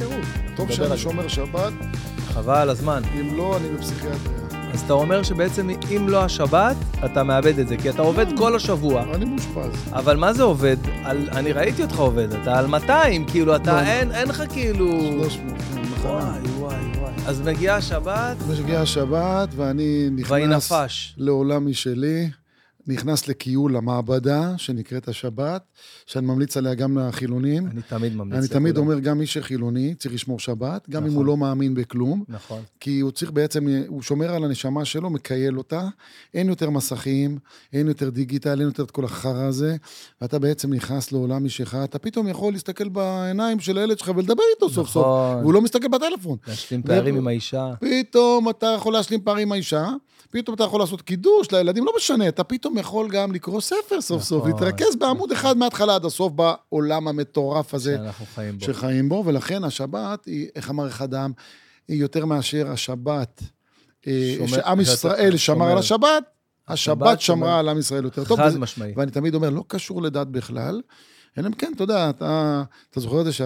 טוב נדבר על שאני זה. שומר שבת, חבל על הזמן. אם לא, אני בפסיכיאטריה. אז אתה אומר שבעצם אם לא השבת, אתה מאבד את זה, כי אתה עובד כל השבוע. אני מאושפז. אבל מה זה עובד? על, אני ראיתי אותך עובד, אתה על 200, כאילו, לא. אתה, אין, אין לך כאילו... 300, כן, מחלה. וואי, וואי, וואי. אז מגיעה השבת, מגיעה השבת, ואני נכנס... והיא נפש. לעולם משלי, נכנס לקיול המעבדה, שנקראת השבת, שאני ממליץ עליה גם לחילונים. אני תמיד ממליץ. אני תמיד לכולם. אומר, גם מי שחילוני צריך לשמור שבת, גם אם נכון. הוא לא מאמין בכלום. נכון. כי הוא צריך בעצם, הוא שומר על הנשמה שלו, מקייל אותה, אין יותר מסכים, אין יותר דיגיטל, אין יותר את כל החרא הזה, ואתה בעצם נכנס לעולם משלך, אתה פתאום יכול להסתכל בעיניים של הילד שלך ולדבר איתו סוף סוף, נכון. והוא לא מסתכל בטלפון. להשלים פערים ו- עם האישה. פתאום אתה יכול להשלים פערים עם האישה, פתאום אתה יכול לעשות קידוש לילדים, לא משנה, אתה פתאום יכול גם לקרוא ספר סוף סוף, נכון. להתרכז בעמוד אחד מההתחלה עד הסוף בעולם המטורף הזה. שאנחנו חיים בו. שחיים בו, ולכן השבת היא, איך אמר אחד העם, היא יותר מאשר השבת, אה, שומר- שעם שאתה- ישראל שמר שומר. על השבת, השבת השבת שמרה שומר. על עם ישראל יותר טוב. חד וזה- משמעי. ואני תמיד אומר, לא קשור לדת בכלל, אלא אם כן, אתה יודע, אתה, אתה זוכר את זה ש...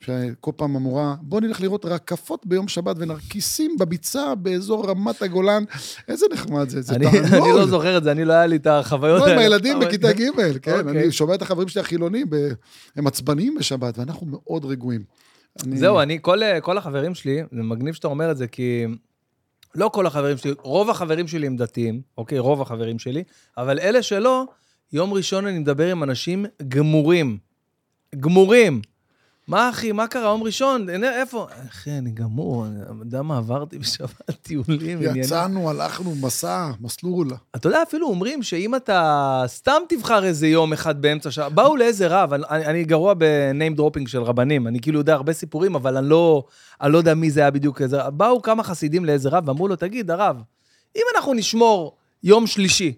שכל פעם אמורה, בוא נלך לראות רקפות ביום שבת ונרקיסים בביצה באזור רמת הגולן. איזה נחמד זה, זה אני אני לא זוכר את זה, אני לא היה לי את החוויות לא, האלה. עם הילדים אבל- בכיתה ג', כן. אוקיי. אני שומע את החברים שלי החילונים, ב- הם עצבניים בשבת, ואנחנו מאוד רגועים. אני- זהו, אני, כל, אה, כל החברים שלי, זה מגניב שאתה אומר את זה, כי לא כל החברים שלי, רוב החברים שלי הם דתיים, אוקיי? רוב החברים שלי, אבל אלה שלא, יום ראשון אני מדבר עם אנשים גמורים. גמורים. מה, אחי, מה קרה? יום ראשון, הנה, איפה? אחי, אני גמור, אני יודע מה עברתי בשבת, טיולים, עניינים. יצאנו, הלכנו, מסע, מסלול. אתה יודע, אפילו אומרים שאם אתה סתם תבחר איזה יום אחד באמצע שעה, באו לאיזה רב, אני, אני, אני גרוע בניים דרופינג של רבנים, אני כאילו יודע הרבה סיפורים, אבל אני לא, אני לא יודע מי זה היה בדיוק איזה רב. באו כמה חסידים לאיזה רב ואמרו לו, תגיד, הרב, אם אנחנו נשמור יום שלישי,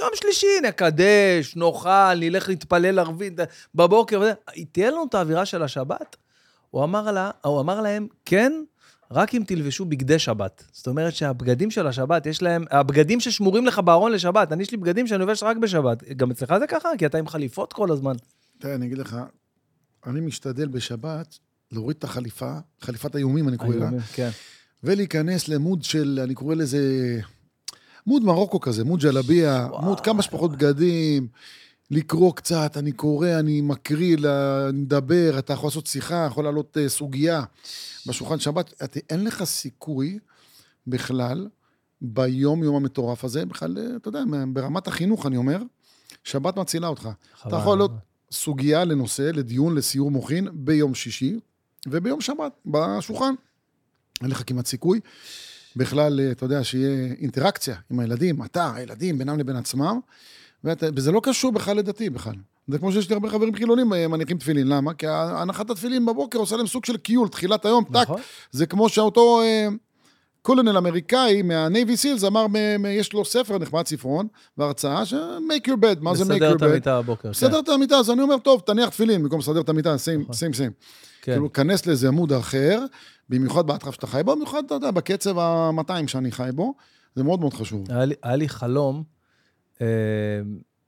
יום שלישי נקדש, נאכל, נלך להתפלל ערבית בבוקר, וזה, תהיה לנו את האווירה של השבת? הוא אמר, לה, הוא אמר להם, כן, רק אם תלבשו בגדי שבת. זאת אומרת שהבגדים של השבת, יש להם, הבגדים ששמורים לך בארון לשבת, אני יש לי בגדים שאני לובש רק בשבת. גם אצלך זה ככה? כי אתה עם חליפות כל הזמן. תראה, אני אגיד לך, אני משתדל בשבת להוריד את החליפה, חליפת האיומים, אני קורא לה, כן. ולהיכנס למוד של, אני קורא לזה, מוד מרוקו כזה, מוד ג'לביה, וואו. מוד כמה שפחות בגדים, לקרוא קצת, אני קורא, אני מקריא, ל- אני מדבר, אתה יכול לעשות שיחה, יכול לעלות אה, סוגיה בשולחן שבת, את, אין לך סיכוי בכלל, ביום-יום המטורף הזה, בכלל, אה, אתה יודע, ברמת החינוך, אני אומר, שבת מצילה אותך. אתה יכול להיות סוגיה לנושא, לדיון, לסיור מוחין, ביום שישי וביום שבת, בשולחן. אין לך כמעט סיכוי. בכלל, אה, אתה יודע, שיהיה אינטראקציה עם הילדים, אתה, הילדים, בינם לבין עצמם, ואתה, וזה לא קשור בכלל לדתי בכלל. זה כמו שיש לי הרבה חברים חילונים אה, מניחים תפילין, למה? כי הנחת התפילין בבוקר עושה להם סוג של קיול, תחילת היום, טאק, נכון. זה כמו שאותו אה, קולונל אמריקאי מה-Navy Seals אמר, מ- מ- יש לו ספר נחמד, ספרון, והרצאה, ש- make your bed, מה זה make לסדר your את bed? המיטה בבוקר. סדר את המיטה, אז אני אומר, טוב, תניח תפילין, במקום לסדר את המיטה, שים, אוקיי. נכון. שים, שים. כן. כאילו, כנס לאיזה עמוד אחר, במיוחד בהתחלה שאתה חי בו, במיוחד, אתה יודע, בקצב ה-200 שאני חי בו, זה מאוד מאוד חשוב. היה לי, היה לי חלום, אה,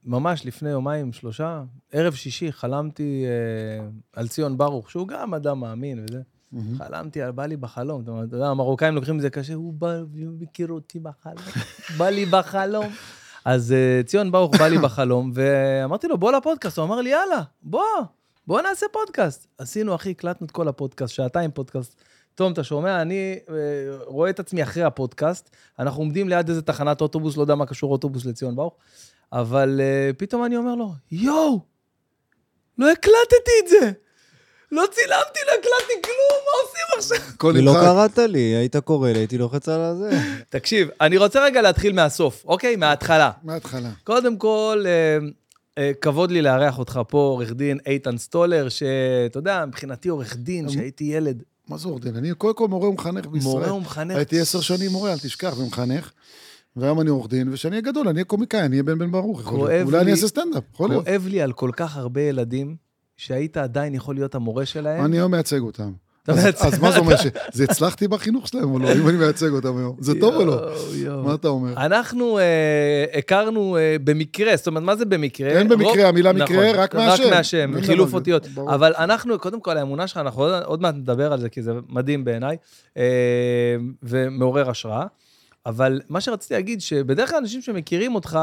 ממש לפני יומיים, שלושה, ערב שישי, חלמתי אה, על ציון ברוך, שהוא גם אדם מאמין וזה. מהמם. חלמתי, על- בא לי בחלום. אתה יודע, המרוקאים לוקחים את זה קשה, הוא בא, הוא מכיר אותי בחלום, בא לי בחלום. אז אה, ציון ברוך בא לי בחלום, ואמרתי לו, בוא לפודקאסט. הוא אמר לי, יאללה, בוא, בוא נעשה פודקאסט. עשינו, אחי, הקלטנו את כל הפודקאסט, שעתיים פודקאסט. תום, אתה שומע? אני אה, רואה את עצמי אחרי הפודקאסט. אנחנו עומדים ליד איזה תחנת אוטובוס, לא יודע מה קשור אוטובוס לציון ברוך, אבל אה, פתאום אני אומר לו, יואו, לא הקלטתי את זה. לא צילמתי, לא הקלטתי כלום, מה עושים עכשיו? כל כי לא נמחק. קראת לי, היית קורא לי, הייתי לוחץ על הזה. תקשיב, אני רוצה רגע להתחיל מהסוף, אוקיי? מההתחלה. מההתחלה. קודם כל, אה, אה, כבוד לי לארח אותך פה, עורך דין איתן סטולר, שאתה יודע, מבחינתי עורך דין, אמ, שהייתי ילד, מה זה עורך דין? אני קודם כל מורה ומחנך בישראל. מורה ומחנך. הייתי עשר שנים מורה, אל תשכח, ומחנך. והיום אני עורך דין, וכשאני אהיה גדול, אני אהיה קומיקאי, אני אהיה בן בן ברוך. יכול להיות. כואב אולי אני לי- אעשה סטנדאפ, יכול להיות. כואב לי על כל כך הרבה ילדים, שהיית עדיין יכול להיות המורה שלהם. אני היום מייצג אותם. אתה אז- מייצג- אז מה זה אומר, שזה הצלחתי בחינוך שלהם או לא, אם אני מייצג אותם היום? זה טוב או לא? יואו, יואו. מה אתה אומר? אנחנו אה, הכרנו אה, במקרה, זאת אומרת, מה זה במקרה? אין במקרה, רוב- המילה נכון, מקרה, רק מהשם. רק אין מהשם, דבר חילוף כזה. אותיות. ברור. אבל אנחנו, קודם כל, האמונה שלך, אנחנו עוד- עוד מעט נדבר על זה, כי זה מדהים בעיניי, אה, ומעורר השראה. אבל מה שרציתי להגיד, שבדרך כלל אנשים שמכירים אותך,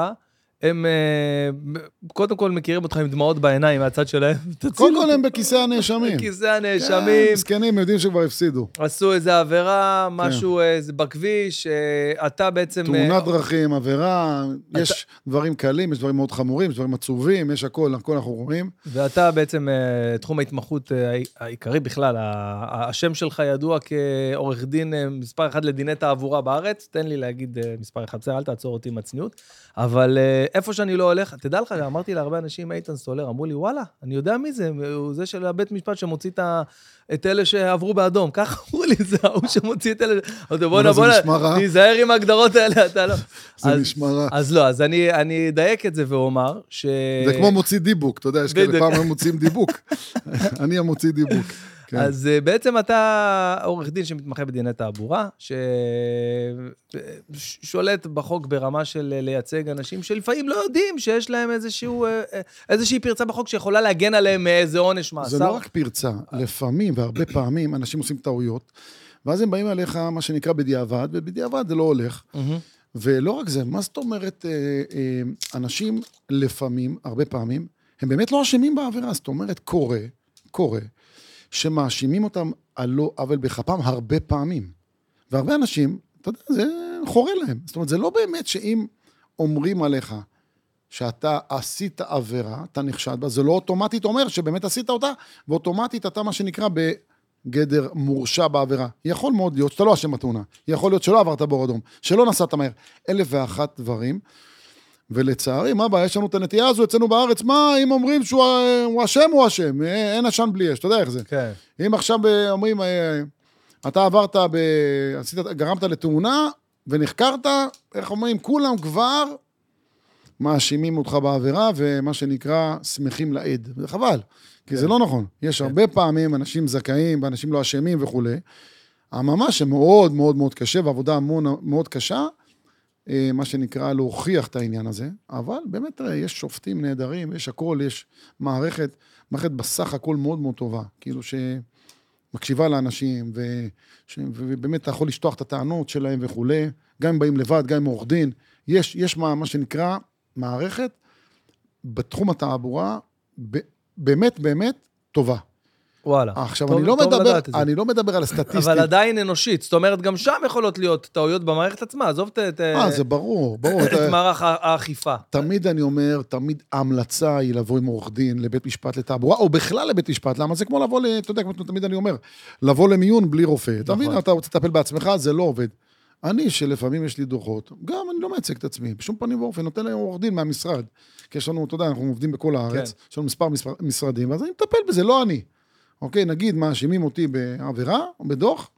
הם אה, קודם כל מכירים אותך עם דמעות בעיניים מהצד שלהם. קודם כל הם בכיסא הנאשמים. כיסא הנאשמים. כן, כן, מסכנים, יודעים שכבר הפסידו. עשו איזה עבירה, כן. משהו אה, זה בכביש, אה, אתה בעצם... אה, תאונת דרכים, עבירה, יש דברים קלים, יש דברים מאוד חמורים, יש דברים עצובים, יש הכל, הכל אנחנו רואים. ואתה בעצם, אה, תחום ההתמחות אה, העי- העיקרי בכלל, ה- ה- השם שלך ידוע כעורך דין אה, מספר אחת לדיני תעבורה בארץ, תן לי להגיד אה, מספר אחד, בסדר, אל תעצור אותי עם הצניעות, אבל אה, איפה שאני לא הולך, תדע לך, אמרתי להרבה אנשים, איתן סולר, אמרו לי, וואלה, אני יודע מי זה, הוא זה של הבית משפט שמוציא את ה- את אלה שעברו באדום, ככה אמרו לי, זה ההוא שמוציא את אלה, אמרתי, בואנה, זה נשמע בואנה, רע." תיזהר עם ההגדרות האלה, אתה לא... זה אז- נשמע רע. אז לא, אז אני אני אדייק את זה ואומר ש... זה כמו מוציא דיבוק, אתה יודע, יש כאלה אה, בדיוק. פעם הם מוציאים דיבוק. אני המוציא דיבוק. כן. אז אה, בעצם אתה עורך דין שמתמחה בדיני תעבורה, ששולט בחוק ברמה של אה, לייצג אנשים שלפעמים לא יודעים שיש להם איזשהו, אה, אה, איזושהי פרצה בחוק שיכולה להגן עליהם מאיזה עונש מאסר. זה לא רק פרצה, לפעמים והרבה פעמים אנשים עושים טעויות, ואז הם באים אליך, מה שנקרא, בדיעבד, ובדיעבד זה לא הולך. מהמם. ולא רק זה, מה זאת אומרת, אה, אה, אנשים לפעמים, הרבה פעמים, הם באמת לא אשמים בעבירה. זאת אומרת, קורה, קורה, שמאשימים אותם על לא עוול בכפם הרבה פעמים. והרבה אנשים, אתה יודע, זה חורה להם. זאת אומרת, זה לא באמת שאם אומרים עליך שאתה עשית עבירה, אתה נחשד בה, זה לא אוטומטית אומר שבאמת עשית אותה, ואוטומטית אתה מה שנקרא בגדר מורשע בעבירה. יכול מאוד להיות שאתה לא אשם בתאונה, יכול להיות שלא עברת באור אדום, שלא נסעת מהר, אלף ואחת דברים. ולצערי, מה הבעיה? יש לנו את הנטייה הזו אצלנו בארץ, מה אם אומרים שהוא אה, הוא אשם, הוא אשם, אה, אין עשן בלי אש, אתה יודע איך זה. כן. אם עכשיו אה, אומרים, אה, אתה עברת, ב... עשית, גרמת לתאונה ונחקרת, איך אומרים, כולם כבר מאשימים אותך בעבירה, ומה שנקרא, שמחים לעד. זה חבל, כי זה לא נכון. יש הרבה פעמים אנשים זכאים ואנשים לא אשמים וכולי. הממה שמאוד מאוד מאוד קשה, ועבודה המון, מאוד קשה, אה, מה שנקרא להוכיח את העניין הזה, אבל באמת, תראה, יש שופטים נהדרים, יש הכל, יש מערכת, מערכת בסך הכל מאוד מאוד טובה, כאילו שמקשיבה לאנשים, ו, ש, ובאמת אתה יכול לשטוח את הטענות שלהם וכולי, גם אם באים לבד, גם אם עורך דין, יש, יש מה, מה שנקרא מערכת בתחום התעבורה, ב, באמת באמת טובה. וואלה. עכשיו, טוב- אני, לא טוב מדבר, לדעת את זה. אני לא מדבר על הסטטיסטיקה. אבל עדיין אנושית, זאת אומרת, גם שם יכולות להיות טעויות במערכת עצמה, עזוב את- את אה, זה אה, ברור, ברור. את אתה- מערך הא- האכיפה. תמיד אני אומר, תמיד ההמלצה היא לבוא עם עורך דין לבית משפט לתעבורה, או בכלל לבית משפט, למה זה כמו לבוא, ל- אתה יודע, כמו תמיד אני אומר, לבוא למיון בלי רופא. אתה מבין, אתה רוצה לטפל בעצמך, זה לא עובד. אני, שלפעמים יש לי דוחות, גם אני לא מייצג את עצמי, בשום פנים ואופן, נותן להם עורך דין מהמשרד. כי יש לנו, אתה יודע, אנחנו עובדים בכל הארץ, כן. יש לנו מספר מספר- משרדים, אז אני מטפל בזה, לא אני. אוקיי, נגיד מאשימים אותי בעבירה או בדוח,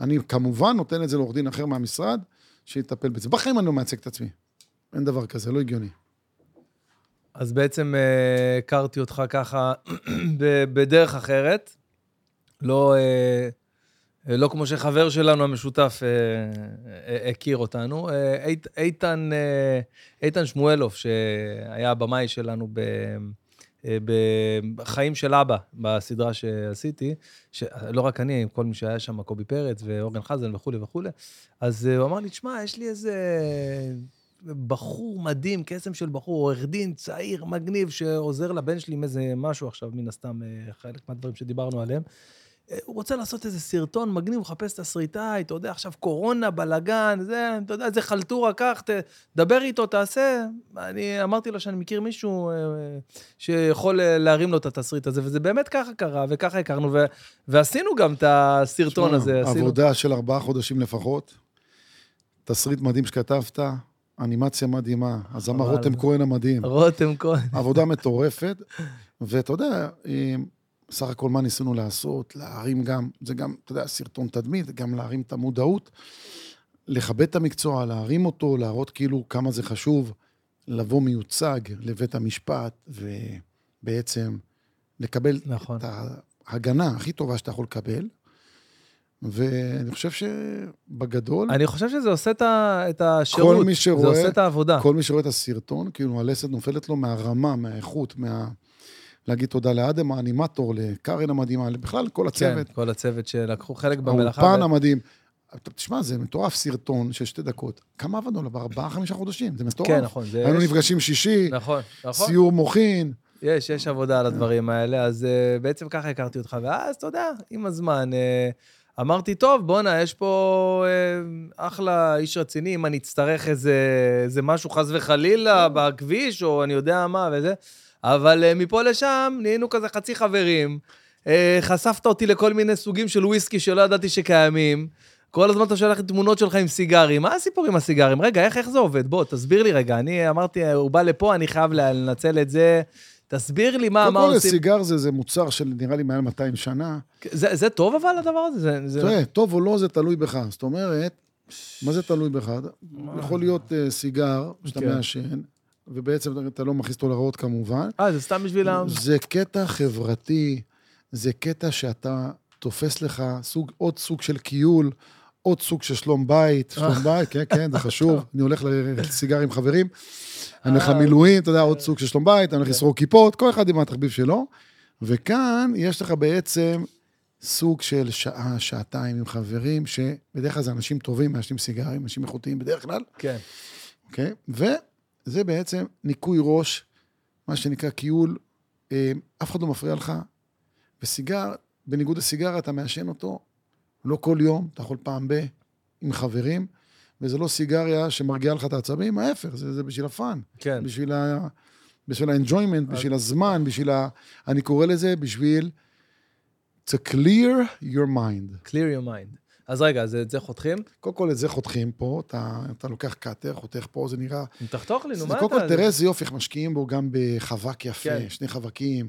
אני כמובן נותן את זה לעורך דין אחר מהמשרד, שיטפל בזה. בחיים אני לא מייצג את עצמי. אין דבר כזה, לא הגיוני. אז בעצם אה, הכרתי אותך ככה ב- בדרך אחרת, לא, אה, אה, לא כמו שחבר שלנו המשותף אה, אה, הכיר אותנו. אה, אית- איתן, אה, איתן שמואלוף, שהיה הבמאי שלנו ב... אה, בחיים של אבא, בסדרה שעשיתי, שלא רק אני, עם כל מי שהיה שם, קובי פרץ ואורן חזן וכולי וכולי, אז אה, הוא אמר לי, תשמע, יש לי איזה אה, בחור מדהים, קסם של בחור, עורך דין צעיר, מגניב, שעוזר לבן שלי עם איזה משהו עכשיו, מן הסתם, אה, חלק מהדברים שדיברנו עליהם. אה, הוא רוצה לעשות איזה סרטון מגניב, הוא מחפש תסריטאי, אתה יודע, עכשיו קורונה, בלאגן, זה, אתה יודע, זה חלטורה, קח, ת- דבר איתו, תעשה. אני אמרתי לו שאני מכיר מישהו אה, אה, שיכול אה, להרים לו את התסריט הזה, וזה באמת ככה קרה, וככה הכרנו, ו- ועשינו גם את הסרטון שמע, הזה, עשינו. עבודה של ארבעה חודשים לפחות, תסריט מדהים שכתבת, אנימציה מדהימה, הזמר אבל- רותם כהן המדהים, רותם כהן. עבודה מטורפת, ואתה יודע, אה, סך הכל מה ניסינו לעשות, להרים גם, זה גם, אתה יודע, סרטון תדמית, גם להרים את המודעות, לכבד את המקצוע, להרים אותו, להראות כאילו כמה זה חשוב, לבוא מיוצג לבית המשפט, ובעצם לקבל נכון. את ההגנה הכי טובה שאתה יכול לקבל, ואני חושב שבגדול, אני חושב שזה עושה את ה- את השירות. כל מי זה שרואה, עושה את העבודה. כל מי שרואה את הסרטון, כאילו הלסת נופלת לו מהרמה, מהאיכות, מה... להגיד תודה לאדם האנימטור, לקארן המדהימה, בכלל כל הצוות. כן, כל הצוות שלקחו חלק במלאכה. האולפן המדהים. אתה- תשמע, זה מטורף, סרטון של שתי דקות. כמה עבדנו עליו? ארבעה, חמישה חודשים, זה מטורף. כן, נכון. זה- היינו יש- נפגשים שישי, נכון, נכון. סיור מוחין. יש, יש עבודה על הדברים האלה, אז אה, בעצם ככה הכרתי אותך, ואז, אתה יודע, עם הזמן, אה, אמרתי, טוב, בואנה, יש פה אה, אחלה איש רציני, אם אני אצטרך איזה, איזה משהו, חס וחלילה, כן. בכביש, או אני יודע מה וזה, אבל אה, מפה לשם נהיינו כזה חצי חברים. אה, חשפת אותי לכל מיני סוגים של וויסקי שלא ידעתי שקיימים. כל הזמן אתה שולח לי תמונות שלך עם סיגרים. מה הסיפור עם הסיגרים? רגע, איך, איך זה עובד? בוא, תסביר לי רגע. אני אמרתי, אה, הוא בא לפה, אני חייב לנצל את זה. תסביר לי מה, קודם אה, מה לא כל, עושים. סיגר זה, זה מוצר של נראה לי מעל 200 שנה. זה, זה טוב אבל, הדבר הזה? זה, זה... תראה, טוב או לא, זה תלוי בך. זאת אומרת, מה זה תלוי בך? יכול להיות אה, סיגר שאתה כן. מעשן, ובעצם אתה לא מכניס אותו לרעות כמובן. אה, זה סתם בשביל ה... זה קטע חברתי, זה קטע שאתה תופס לך סוג, עוד סוג של כיול, עוד סוג של שלום בית, שלום בית, כן, כן, זה חשוב. אני הולך לסיגר עם חברים, אני הולך למילואים, אתה יודע, עוד סוג של שלום בית, אני הולך לסרוק כיפות, כל אחד עם התחביב שלו. וכאן יש לך בעצם סוג של שעה, שעתיים עם חברים, שבדרך כלל זה אנשים טובים, מעשנים סיגרים, אנשים איכותיים בדרך כלל. כן. אוקיי? וזה בעצם ניקוי ראש, מה שנקרא כיול, אה, אף אחד לא מפריע לך. וסיגר, בניגוד לסיגר, אתה מעשן אותו לא כל יום, אתה יכול פעם ב... עם חברים, וזה לא סיגריה שמרגיעה לך את העצבים, ההפך, זה, זה בשביל הפאן, כן. בשביל ה... בשביל ה-enjoyment, אז- בשביל הזמן, בשביל ה... אני קורא לזה בשביל... to clear your mind. clear your mind. אז רגע, אז את זה חותכים? קודם כל, את זה חותכים פה, אתה, אתה לוקח קאטר, חותך פה, זה נראה תחתוך לי, נו, מה זה אתה... קודם כל, תראה איזה יופי, איך משקיעים בו גם בחווק יפה, כן. שני חווקים,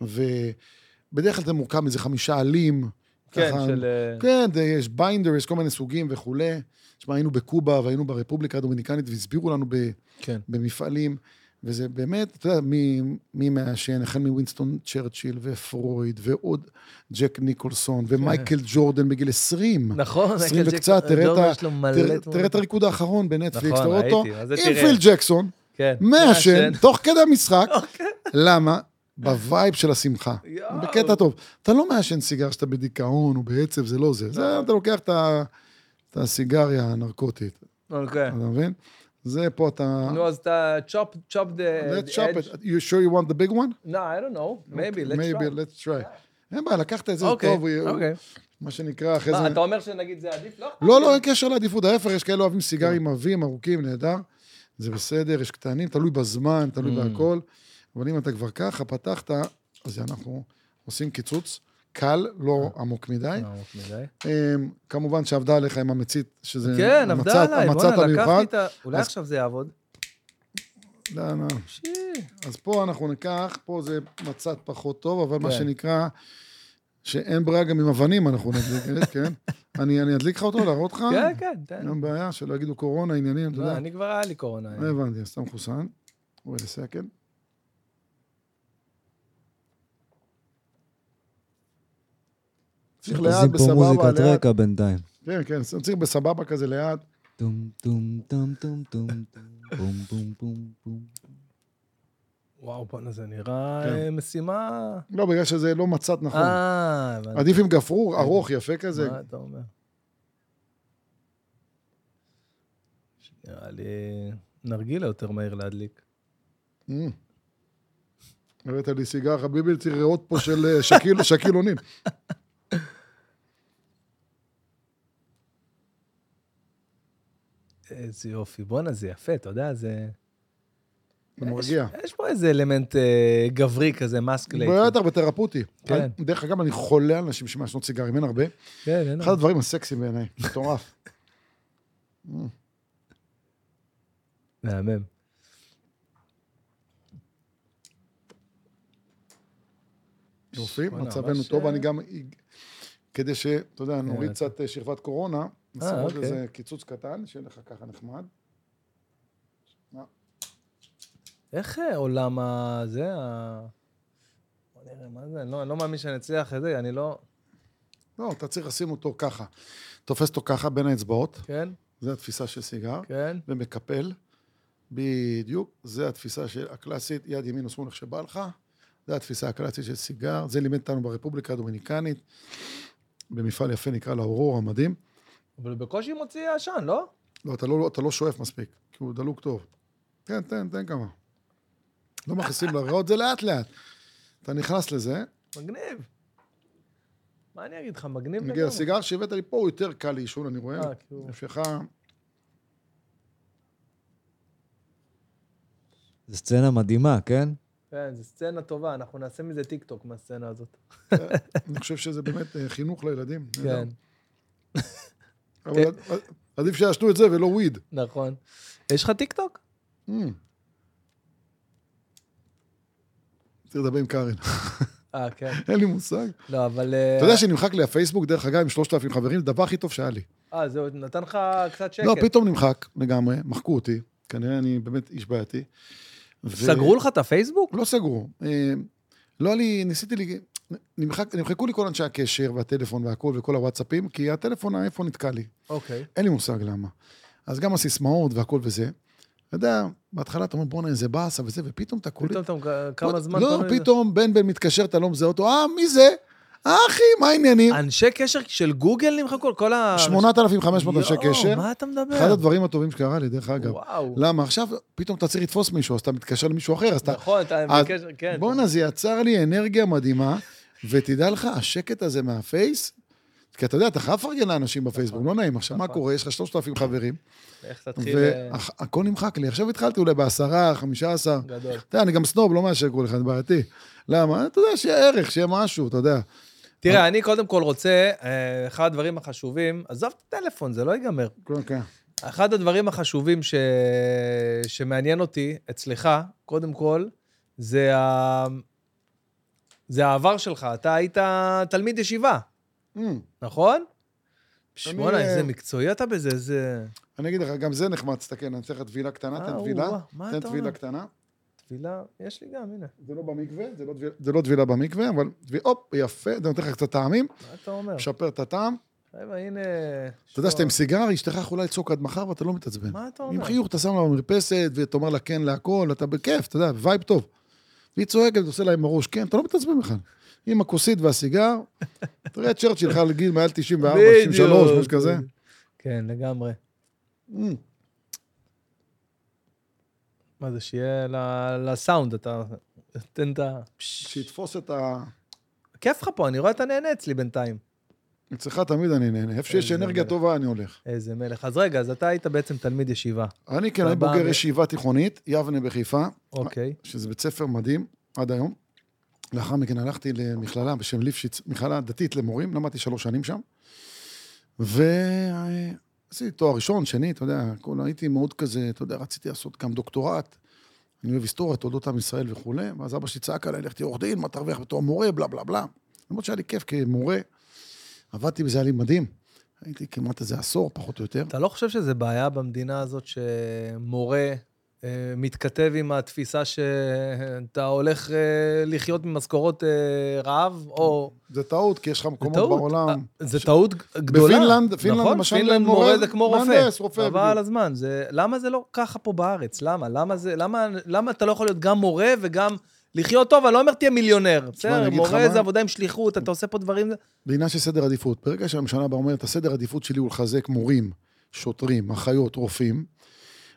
ובדרך כלל זה מורכב מאיזה חמישה עלים. כן, ככה. של... אה, כן, זה- יש ביינדר, יש כל מיני סוגים וכולי. תשמע, היינו בקובה והיינו ברפובליקה הדומיניקנית והסבירו לנו ב- כן. במפעלים, וזה באמת, אתה יודע, מי, מי מעשן, החל מווינסטון צ'רצ'יל ופרויד ועוד ג'ק ניקולסון כן. ומייקל ג'ורדן בגיל 20. נכון, 20 מייקל וקצת, ג'קסון, תראה את הדור ה- יש לו מלא תראה- תמונות. תראה את הריקוד האחרון בנטפליקס, נכון, אתה רואה אותו? ראיתי, אז זה עם תראה. פיל ג'קסון. כן. אוקיי. מעשן, תוך כדי המשחק. למה? בווייב של השמחה. יואו. בקטע טוב. אתה לא מעשן סיגר שאתה בדיכאון או בעצב, זה לא זה. זה אתה לוקח את ה- את הסיגריה הנרקוטית, אוקיי. אתה מבין? זה פה אתה... נו, אז אתה chop, chop the, Let's the chop edge. it. You sure you want the big one? No, I don't know. Maybe, let's Maybe, chop. let's try. אין בעיה, לקחת את זה אוקיי, טוב, הוא- אוקיי. מה שנקרא, אחרי מה, זה... אתה אומר שנגיד זה עדיף? לא. לא, לא, אין קשר לעדיפות, ההפך, יש כאלה אוהבים סיגרים עבים, ארוכים, נהדר, זה בסדר, יש קטנים, תלוי בזמן, תלוי Mm. בהכל, אבל אם אתה כבר ככה פתחת, אז אנחנו עושים קיצוץ קל, לא אה. עמוק מדי. עמוק מדי. אמ, כמובן שעבדה עליך עם המצית, שזה... אה. כן, עבדה המצת- עליי, המצת בוא'נה, לקחתי המיוחד. את ה... אולי אז- עכשיו זה יעבוד. לא, לא. אז פה אנחנו ניקח, פה זה מצת פחות טוב, אבל מה כן. שנקרא, שאין ברירה גם עם אבנים אנחנו נדליק, כן? אני אני אדליק לך אותו, להראות לך? כן, כן, תן. אין בעיה, שלא יגידו קורונה, עניינים, אתה לא, יודע. אני כבר היה לי קורונה. לא הבנתי, אז אתה מחוסן. wait a second. צריך לאט, עושים פה בסבבה, מוזיקת לאט. רקע בינתיים. כן, כן, צריך בסבבה כזה לאט. טום טום טום טום טום טום טום טום טום. וואו, בואנה, זה נראה כן. אה, משימה... לא, בגלל שזה לא מצת נכון. אה, הבנתי. עדיף עם גפרור, ארוך, יפה כזה. מה אתה אומר? נראה לי נרגילה יותר מהיר להדליק. אה. אמ. הבאת לי סיגר, חביבי, צריך ריאות פה של אה, שקיל- שקיל אונים. איזה יופי. בואנה, זה יפה, אתה יודע, זה... זה מרגיע. יש- יש פה איזה אלמנט אה, גברי כזה, מסקלייט. בטח, בתרפוטי. כן. דרך אגב, אני חולה על אנשים שמעשנות סיגרים, אין הרבה. כן, לא. אין אחד הדברים הסקסיים בעיניי, מטורף. מהמם. יופי, וואלה, מצבנו ממש, טוב, אה, אני גם... אג- כדי ש... אתה יודע, נוריד אתה- קצת אה, שכבת קורונה, נעשה עוד כן, אוקיי. איזה קיצוץ קטן, שיהיה לך ככה נחמד. איך אה, עולם ה... זה ה... בוא נראה, מה זה? אני לא- אני לא מאמין שאני אצליח את זה, אני לא... לא, אתה צריך לשים אותו ככה. תופס אותו ככה בין האצבעות, כן, זו התפיסה של סיגר, כן. ומקפל, בדיוק, זו התפיסה של הקלאסית, יד ימין או שמאל איך שבא לך, זו התפיסה הקלאסית של סיגר, זה לימד אותנו ברפובליקה הדומיניקנית, במפעל יפה נקרא לה אורורה, מדהים. אבל בקושי מוציא עשן, לא? לא, אתה לא, אתה לא שואף מספיק, כי הוא דלוק טוב. כן, תן, תן כמה. לא מכניסים לריאות, זה לאט-לאט. אתה נכנס לזה, כן, מגניב. מה אני אגיד לך, מגניב מגיע לסיגר שהבאת לי פה, הוא יותר קל לעישון, אני רואה. אה, כי הוא- שלך, זו סצנה מדהימה, כן? כן, זו סצנה טובה, אנחנו נעשה מזה טיק טוק מהסצנה הזאת. אני חושב שזה באמת אה, חינוך לילדים. כן, אבל עד- עדיף שיעשנו את זה ולא וויד. נכון. יש לך טיק טוק? Mm. צריך לדבר עם קארן, אה, כן. אין לי מושג. לא, אבל... אה, אתה יודע שנמחק לי הפייסבוק, דרך אגב, עם 3,000 חברים, זה הדבר הכי טוב שהיה לי. אה, זה עוד נתן לך קצת שקט. לא, פתאום נמחק לגמרי, מחקו אותי, כנראה אני באמת איש בעייתי. ו- סגרו לך את הפייסבוק? לא סגרו. אה, לא, אני ניסיתי, לי, נמחק, נמחקו לי כל אנשי הקשר והטלפון והכל וכל הוואטסאפים, כי הטלפון, האייפון נתקע לי. אוקיי. אין לי מושג למה. אז גם הסיסמאות והכל וזה. אתה יודע, בהתחלה אתה אומר, בואנה, איזה באסה וזה, ופתאום אתה קולט... פתאום אתה... מק- כמה זמן... לא, אתה- פתאום בן בן מתקשר, אתה לא מזהה אותו, אה, מי זה? אה, אחי, מה העניינים? אנשי קשר של גוגל נמחקו? כל ה... 8,500 אנשי קשר. יואו, מה אתה מדבר? אחד הדברים הטובים שקרה לי, דרך אגב. וואו. למה? עכשיו פתאום אתה צריך לתפוס מישהו, אז אתה מתקשר למישהו אחר, אז אתה... נכון, אתה אז- בקשר, כן. בואנה, זה יצר לי אנרגיה מדהימה, ותדע לך, השקט הזה מהפייס, כי אתה יודע, אתה חייב לפרגן לאנשים בפייסבוק, לא נעים. עכשיו, מה נכון. קורה? יש לך 3,000 חברים, איך תתחיל... אה, והכל נמחק לי. עכשיו התחלתי אולי בעשרה, חמישה עשר. גדול. אתה יודע, אני גם סנוב, לא מאשר כל אחד, בעייתי. למה? אתה יודע, שיהיה ערך, שיהיה משהו, אתה יודע. תראה, אני קודם כל רוצה, אה, אחד הדברים החשובים, עזוב את הטלפון, זה לא ייגמר. כן, כן. אחד הדברים החשובים ש... שמעניין אותי אצלך, קודם כל, זה, ה... זה העבר שלך. אתה היית תלמיד ישיבה, אמ, נכון? שמואל, אה, איזה מקצועי אתה בזה, איזה... אני אגיד לך, גם זה נחמד, תסתכל, אני אתן לך טבילה קטנה, אה, תן טבילה. או-אה, מה תן אתה אומר? טבילה קטנה. טבילה, יש לי גם, הנה, זה לא במקווה, זה לא טבילה- זה לא טבילה במקווה, אבל טבילה, הופ, יפה, זה נותן לך קצת טעמים, מה אתה אומר? משפר את הטעם. חבר'ה, הנה... אתה יודע שאתה עם סיגר, אשתך יכולה לצעוק עד מחר ואתה לא מתעצבן. מה אתה עם אומר? חיוך אתה שם לה במרפסת, ותאמר לה כן להכל, אתה בכיף, אתה יודע, וייב טוב. והיא צועקת, עושה לה עם הראש, כן, אתה לא מתעצבן בכלל. עם הכוסית והסיגר, תראה את צ'רצ'יל חל גיל מעל 94, 93, משהו כזה. כן, לגמרי. אמ, מה זה, שיהיה ל- לסאונד, אתה... תן את ה... שיתפוס את ה... כיף לך פה, אני רואה אתה נהנה אצלי בינתיים. אצלך תמיד אני נהנה, איפה שיש איזה אנרגיה מלך. טובה אני הולך. איזה מלך. אז רגע, אז אתה היית בעצם תלמיד ישיבה. אני כן, אתה אני בא בוגר ב- ישיבה תיכונית, יבנה בחיפה, אוקיי. שזה בית ספר מדהים עד היום. לאחר מכן הלכתי למכללה בשם ליפשיץ, מכללה דתית למורים, למדתי שלוש שנים שם. ועשיתי תואר ראשון, שני, אתה יודע, כל... הייתי מאוד כזה, אתה יודע, רציתי לעשות גם דוקטורט. אני אוהב היסטוריה, תולדות עם ישראל וכולי, ואז אבא שלי צעק עליי, לך תהיה עורך דין, מה תרוויח בתור מורה, בלה בלה בלה. למרות שהיה לי כיף כמורה, עבדתי בזה, היה לי מדהים. הייתי כמעט איזה עשור, פחות או יותר. אתה לא חושב שזה בעיה במדינה הזאת שמורה אה, מתכתב עם התפיסה שאתה הולך אה, לחיות ממשכורות אה, רעב, או... זה טעות, כי יש לך זה מקומות טעות. בעולם. אה, זה טעות ג- גדולה. בפינלנד- פינלנד נכון? למשל פינלנד מורה- מורה זה כמו רופא. מהנדס, רופא, חבל בדיוק. על הזמן. זה- למה זה לא ככה פה בארץ? למה? למה זה- למה- למה אתה לא יכול להיות גם מורה וגם לחיות טוב? אני לא אומר תהיה מיליונר. אני בסדר, אגיד לך מורה מה? אה, זה עבודה עם שליחות, אתה עושה פה דברים... זה עניין של סדר עדיפות. ברגע שהממשלה באה ואומרת, הסדר עדיפות שלי הוא לחזק מורים, שוטרים, אחיות, רופאים,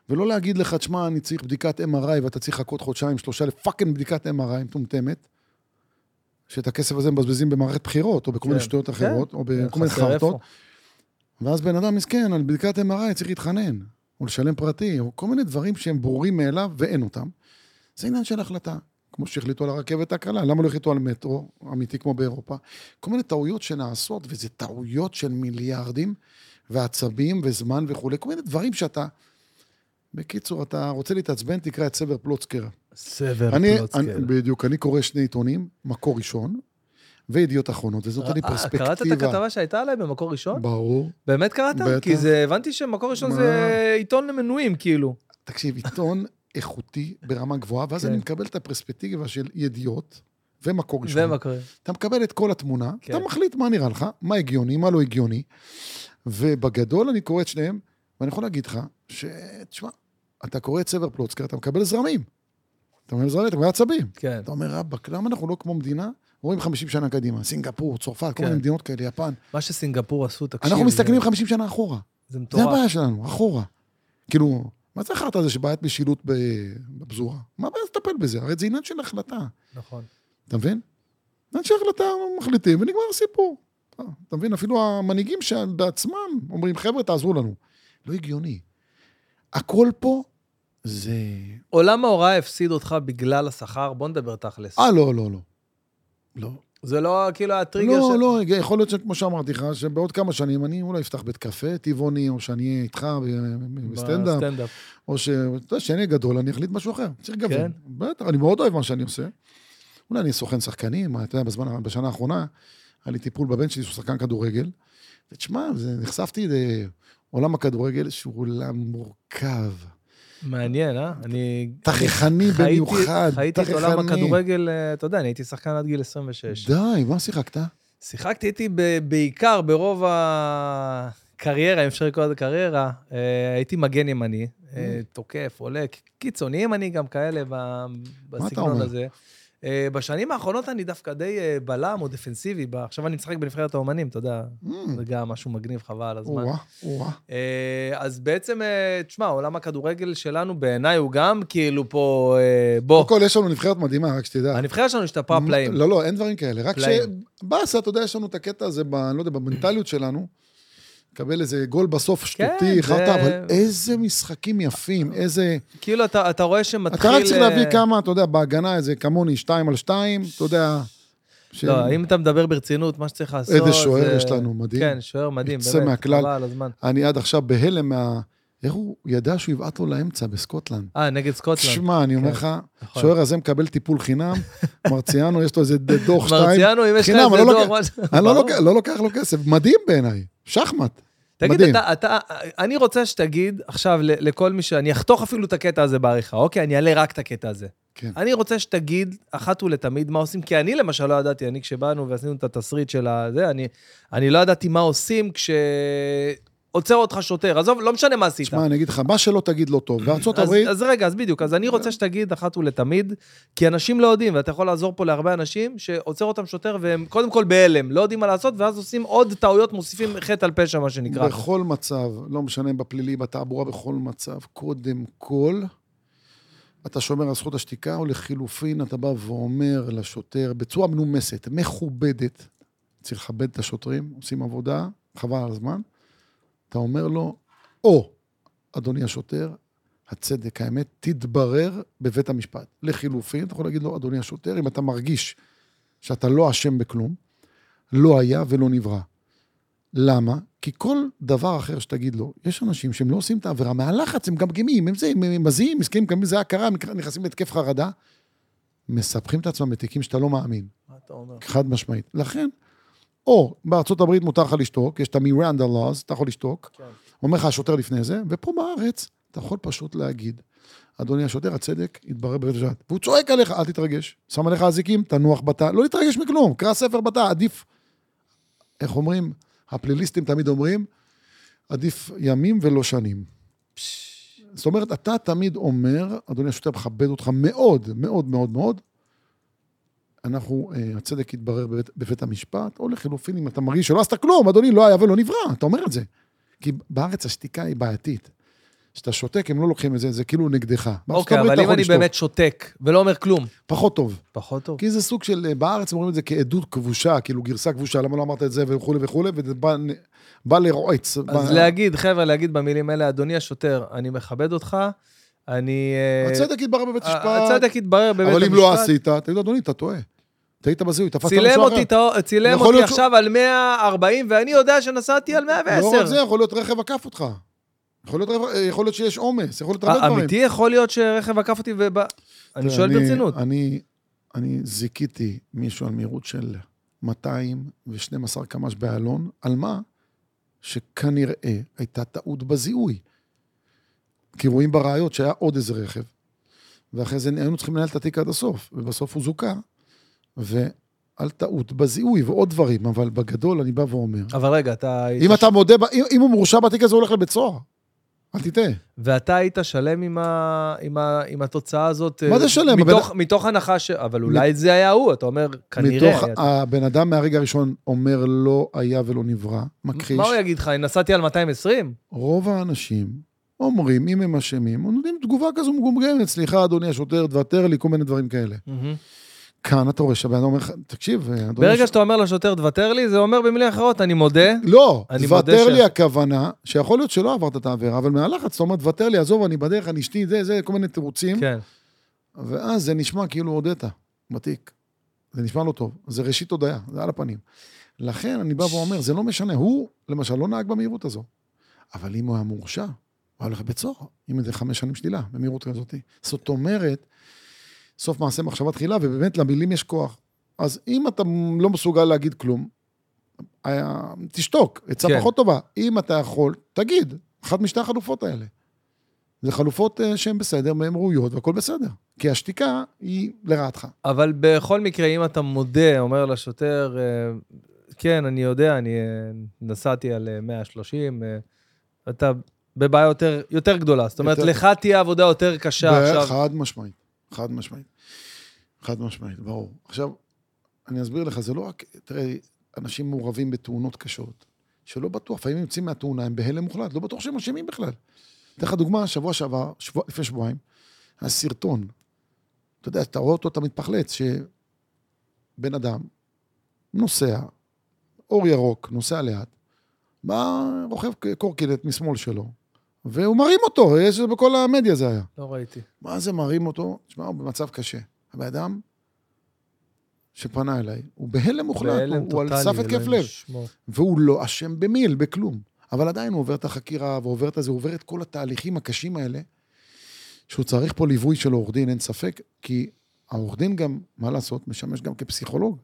ולא להגיד לך, תשמע, אני צריך בדיקת MRI ואתה צריך לחכות חודשיים, שלושה לפאקינג בדיקת MRI מטומטמת, שאת הכסף הזה מבזבזים במערכת בחירות, או בכל מיני כן, שטויות כן. אחרות, או בכל מיני חסר חרטות, איפה. ואז בן אדם מסכן, על בדיקת MRI צריך להתחנן, או לשלם פרטי, או כל מיני דברים שהם ברורים מאליו ואין אותם. זה עניין של החלטה, כמו שהחליטו על הרכבת הקלה, למה לא החליטו על מטרו, אמיתי כמו באירופה? כל מיני טעויות שנעשות, וזה טעויות של מיליארדים, ועצבים, וזמן וכולי, כל מיני דברים שאתה... בקיצור, אתה רוצה להתעצבן, תקרא את סבר פלוצקר. סבר אני, פלוצקר. אני, בדיוק, אני קורא שני עיתונים, מקור ראשון וידיעות אחרונות, וזה נותן לי אה, פרספקטיבה. קראת את הכתבה שהייתה עליי במקור ראשון? ברור. באמת קראת? בטח. כי זה, הבנתי שמקור ראשון מה? זה עיתון למנויים, כאילו. תקשיב, עיתון איכותי ברמה גבוהה, ואז כן. אני מקבל את הפרספקטיבה של ידיעות ומקור ראשון. זה מה קורה. אתה מקבל את כל התמונה, כן. אתה מחליט מה נראה לך, מה הגיוני, מה לא הגיוני. ובגדול אני קורא את שניהם, ואני יכול להגיד לך, ש... תשמע, אתה קורא את סבר פלוצקר, אתה מקבל זרמים. אתה מקבל זרמים, אתה מקבל עצבים. כן. אתה אומר, רבאק, למה אנחנו לא כמו מדינה? רואים 50 שנה קדימה, סינגפור, צרפת, כל כן. מיני מדינות כאלה, יפן. מה שסינגפור עשו, תקשיב. אנחנו זה- מסתכלים 50 שנה אחורה. זה זה מטורף. הבעיה שלנו, אחורה. כאילו, מה זה החרטא הזה שבעיית משילות ב- בפזורה? מה הבעיה לטפל בזה? הרי זה עניין של החלטה. נכון. אתה מבין? אנשי החלטה מחליטים ונגמר הסיפור. אה, אתה מבין? אפילו המנהיגים שבעצמם אומרים, חבר'ה, תעזרו לנו. לא הגיוני. הכל פה זה... עולם ההוראה הפסיד אותך בגלל השכר, בוא נדבר תכלס. אה, לא, לא, לא. לא. זה לא כאילו הטריגר לא, של... לא, יכול להיות שכמו שאמרתי לך, שבעוד כמה שנים אני אולי אפתח בית קפה טבעוני, או שאני אהיה איתך ב- בסטנדאפ, בסטנדאפ. או ש... אתה יודע, כשאני אהיה גדול, אני אחליט משהו אחר. צריך לגוון. כן. בטח, אני מאוד אוהב מה שאני עושה. אולי אני סוכן שחקנים, אתה יודע, בזמן, בשנה האחרונה, היה לי טיפול בבן שלי שהוא שחקן כדורגל. ותשמע, זה- נחשפתי לעולם הכדורגל שהוא עולם מורכב. מעניין, אה? אני... תככני חייתי- במיוחד, חייתי את עולם תככני. הכדורגל, אה, אתה יודע, אני הייתי שחקן עד גיל 26. די, מה שיחקת? שיחקתי איתי ב- בעיקר ברוב הקריירה, אם אפשר לקרוא לזה קריירה, אה, הייתי מגן ימני, אה, תוקף, עולה, ק- קיצוני ימני גם כאלה ב- בסגנון אומר? הזה. אה, בשנים האחרונות אני דווקא די אה, בלם או דפנסיבי, ב- עכשיו אני משחק בנבחרת האומנים, אתה יודע, Mm, זה גם משהו מגניב, חבל על הזמן. או-אה, או-אה. אה, אז בעצם, אה, תשמע, עולם הכדורגל שלנו בעיניי הוא גם כאילו פה, אה, בוא, קודם כל, יש לנו נבחרת מדהימה, רק שתדע. הנבחרת שלנו השתפרה פלאים. לא, לא, אין דברים כאלה. רק פלאים. שבאסה, אתה יודע, יש לנו את הקטע הזה, ב- אני לא יודע, במנטליות שלנו. קבל איזה גול בסוף כן, זה- שטותי, חרטא, אבל איזה משחקים יפים, איזה... כאילו, אתה אתה רואה שמתחיל... אתה רק צריך אה, להביא כמה, אתה יודע, בהגנה איזה כמוני, שתיים על שתיים, אתה יודע... ש- לא, אם אתה מדבר ברצינות, מה שצריך לעשות... איזה שוער זה- יש לנו, מדהים. כן, שוער מדהים, יוצא באמת. מהכלל. חבל על הזמן. אני עד עכשיו בהלם מה... איך הוא ידע שהוא יבעט לו לאמצע בסקוטלנד? אה, נגד סקוטלנד. שמע, אני אומר כן, לך, נכון. שוער הזה מקבל טיפול חינם, מרציאנו, יש לו איזה דוח שתיים. מרציאנו, אם יש לך חינם, איזה אני לא דוח, לוקח- משהו- אני לא ברור. לוקח- לא לוקח לו כסף, מדהים בעיניי, שחמט. תגיד, מדהים. אתה, אתה, אני רוצה שתגיד עכשיו ל- לכל מי ש... אני אחתוך אפילו את הקטע הזה בעריכה, אוקיי? אני אעלה רק את הקטע הזה. כן. אני רוצה שתגיד אחת ולתמיד מה עושים, כי אני למשל לא ידעתי, אני כשבאנו ועשינו את התסריט של הזה, אני, אני לא ידעתי מה עושים כש... עוצר אותך שוטר, עזוב, לא משנה מה עשית. שמע, אני אגיד לך, מה שלא תגיד לא טוב. בארצות אז, הברית, כן. אז רגע, אז בדיוק, אז אני רוצה שתגיד אחת ולתמיד, כי אנשים לא יודעים, ואתה יכול לעזור פה להרבה אנשים, שעוצר אותם שוטר והם קודם כל בהלם, לא יודעים מה לעשות, ואז עושים עוד טעויות, מוסיפים חטא על פשע, מה שנקרא. בכל מצב, לא משנה אם בפלילי, בתעבורה, בכל מצב, קודם כל, אתה שומר על זכות השתיקה, או לחילופין, אתה בא ואומר לשוטר, בצורה מנומסת, מכובדת, צריך לכבד את השוטרים, עושים עבודה, חבל על הזמן, אתה אומר לו, או, אדוני השוטר, הצדק, האמת, תתברר בבית המשפט. לחילופין, אתה יכול להגיד לו, אדוני השוטר, אם אתה מרגיש שאתה לא אשם בכלום, לא היה ולא נברא. למה? כי כל דבר אחר שתגיד לו, יש אנשים שהם לא עושים את העבירה, מהלחץ הם גמגמים, הם זה, הם- הם מזיעים, מסכנים, מקבלים זה הכרה, הם נכנסים להתקף חרדה, מספחים את עצמם בתיקים שאתה לא מאמין, מה אתה אומר? חד משמעית. לכן, או בארצות הברית מותר לך לשתוק, יש את המירנדה לאז, אתה יכול לשתוק, כן. אומר לך השוטר לפני זה, ופה בארץ אתה יכול פשוט להגיד, אדוני השוטר, הצדק יתברר בבית המשפט. והוא צועק עליך, אל תתרגש, שם עליך אזיקים, תנוח בתא, לא להתרגש מכלום, קרא ספר בתא, עדיף, איך אומרים, הפליליסטים תמיד אומרים, עדיף ימים ולא שנים. זאת אומרת, אתה תמיד אומר, אדוני השוטר, מכבד אותך מאוד, מאוד, מאוד, מאוד, אנחנו, אה, הצדק יתברר בבית, בבית המשפט, או לחילופין, אם אתה מרגיש שלא עשת כלום, אדוני, לא היה ולא נברא, אתה אומר את זה. כי בארץ השתיקה היא בעייתית. כשאתה שותק, הם לא לוקחים את זה, זה כאילו נגדך. בארצות אוקיי, הברית אבל אם אתה יכול אני לשתוק, באמת שותק ולא אומר כלום, פחות טוב. פחות טוב. כי זה סוג של, אה, בארץ אומרים את זה כעדות כבושה, כאילו גרסה כבושה, למה לא אמרת את זה וכולי וכולי, וזה בא, בא לרועץ. אז בא- להגיד, חבר'ה, להגיד במילים האלה, אדוני השוטר, אני מכבד אותך, אני... אה, הצדק יתברר בבית ה- המשפט, הצדק יתברר בבית המשפט. אבל אם לא עשית, תגיד, אדוני, אתה טועה. טעית בזיהוי, תפסת מישהו אחר. צילם אותי, טעו- צילם יכול אותי להיות ש- עכשיו על 140, ואני יודע שנסעתי על 110. לא רק זה, יכול להיות רכב עקף אותך. יכול להיות, רכב- יכול להיות שיש עומס, יכול להיות הרבה דברים. אמיתי יכול להיות שרכב עקף אותי וב... אני שואל ברצינות. אני, אני זיכיתי מישהו על מהירות של 212 קמ"ש באלון, על מה? שכנראה הייתה טעות בזיהוי. כי רואים בראיות שהיה עוד איזה רכב, ואחרי זה היינו צריכים לנהל את התיק עד הסוף, ובסוף הוא זוכה, ועל טעות בזיהוי ועוד דברים, אבל בגדול אני בא ואומר, אבל רגע, אתה... היית אם ש- אתה מודה, ב- אם- אם הוא מורשע בתיק הזה, הוא הולך לבית סוהר. אל תטעה. ואתה היית שלם עם, ה... עם, ה... עם התוצאה הזאת? מה אה, זה שלם? מתוך, מתוך הנחה ש... אבל אולי זה היה הוא, אתה אומר, כנראה. מתוך היה... הבן אדם מהרגע הראשון אומר לא היה ולא נברא, מכחיש. מה הוא יגיד לך, נסעתי על 220? רוב האנשים אומרים, אם הם אשמים, הם נותנים תגובה כזו מגומגמת, סליחה, אדוני השוטר, תוותר לי, כל מיני דברים כאלה. כאן אתה רואה שהבן אדם אומר לך, תקשיב, אדוני... ברגע השוטר- שאתה אומר לשוטר, תוותר לי, זה אומר במילים אחרות, אני מודה. לא, אני מודה תוותר ש- לי הכוונה, שיכול להיות שלא עברת את העבירה, אבל מהלחץ, אתה אומר, תוותר לי, עזוב, אני בדרך, אני אשתי, זה, זה, כל מיני תירוצים, כן. ואז זה נשמע כאילו הודית בתיק. זה נשמע לא טוב, זה ראשית הודיה, זה על הפנים. לכן אני בא ואומר, זה לא משנה, הוא למשל לא נהג במהירות הזו, אבל אם הוא היה מורשע, הוא היה הולך לבית סוהר, אם זה חמש שנים שלילה, במהירות כזאת. זאת אומרת, סוף מעשה מחשבה תחילה, ובאמת למילים יש כוח. אז אם אתה לא מסוגל להגיד כלום, היה- תשתוק, עצה כן. כן. פחות טובה. אם אתה יכול, תגיד, אחת משתי החלופות האלה. זה חלופות אה, שהן בסדר, והן ראויות, והכול בסדר. כי השתיקה היא לרעתך. אבל בכל מקרה, אם אתה מודה, אומר לשוטר, אה, כן, אני יודע, אני אה, נסעתי על אה, 130, אה, אתה בבעיה יותר, יותר גדולה. זאת אומרת, יותר- לך תהיה עבודה יותר קשה עכשיו. חד משמעית, חד משמעית. חד משמעית, ברור. עכשיו, אני אסביר לך, זה לא רק, תראה, אנשים מעורבים בתאונות קשות, שלא בטוח, לפעמים הם יוצאים מהתאונה, הם בהלם מוחלט, לא בטוח שהם אשמים בכלל. אתן לך דוגמה, שבוע שעבר, שבוע, לפני שבועיים, היה סרטון, אתה יודע, אתה רואה אותו, אתה מתפחלץ, שבן אדם נוסע, אור ירוק, נוסע לאט, בא רוכב קורקינט משמאל שלו, והוא מרים אותו, יש את זה בכל המדיה זה היה. לא ראיתי. מה זה מרים אותו? תשמע, הוא במצב קשה. הבן אדם שפנה אליי, הוא בהלם מוחלט, בהלם הוא, הוא על טוטאלי, סף התקף אלוהים לב, ישמור. והוא לא אשם במיל, בכלום. אבל עדיין הוא עובר את החקירה, ועובר את הזה, הוא עובר את כל התהליכים הקשים האלה, שהוא צריך פה ליווי של עורך דין, אין ספק, כי העורך דין גם, מה לעשות, משמש גם כפסיכולוג.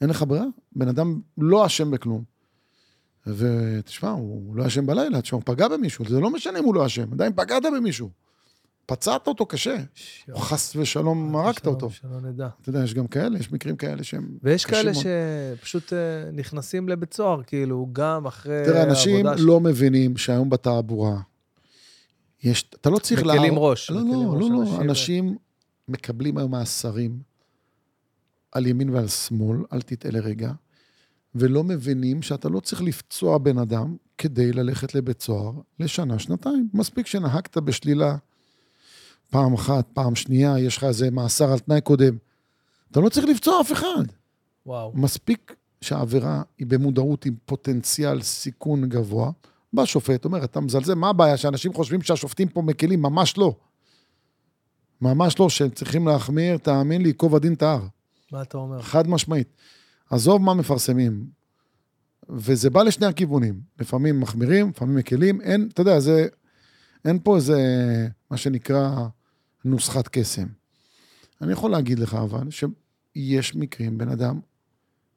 אין לך ברירה, בן אדם לא אשם בכלום. ותשמע, הוא לא אשם בלילה, תשמע, הוא פגע במישהו, זה לא משנה אם הוא לא אשם, עדיין פגעת במישהו. פצעת אותו קשה. ש- או חס ושלום מרקת שלא- אותו. שלא נדע. אתה יודע, יש גם כאלה, יש מקרים כאלה שהם... ויש קשים כאלה מאוד. שפשוט אה, נכנסים לבית סוהר, כאילו, גם אחרי תראה, אנשים העבודה לא מבינים שהיום בתעבורה, יש... אתה לא צריך... מקלים להר- ראש, לא, מקלים לא, ראש, לא, לא. אנשים- אנשים מקבלים היום מאסרים על ימין ועל שמאל, אל תטעה לרגע, ולא מבינים שאתה לא צריך לפצוע בן אדם כדי ללכת לבית סוהר לשנה, שנתיים. מספיק שנהגת בשלילה פעם אחת, פעם שנייה, יש לך איזה מאסר על תנאי קודם. אתה לא צריך לפצוע אף אחד. וואו. מספיק שהעבירה היא במודעות עם פוטנציאל סיכון גבוה, בא שופט, אומר, אתה מזלזל, מה הבעיה? שאנשים חושבים שהשופטים פה מקלים, ממש לא. ממש לא, שהם צריכים להחמיר, תאמין לי, ייקוב הדין את ההר. מה אתה אומר? חד משמעית. עזוב מה מפרסמים. וזה בא לשני הכיוונים. לפעמים מחמירים, לפעמים מקלים. אין, אתה יודע, זה... אין פה איזה, מה שנקרא, נוסחת קסם. אני יכול להגיד לך, אבל, שיש מקרים, בן אדם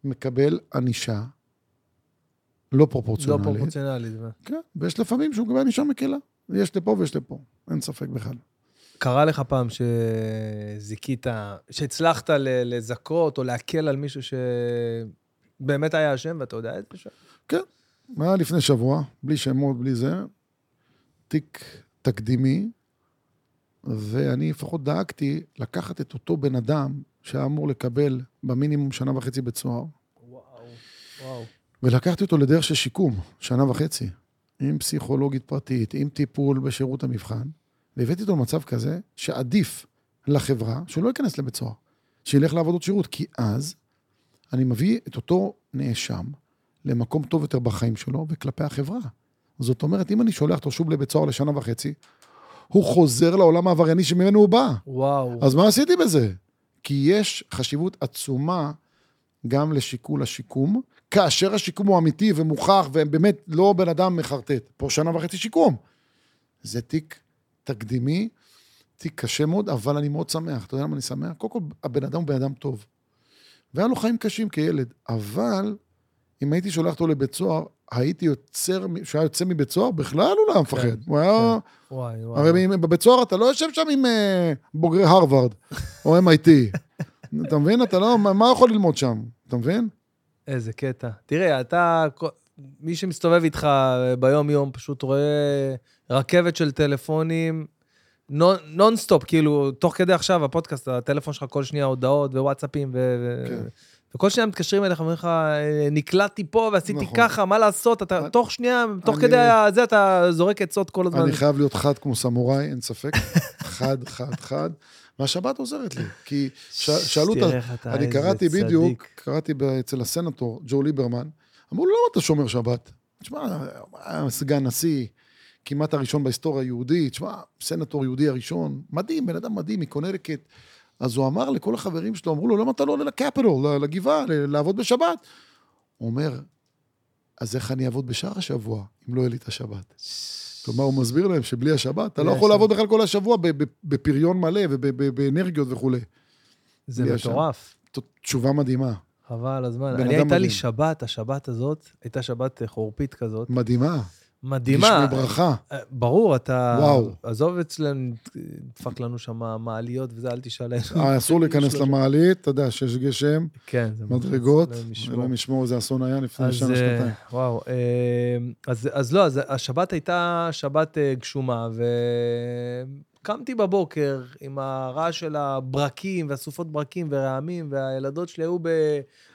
מקבל ענישה לא לא פרופורציונלית. פרופורציונלית. כן, ויש לפעמים שהוא מקבל ענישה מקלה. יש לפה ויש לפה, אין ספק בכלל. קרה לך פעם שזיכית, שהצלחת ל- לזכות או להקל על מישהו שבאמת היה אשם, ואתה יודע את זה שם? היה לפני שבוע, בלי שמות, בלי זה, תיק תקדימי, ואני לפחות דאגתי לקחת את אותו בן אדם שהיה אמור לקבל במינימום שנה וחצי בית סוהר, וואו, וואו. ולקחתי אותו לדרך של שיקום, שנה וחצי, עם פסיכולוגית פרטית, עם טיפול בשירות המבחן, והבאתי אותו למצב כזה שעדיף לחברה שהוא לא ייכנס לבית סוהר, שילך לעבודות שירות, כי אז אני מביא את אותו נאשם למקום טוב יותר בחיים שלו וכלפי החברה. זאת אומרת, אם אני שולח אותו שוב לבית סוהר לשנה וחצי, הוא חוזר לעולם העברייני שממנו הוא בא. וואו. אז מה עשיתי בזה? כי יש חשיבות עצומה גם לשיקול השיקום, כאשר השיקום הוא אמיתי ומוכח, ובאמת לא בן אדם מחרטט. פה שנה וחצי שיקום. זה תיק תקדימי, תיק קשה מאוד, אבל אני מאוד שמח. אתה יודע למה אני שמח? קודם כל, הבן אדם הוא בן אדם טוב. והיה לו חיים קשים כילד, אבל אם הייתי שולח אותו לבית סוהר, הייתי יוצר, מ- כשהוא היה יוצא מבית סוהר, בכלל הוא לא היה מפחד. כן, הוא היה... וואי, וואי. הרי אם- בבית סוהר אתה לא יושב שם עם אה, בוגרי הרווארד או MIT. אתה מבין? אתה לא, מה- מה יכול ללמוד שם? אתה מבין? איזה קטע. תראה, אתה, כל- מי שמסתובב איתך אה, ביום-יום פשוט רואה רכבת של טלפונים נון- נונסטופ, כאילו, תוך כדי עכשיו, הפודקאסט, הטלפון שלך כל שנייה הודעות ווואטסאפים, ו- כן. ו- וכל שנייה מתקשרים אליך, אומרים לך, "אה, נקלעתי פה ועשיתי נכון. ככה, מה לעשות? אתה אני- תוך שנייה, תוך אני- כדי זה, אתה זורק עצות כל הזמן. אני חייב להיות חד כמו סמוראי, אין ספק. חד, חד, חד. והשבת עוזרת לי, כי ש- שאלו את ה... תראה איך אתה, אני איזה קראתי צדיק. בדיוק, קראתי ב- אצל הסנטור, ג'ו ליברמן, אמרו לו, למה אתה שומר שבת? תשמע, היה סגן נשיא, כמעט הראשון בהיסטוריה היהודית, תשמע, סנטור יהודי הראשון, מדהים, בן אדם מדהים, מקונרקט. אז הוא אמר לכל החברים שלו, אמרו לו, למה אתה לא עולה לקפיטול, ל- לגבעה, ל- לעבוד בשבת? הוא אומר, אז איך אני אעבוד בשאר השבוע, אם לא יהיה לי את השבת? כלומר, הוא מסביר להם שבלי השבת, אתה לא בלי יכול לעבוד השבת. בכלל כל השבוע ב- ב- בפריון מלא ובאנרגיות וכולי. זה בלי השם. מטורף. זאת תשובה מדהימה, חבל הזמן. בן אני, אדם הייתה לי מדהים. שבת, השבת הזאת, הייתה שבת אה, חורפית כזאת. מדהימה. מדהימה. גשמי ברכה. אה, ברור, אתה... וואו. עזוב אצלנו, אה, דפק לנו שם מעליות וזה, אל תשאל איך. אה, אסור להיכנס שלושה. למעלית, אתה יודע שיש גשם, כן, זה מלחיץ, מדרגות, אלוהים ישמור. אלוהים ישמור איזה אסון היה לפני אז שנה, אה, שנתיים. וואו, אה, אז, אז לא, אז השבת הייתה שבת אה, גשומה, וקמתי בבוקר עם הרעש של הברקים והסופות ברקים ורעמים, והילדות שלי היו ב,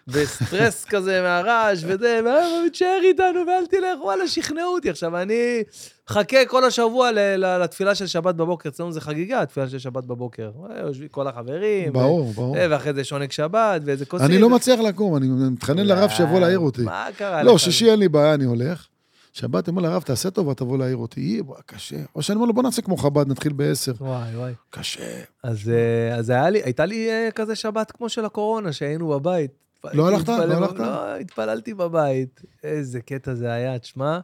בסטרס כזה מהרעש, וזה, "מה, תישאר איתנו ואל תלך, וואלה, שכנעו אותי. עכשיו, אני חכה כל השבוע ל, ל, לתפילה של שבת בבוקר, אצלנו זה חגיגה, התפילה של שבת בבוקר. אה, יושבים כל החברים, ברור, ברור. ו, אה, ואחרי זה שונק שבת, ואיזה כוסית. אני לא מצליח לקום, אני מתחנן לרב שיבוא להעיר אותי. אה, מה קרה לא, לך? שישי אין לי בעיה, אני הולך. שבת, אני אומר לרב, תעשה טובה, תבוא להעיר אותי. יהיה, בוא, קשה. או שאני אומר לו, בוא נעשה כמו חב"ד, נתחיל בעשר. וואי, וואי. קשה. אז, אה, אז היה לי, הייתה לי אה, כזה שבת כמו של הקורונה, שהיינו בבית. לא הלכת? לא התפלל- הלכת? לא, התפללתי בבית. איזה קטע זה היה, תשמע.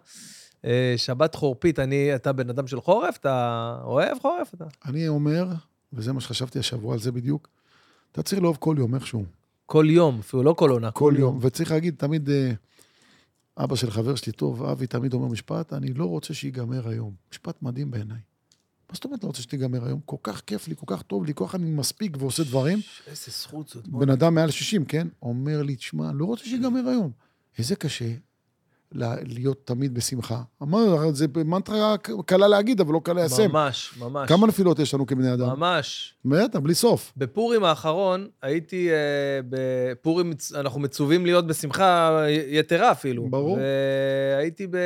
אה, שבת חורפית, אני, אתה בן אדם של חורף? אתה אוהב חורף? אתה? אני אומר, וזה מה שחשבתי השבוע על זה בדיוק, אתה צריך לאהוב כל יום איכשהו. כל יום, אפילו לא כל עונה, כל יום. וצריך להגיד, תמיד, אה, אבא של חבר שלי טוב, אבי, תמיד אומר משפט, אני לא רוצה שיגמר היום. משפט מדהים בעיניי. מה זאת אומרת לא רוצה שתיגמר היום? כל כך כיף לי, כל כך טוב לי, כל כך אני מספיק ועושה דברים. איזה זכות זאת. בוא. בן אדם מעל 60, כן? אומר לי, תשמע, לא רוצה שיגמר היום. איזה קשה לה- להיות תמיד בשמחה. אמר, זה מנטרה קלה להגיד, אבל לא קל ליישם. ממש, ממש. כמה נפילות יש לנו כבני אדם? ממש. בטח, בלי סוף. בפורים האחרון הייתי אה, בפורים, מצ- אנחנו מצווים להיות בשמחה י- יתרה אפילו. ברור. והייתי ב...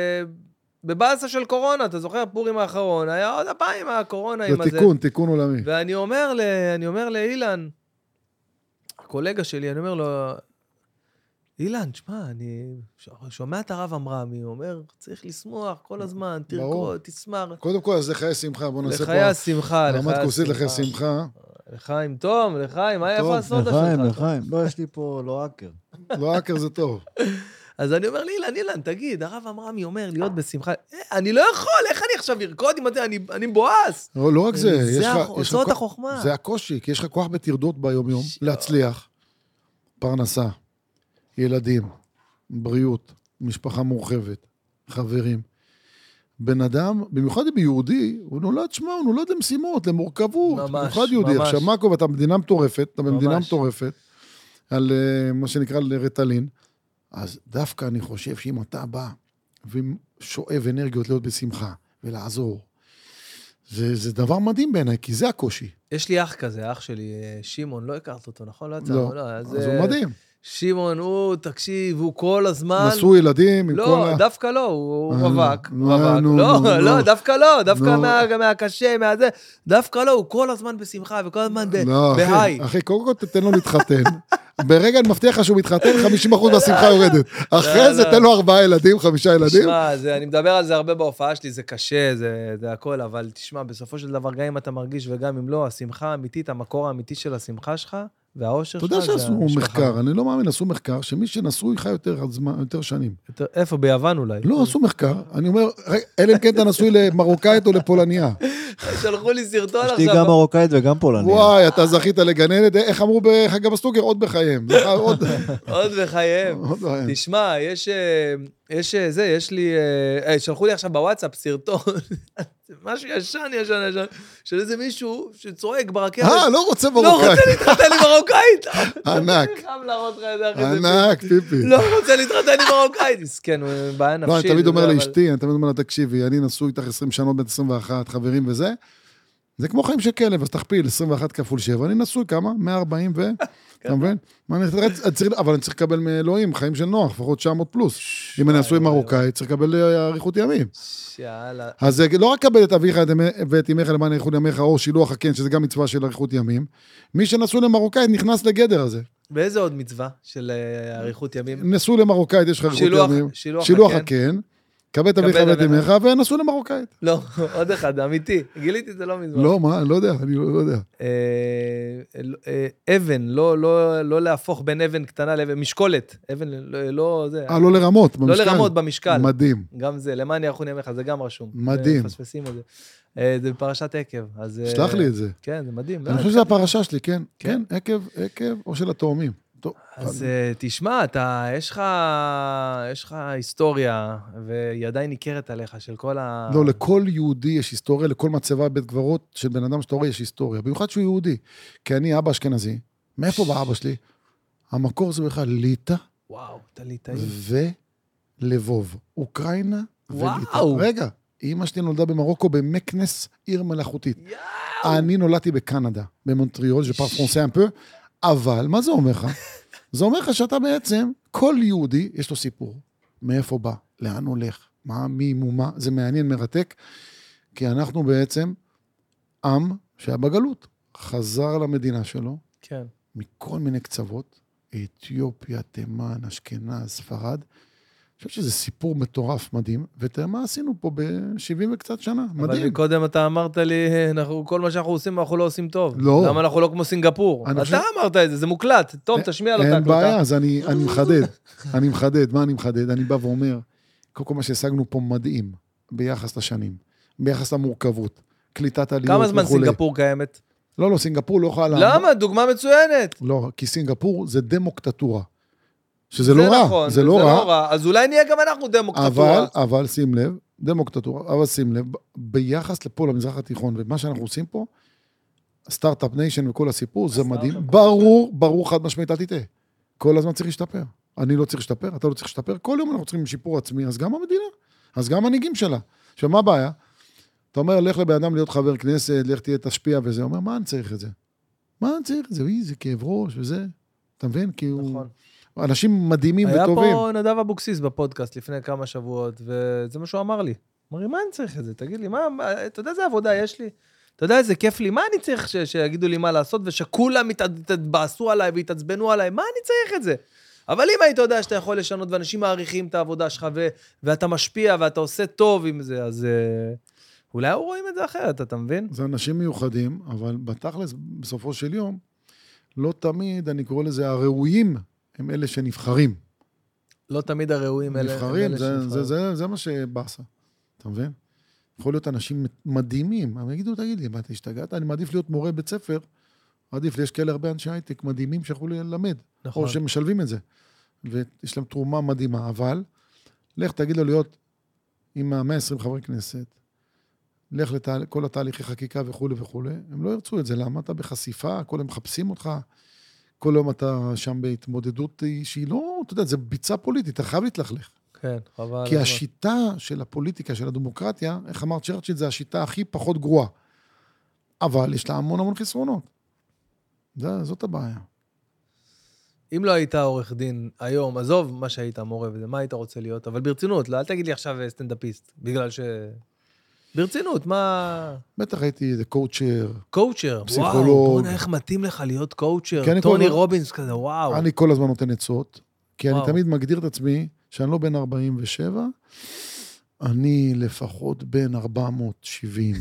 בבאסה של קורונה, אתה זוכר? פורים האחרון, היה עוד הפעם עם הקורונה, עם זה הזה. תיקון, תיקון עולמי. ואני אומר, ל... אני אומר לאילן, הקולגה שלי, אני אומר לו, אילן, תשמע, אני ש- שומע את הרב עמרמי, הוא אומר, צריך לשמוח כל הזמן, ברור. תרקוד, תשמח. קודם כל, אז לחיי שמחה, בוא נעשה פה... לחיי השמחה, לחיי רמת כוסית לחיי השמחה. שמחה. לחיים, תום, לחיים, מה תום, איפה הסודה שלך? לחיים, תום? לחיים. לא, יש לי פה לא האקר. לא האקר זה טוב. אז אני אומר לאילן, אילן, תגיד, הרב עמרמי אומר להיות בשמחה. "אה, אני לא יכול, איך אני עכשיו ארקוד עם זה? אני- אני מבואס. לא לא רק זה, יש זה לך... הח- יש לך זאת כוח- החוכמה. זה הקושי, כי יש לך כוח בטרדות ביום-יום, ש- להצליח. פרנסה, ילדים, בריאות, משפחה מורחבת, חברים. בן אדם, במיוחד אם יהודי, הוא נולד, שמע, הוא נולד למשימות, למורכבות. ממש, במיוחד יהודי. ממש. עכשיו, מה קורה? אתה במדינה מטורפת, אתה במדינה ממש. מטורפת, על אה, מה שנקרא על רטלין. אז דווקא אני חושב שאם אתה בא ושואב אנרגיות להיות בשמחה ולעזור, זה, זה דבר מדהים בעיניי, כי זה הקושי. יש לי אח כזה, אח שלי, אה, שמעון, לא הכרת אותו, נכון? לא יצא, לא. לא, אז אז... אה, הוא מדהים. שמעון, הוא, תקשיב, הוא כל הזמן... נשאו ילדים עם כל לא, ה... דווקא לא, הוא אה, הוא רווק, נו, רווק. נו, לא, נו, לא, נו. דווקא לא, דווקא נו. מה- מהקשה, מהזה. דווקא לא, הוא כל הזמן בשמחה וכל הזמן ב- בהיי. לא, אחי, אחי, קודם כל תתן לו להתחתן. ברגע אני מבטיח לך שהוא מתחתן, 50% מהשמחה יורדת. אחרי לא, זה לא. תן לו ארבעה ילדים, חמישה ילדים. תשמע, זה- אני מדבר על זה הרבה בהופעה שלי, זה קשה, זה, זה הכל, אבל תשמע, בסופו של דבר, גם אם אתה מרגיש וגם אם לא, השמחה האמיתית, המקור האמיתי של השמחה שלך והאושר אתה שלך יודע זה שעשו המשפחה. מחקר, אני לא מאמין, עשו מחקר שמי שנשוי חי יותר זמן- יותר שנים. יותר, איפה? ביוון אולי. לא, עשו מחקר, אני אומר, "רגע, אלא אם כן אתה נשוי למרוקאית או לפולניה. שלחו לי סרטון יש עכשיו. לי גם מרוקאית וגם פולניה. וואי, אתה זכית לגננת, אה, איך אמרו בחג הבסטוגר? נכון, עוד בחייהם. עוד- עוד בחייהם. אוקיי. עוד בחייהם. תשמע, יש... אה, יש אה, זה, יש לי... אה, אה, שלחו לי עכשיו בוואטסאפ סרטון, משהו ישן, ישן, ישן, של איזה מישהו שצועק ברכבת. אה, לא רוצה לא רוצה מרוקאי. להתחתן עם מרוקאית. ענק. אני חייב להראות לך את זה אחרי זה. ענק, טיפי. לא רוצה להתחתן עם מרוקאית. מסכן, הוא עם בעיה נפשית. לא, אני תמיד וזה, אומר אבל- לאשתי, אני תמיד אומר לה, תקשיבי, אני נשוי איתך 20 שנה, עוד מעט 21, חברים וזה, זה כמו חיים של כלב, אז תכפיל, 21 כפול 7, אני נשוי כמה? 140 ו... כן. אתה מבין? מה, אני רץ- אני צריך- אבל אני צריך לקבל מאלוהים, חיים של נוח, לפחות 900 פלוס. אם אני נשוי עם מרוקאי, צריך לקבל אה, אריכות ימים. יאללה. אז זה לא רק קבל את אביך את אמי- ואת אמך למען אריכות ימיך, או שילוח הקן, שזה גם מצווה של אריכות ימים. מי שנשוי למרוקאית נכנס לגדר הזה. באיזה עוד מצווה של אה, אריכות ימים? נשוי למרוקאית, יש לך אריכות שילוח- ימים. שילוח הקן. הקן. קבל את אביך קבל ואת אביך. אמך, ונשוי למרוקאית. לא, עוד אחד, אמיתי. גיליתי את זה לא מזמן. לא, מה, לא יודע, אני לא לא יודע. אה, אה, אבן, לא- לא לא להפוך בין אבן קטנה לאבן, משקולת. אבן, לא- לא זה. אה, לא לרמות, לא במשקל. לרמות במשקל. מדהים. גם זה, למען ירחון ימיך, זה גם רשום. מדהים. מפספסים את זה. אה, זה בפרשת עקב, אז... אה, שלח לי את זה. כן, זה מדהים. אני חושב שזו הפרשה שלי, כן. כן. כן, עקב, עקב, או של התאומים. טוב, אז אה, תשמע, אתה, יש לך, יש לך היסטוריה, והיא עדיין ניכרת עליך, של כל ה... לא, לכל יהודי יש היסטוריה, לכל מצבה בבית קברות של בן אדם שאתה רואה יש היסטוריה, במיוחד שהוא יהודי. כי אני אבא אשכנזי, מאיפה בא אבא שלי? המקור זה בכלל ליטא וואו, אתה ליטאי. ולבוב, אוקראינה וליטא. וואו. רגע, אימא שלי נולדה במרוקו, במקנס, עיר מלאכותית. יאו. אני נולדתי בקנדה, במונטריאול, זה פאר פרונסי אמפו, אבל מה זה אומר לך? זה אומר לך שאתה בעצם, כל יהודי, יש לו סיפור. מאיפה בא? לאן הולך? מה, מי, מו, מה? זה מעניין, מרתק, כי אנחנו בעצם עם שהיה בגלות. חזר למדינה שלו, כן. מכל מיני קצוות, אתיופיה, תימן, אשכנז, ספרד. אני חושב שזה סיפור מטורף, מדהים, ותראה מה עשינו פה ב-70 וקצת שנה, אבל מדהים. קודם אתה אמרת לי, אנחנו, כל מה שאנחנו עושים, אנחנו לא עושים טוב. לא. למה אנחנו לא כמו סינגפור? אני אתה חושב- אמרת את זה, זה מוקלט. תום, תשמיע לו את אין ההקלטה. בעיה, אז אני, אני מחדד. אני מחדד, מה אני מחדד? אני בא ואומר, קודם כל מה שהשגנו פה מדהים ביחס לשנים, ביחס למורכבות, קליטת עליות כמה זמן סינגפור קיימת? לא, לא, סינגפור לא יכולה... לעמוד- למה? דוגמה מצוינת. לא, כי סינגפור זה דמוקטטורה. שזה לא רע, נכון, זה לא רע, אז אולי נהיה גם אנחנו דמוקטטורה. אבל, אבל שים לב, דמוקטטורה, אבל שים לב, ב- ביחס לפה למזרח התיכון, ומה שאנחנו עושים פה, סטארט-אפ ניישן וכל הסיפור, זה הסטארט-אפ. מדהים. ברור, ברור, חד משמעית, אל תטעה. כל הזמן צריך להשתפר. אני לא צריך להשתפר, אתה לא צריך להשתפר, כל יום אנחנו צריכים שיפור עצמי, אז גם המדינה, אז גם המנהיגים שלה. עכשיו, מה הבעיה? אתה אומר, לך לבן אדם להיות חבר כנסת, לך תהיה תשפיע וזה, הוא אומר, מה אני צריך את זה? מה אני צריך את זה? אי, זה כאב ראש וזה. אתה מבין? כי הוא... נכון. אנשים מדהימים היה וטובים. פה נדב אבוקסיס בפודקאסט לפני כמה שבועות, וזה מה שהוא אמר לי. אמר לי, מה אני צריך את זה? תגיד לי, מה, מה- אתה יודע איזה עבודה יש לי? אתה יודע איזה כיף לי? מה אני צריך ש- שיגידו לי מה לעשות, ושכולם ית- יתבאסו עליי ויתעצבנו עליי? מה אני צריך את זה? אבל אם היית יודע שאתה יכול לשנות, ואנשים מעריכים את העבודה שלך, ו- ואתה משפיע, ואתה עושה טוב עם זה, אז אה, אולי היו רואים את זה אחרת, אתה מבין? זה אנשים מיוחדים, אבל בתכלס, בסופו של יום, לא תמיד, אני קורא לזה, הראויים הם אלה שנבחרים. לא תמיד הראויים אלה... הם נבחרים, אלה זה, זה, שנבחרים. זה, זה מה שבאסה, אתה מבין? יכול להיות אנשים מדהימים, הם יגידו, תגיד לי, מה, אתה השתגעת? אני מעדיף להיות מורה בית ספר, עדיף לי, יש כאלה הרבה אנשי הייטק מדהימים שיכולו ללמד, נכון. או שמשלבים את זה, ויש להם תרומה מדהימה, אבל לך תגיד לו להיות עם ה-120 חברי כנסת, לך לכל התהליכי חקיקה וכולי וכולי, הם לא ירצו את זה, למה? אתה בחשיפה, כל הם מחפשים אותך, כל יום אתה שם בהתמודדות היא- שהיא לא, אתה יודע, זה ביצה פוליטית, אתה חייב להתלכלך. כן, חבל. כי הזמן. השיטה של הפוליטיקה, של הדמוקרטיה, איך אמר צ'רצ'יל, זה השיטה הכי פחות גרועה. אבל יש לה המון המון חסרונות. זה, זאת הבעיה. אם לא היית עורך דין היום, עזוב מה שהיית מורה וזה, מה היית רוצה להיות? אבל ברצינות, לא, אל תגיד לי עכשיו אה, סטנדאפיסט, בגלל ש... ברצינות, מה... בטח הייתי איזה קואוצ'ר. קואוצ'ר. פסיכולוג. וואו, בוא'נה, איך מתאים לך להיות קואוצ'ר. כן, אני טוני כל- רובינס כזה, וואו. אני כל הזמן נותן עצות, כי אני וואו. תמיד מגדיר את עצמי שאני לא בן 47, אני לפחות בן 470.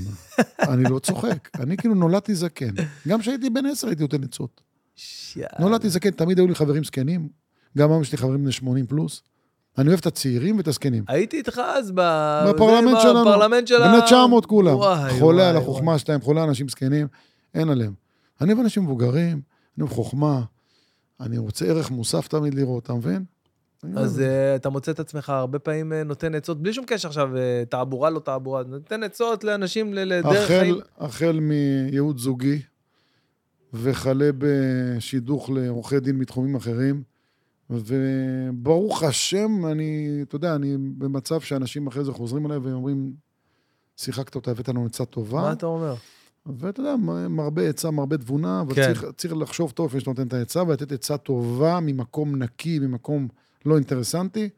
אני לא צוחק. אני כאילו נולדתי זקן. גם כשהייתי בן 10 הייתי נותן עצות. שיאל. נולדתי זקן, תמיד היו לי חברים זקנים. גם היום יש לי חברים בני 80 פלוס. אני אוהב את הצעירים ואת הזקנים. הייתי איתך אז ב... בפרלמנט זה, שלנו. בפרלמנט של בני 900 כולם. וואי, חולה וואי, על החוכמה שלהם, חולה על אנשים זקנים, אין עליהם. אני אוהב אנשים מבוגרים, אני אוהב חוכמה, אני רוצה ערך מוסף תמיד לראות, אתה מבין? אז אה, אתה מוצא את עצמך הרבה פעמים אה, נותן עצות, בלי שום קשר עכשיו, אה, תעבורה, לא תעבורה, נותן עצות לאנשים ל- לדרך חיים. החל, החל מייעוד זוגי וכלה בשידוך לעורכי דין מתחומים אחרים, וברוך השם, אני, אתה יודע, אני במצב שאנשים אחרי זה חוזרים אליי ואומרים, שיחקת אותה, הבאת לנו עצה מה טובה, אתה אומר? ואתה ואתה יודע, מ- מרבה עצה, מרבה תבונה, אבל כן. צריך, צריך לחשוב טוב לפני שאתה נותן את העצה, ולתת עצה טובה ממקום נקי, ממקום לא אינטרסנטי,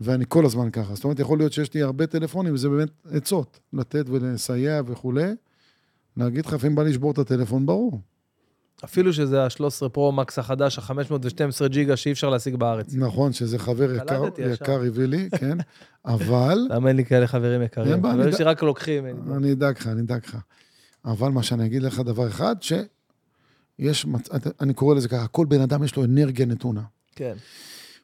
ואני כל הזמן ככה. זאת אומרת, יכול להיות שיש לי הרבה טלפונים, וזה באמת עצות, לתת ולסייע וכולי. להגיד לך, לפעמים בא לשבור את הטלפון, ברור. אפילו שזה ה-13 פרו מקס החדש, ה-512 ג'יגה שאי אפשר להשיג בארץ. נכון, שזה חבר יקר, קלטתי ישר. יקר הביא לי, כן, אבל... למה אין לי כאלה חברים יקרים? אין בעיה, חברים אני- שלי רק לוקחים. אין לי בעיה. אני אדאג לך, אני אדאג לך. אבל מה שאני אגיד לך, דבר אחד, שיש, מצ- אני קורא לזה ככה, כל בן אדם יש לו אנרגיה נתונה. כן.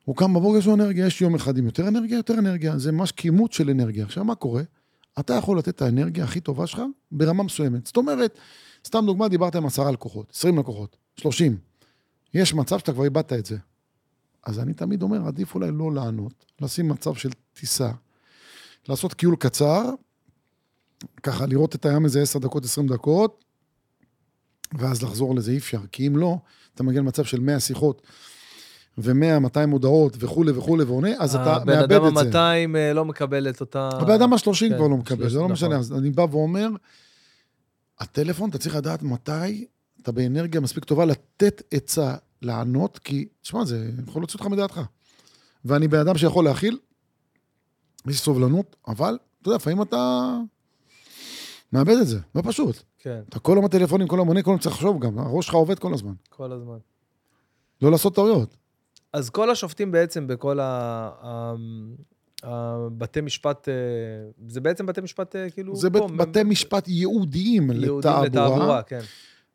הוא קם בבוקר, יש לו אנרגיה, יש יום אחד עם יותר אנרגיה, יותר אנרגיה, זה ממש כימות של אנרגיה. עכשיו, מה קורה? אתה יכול לתת את האנרגיה הכי טובה שלך ברמה מסוימת. זאת אומרת, סתם דוגמה, דיברת עם עשרה לקוחות, עשרים לקוחות, שלושים. יש מצב שאתה כבר איבדת את זה. אז אני תמיד אומר, עדיף אולי לא לענות, לשים מצב של טיסה, לעשות קיול קצר, ככה לראות את הים איזה עשר דקות, עשרים דקות, ואז לחזור לזה אי אפשר, כי אם לא, אתה מגיע למצב של 100 שיחות ו-100, 200 הודעות וכולי וכולי ועונה, אז אתה מאבד את זה. הבן אדם ה-200 לא מקבל את אותה... הבן אדם השלושים כן, כבר לא מקבל, שלוש- זה לא נכון. משנה. אז אני בא ואומר, הטלפון, אתה צריך לדעת מתי אתה באנרגיה מספיק טובה לתת עצה, לענות, כי, תשמע, זה יכול להוציא אותך מדעתך. ואני בן אדם שיכול להכיל, יש לי סובלנות, אבל, אתה יודע, לפעמים אתה מאבד את זה, לא פשוט. כן, אתה כל היום הטלפונים, כל היום עונה, כל היום צריך לחשוב גם, הראש שלך עובד כל הזמן. כל הזמן. לא לעשות טעויות. אז כל השופטים בעצם בכל ה- ה- הבתי משפט, אה, זה בעצם בתי משפט אה, כאילו... זה פה, בית- בתי משפט ייעודיים יהודים לתעבורה, כן.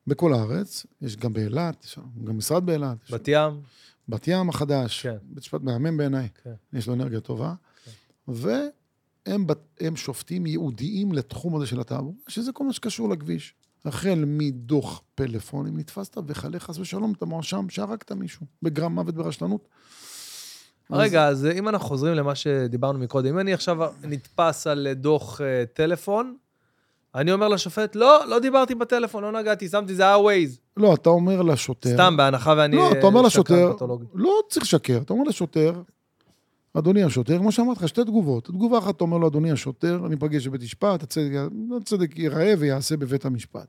בכל הארץ. יש גם באילת, יש גם משרד באילת. יש בת ים, בת ים החדש, כן. בית משפט מהמם בעיניי, כן. יש לו אנרגיה טובה, והם בת- הם שופטים ייעודיים לתחום הזה של התעבורה, שזה כל מה שקשור לכביש. החל מדוח פלאפון, אם נתפסת, וכלה חס ושלום, אתה מואשם שהרגת מישהו, בגרם מוות ברשלנות. רגע, אז אה, אם אנחנו חוזרים למה שדיברנו מקודם, אם אני עכשיו נתפס על דוח אה, טלפון, אני אומר לשופט, לא, לא דיברתי בטלפון, לא נגעתי, שמתי, זה היה ווייז. אז, לא, אתה אומר לשוטר... סתם, בהנחה ואני... לא, אתה אומר אה, לשוטר, שקרן פתולוגי. לא צריך לשקר, אתה אומר לשוטר, אדוני השוטר, כמו שאמרתי לך, שתי תגובות. תגובה אחת, אתה אומר לו, אדוני השוטר, אני אפגש בבית משפט, הצדק, הצדק ייראה ויעשה בבית המשפט.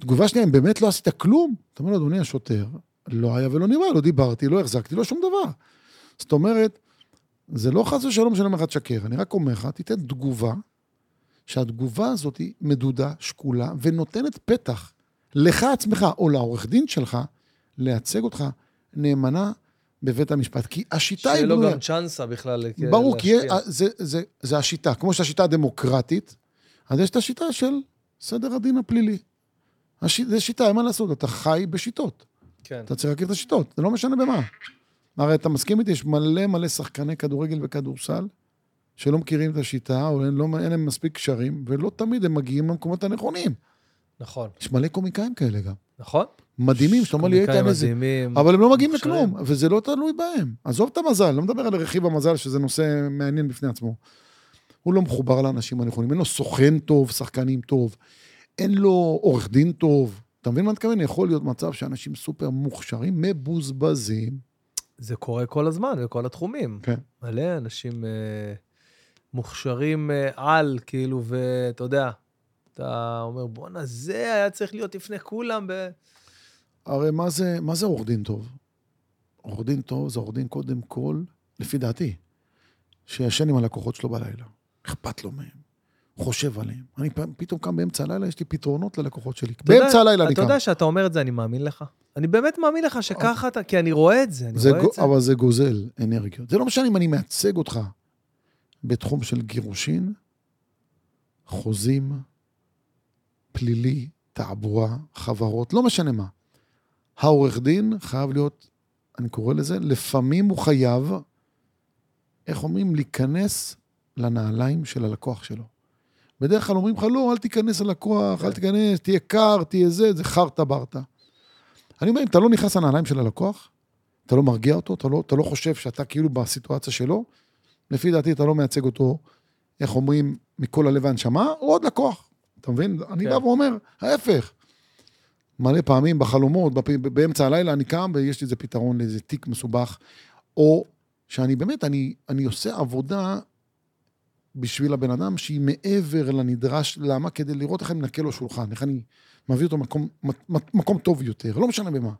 תגובה שנייה, אם באמת לא עשית כלום, אתה אומר לו, אדוני השוטר, לא היה ולא נברא, לא דיברתי, לא החזקתי, לא שום דבר. זאת אומרת, זה לא חס ושלום שאני אומר לך תשקר, אני רק אומר לך, תיתן תגובה, שהתגובה הזאת היא מדודה, שקולה, ונותנת פתח לך עצמך, או לעורך דין שלך, לייצג אותך נאמנה בבית המשפט. כי השיטה היא שיהיה לו בנויה. גם צ'אנסה בכלל אה, ברור, כי להשפיע. זה, זה, זה השיטה. כמו שהשיטה הדמוקרטית, אז יש את השיטה של סדר הדין הפלילי. הש... זה שיטה, אין מה לעשות, אתה חי בשיטות. כן, אתה צריך להכיר את השיטות, זה לא משנה במה. הרי אתה מסכים איתי, יש מלא מלא שחקני כדורגל וכדורסל שלא מכירים את השיטה, או אין, לא, אין להם מספיק קשרים, ולא תמיד הם מגיעים למקומות הנכונים. נכון, יש מלא קומיקאים כאלה גם. נכון? מדהימים, שאתה אומר לי, קומיקאים איתן איזה... מדהימים. אבל הם לא מגיעים אה, מוכשרים. לכלום, וזה לא תלוי בהם. עזוב את המזל, לא מדבר על רכיב המזל, שזה נושא מעניין בפני עצמו. הוא לא מחובר לאנשים הנכונים, אין לו סוכן טוב, שחקנים טוב, אין לו עורך דין טוב. אתה מבין מה אני מתכוון? יכול להיות מצב שאנשים סופר מוכשרים, מבוזבזים. זה קורה כל הזמן, בכל התחומים. כן. מלא אנשים אה, מוכשרים אה, על, כאילו, ואתה יודע, אתה אומר, בואנה, זה היה צריך להיות לפני כולם. ב... הרי מה זה, מה זה עורך דין טוב? עורך דין טוב זה עורך דין קודם כל, לפי דעתי, שישן עם הלקוחות שלו בלילה. אכפת לו מהם. חושב עליהם. אני פ- פתאום קם באמצע הלילה, יש לי פתרונות ללקוחות שלי. יודע- באמצע הלילה אני אתה קם. יודע שאתה אומר את זה, אני מאמין לך. אני באמת מאמין לך שככה אתה, כי אני רואה את זה, אני זה רואה גו- את זה. אבל זה גוזל אנרגיות. זה לא משנה אם אני מייצג אותך בתחום של גירושין, חוזים, פלילי, תעבורה, חברות, לא משנה מה. העורך דין חייב להיות, אני קורא לזה, לפעמים הוא חייב, איך אומרים, להיכנס לנעליים של הלקוח שלו. בדרך כלל אומרים לך, לא, אל תיכנס ללקוח, אל כן. תיכנס, תהיה קר, תהיה זה, זה חרטה ברטה. אני אומר, אם אתה לא נכנס לנעליים של הלקוח, אתה לא מרגיע אותו, אתה לא, אתה לא חושב שאתה כאילו בסיטואציה שלו, לפי דעתי אתה לא מייצג אותו, איך אומרים, מכל הלב והנשמה, הוא עוד לקוח. אתה מבין? אני כן. בא ואומר, ההפך. מלא פעמים בחלומות, בפ... באמצע הלילה אני קם ויש לי איזה פתרון לאיזה תיק מסובך, או שאני באמת, אני, אני עושה עבודה בשביל הבן אדם שהיא מעבר לנדרש, למה? כדי לראות איך אני מנקה לו שולחן, איך אני מביא אותו מקום, מק- מקום טוב יותר, לא משנה במה.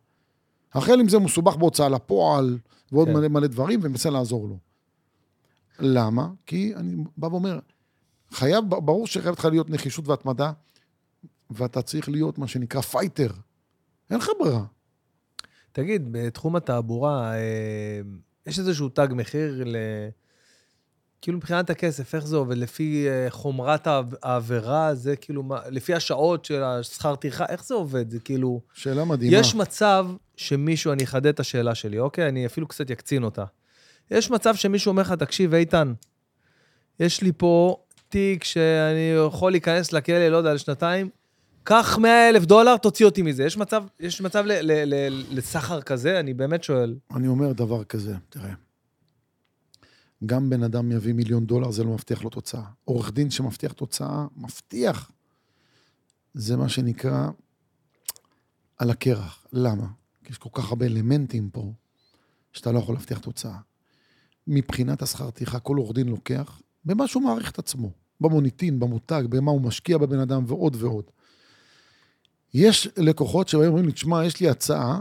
החל עם זה מסובך בהוצאה לפועל, ועוד כן. מלא מלא דברים, ומנסה לעזור לו. למה? כי אני בא ואומר, חייב, ברור שחייבת לך להיות נחישות והתמדה, ואתה צריך להיות מה שנקרא פייטר. אין לך ברירה. תגיד, בתחום התעבורה, אה, יש איזשהו תג מחיר ל... כאילו מבחינת הכסף, איך זה עובד? לפי אה, חומרת העב- העבירה, זה כאילו מה... לפי השעות של השכר טרחה, איך זה עובד? זה כאילו... שאלה מדהימה. יש מצב שמישהו, אני אחדד את השאלה שלי, אוקיי? אני אפילו קצת יקצין אותה. יש מצב שמישהו אומר לך, תקשיב, איתן, יש לי פה תיק שאני יכול להיכנס לכלא, לא יודע, לשנתיים, קח 100 אלף דולר, תוציא אותי מזה. יש מצב, יש מצב ל- ל- ל- לסחר כזה? אני באמת שואל. אני אומר דבר כזה, תראה, גם בן אדם יביא מיליון דולר, זה לא מבטיח לו תוצאה. עורך דין שמבטיח תוצאה, מבטיח. זה מה שנקרא על הקרח. למה? כי יש כל כך הרבה אלמנטים פה, שאתה לא יכול להבטיח תוצאה. מבחינת השכר טרחה, כל עורך דין לוקח במה שהוא מעריך את עצמו, במוניטין, במותג, במה הוא משקיע בבן אדם ועוד ועוד. יש לקוחות שבאים ואומרים לי, תשמע, יש לי הצעה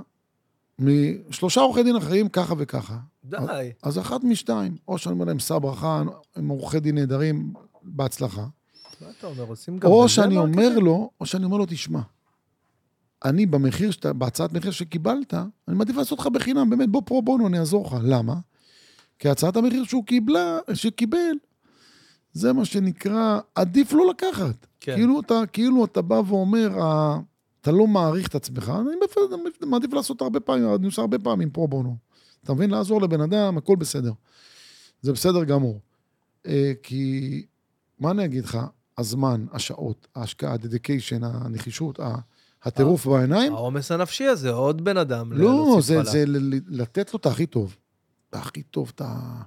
משלושה עורכי דין אחרים, ככה וככה. די. אז אחת משתיים, או שאני אומר להם, סע ברכה, הם עורכי דין נהדרים, בהצלחה. מה אתה אומר? עושים גם... או בזה לא שאני מרקטינג? אומר לו, או שאני אומר לו, תשמע, אני במחיר, שאתה, בהצעת מחיר שקיבלת, אני מעדיף לעשות לך בחינם, באמת, בוא פרו בונו, אני אעזור לך. למה? כי הצעת המחיר שהוא קיבלה, שקיבל, זה מה שנקרא, עדיף לא לקחת. כן. כאילו, אתה, כאילו אתה בא ואומר, "אה, אתה לא מעריך את עצמך, אני בפ- מעדיף לעשות הרבה פעמים, אני עושה הרבה פעמים פרו בונו. אתה מבין? לעזור לבן אדם, הכל בסדר. זה בסדר גמור. אה, כי, מה אני אגיד לך? הזמן, השעות, ההשקעה, הדדיקיישן, הנחישות, ה- הטירוף בעיניים, כן. העומס הנפשי הזה, עוד בן אדם. ל- לא, להוסיף זה, עליו. זה ל- ל- לתת לו את הכי טוב. את הכי טוב, את ה...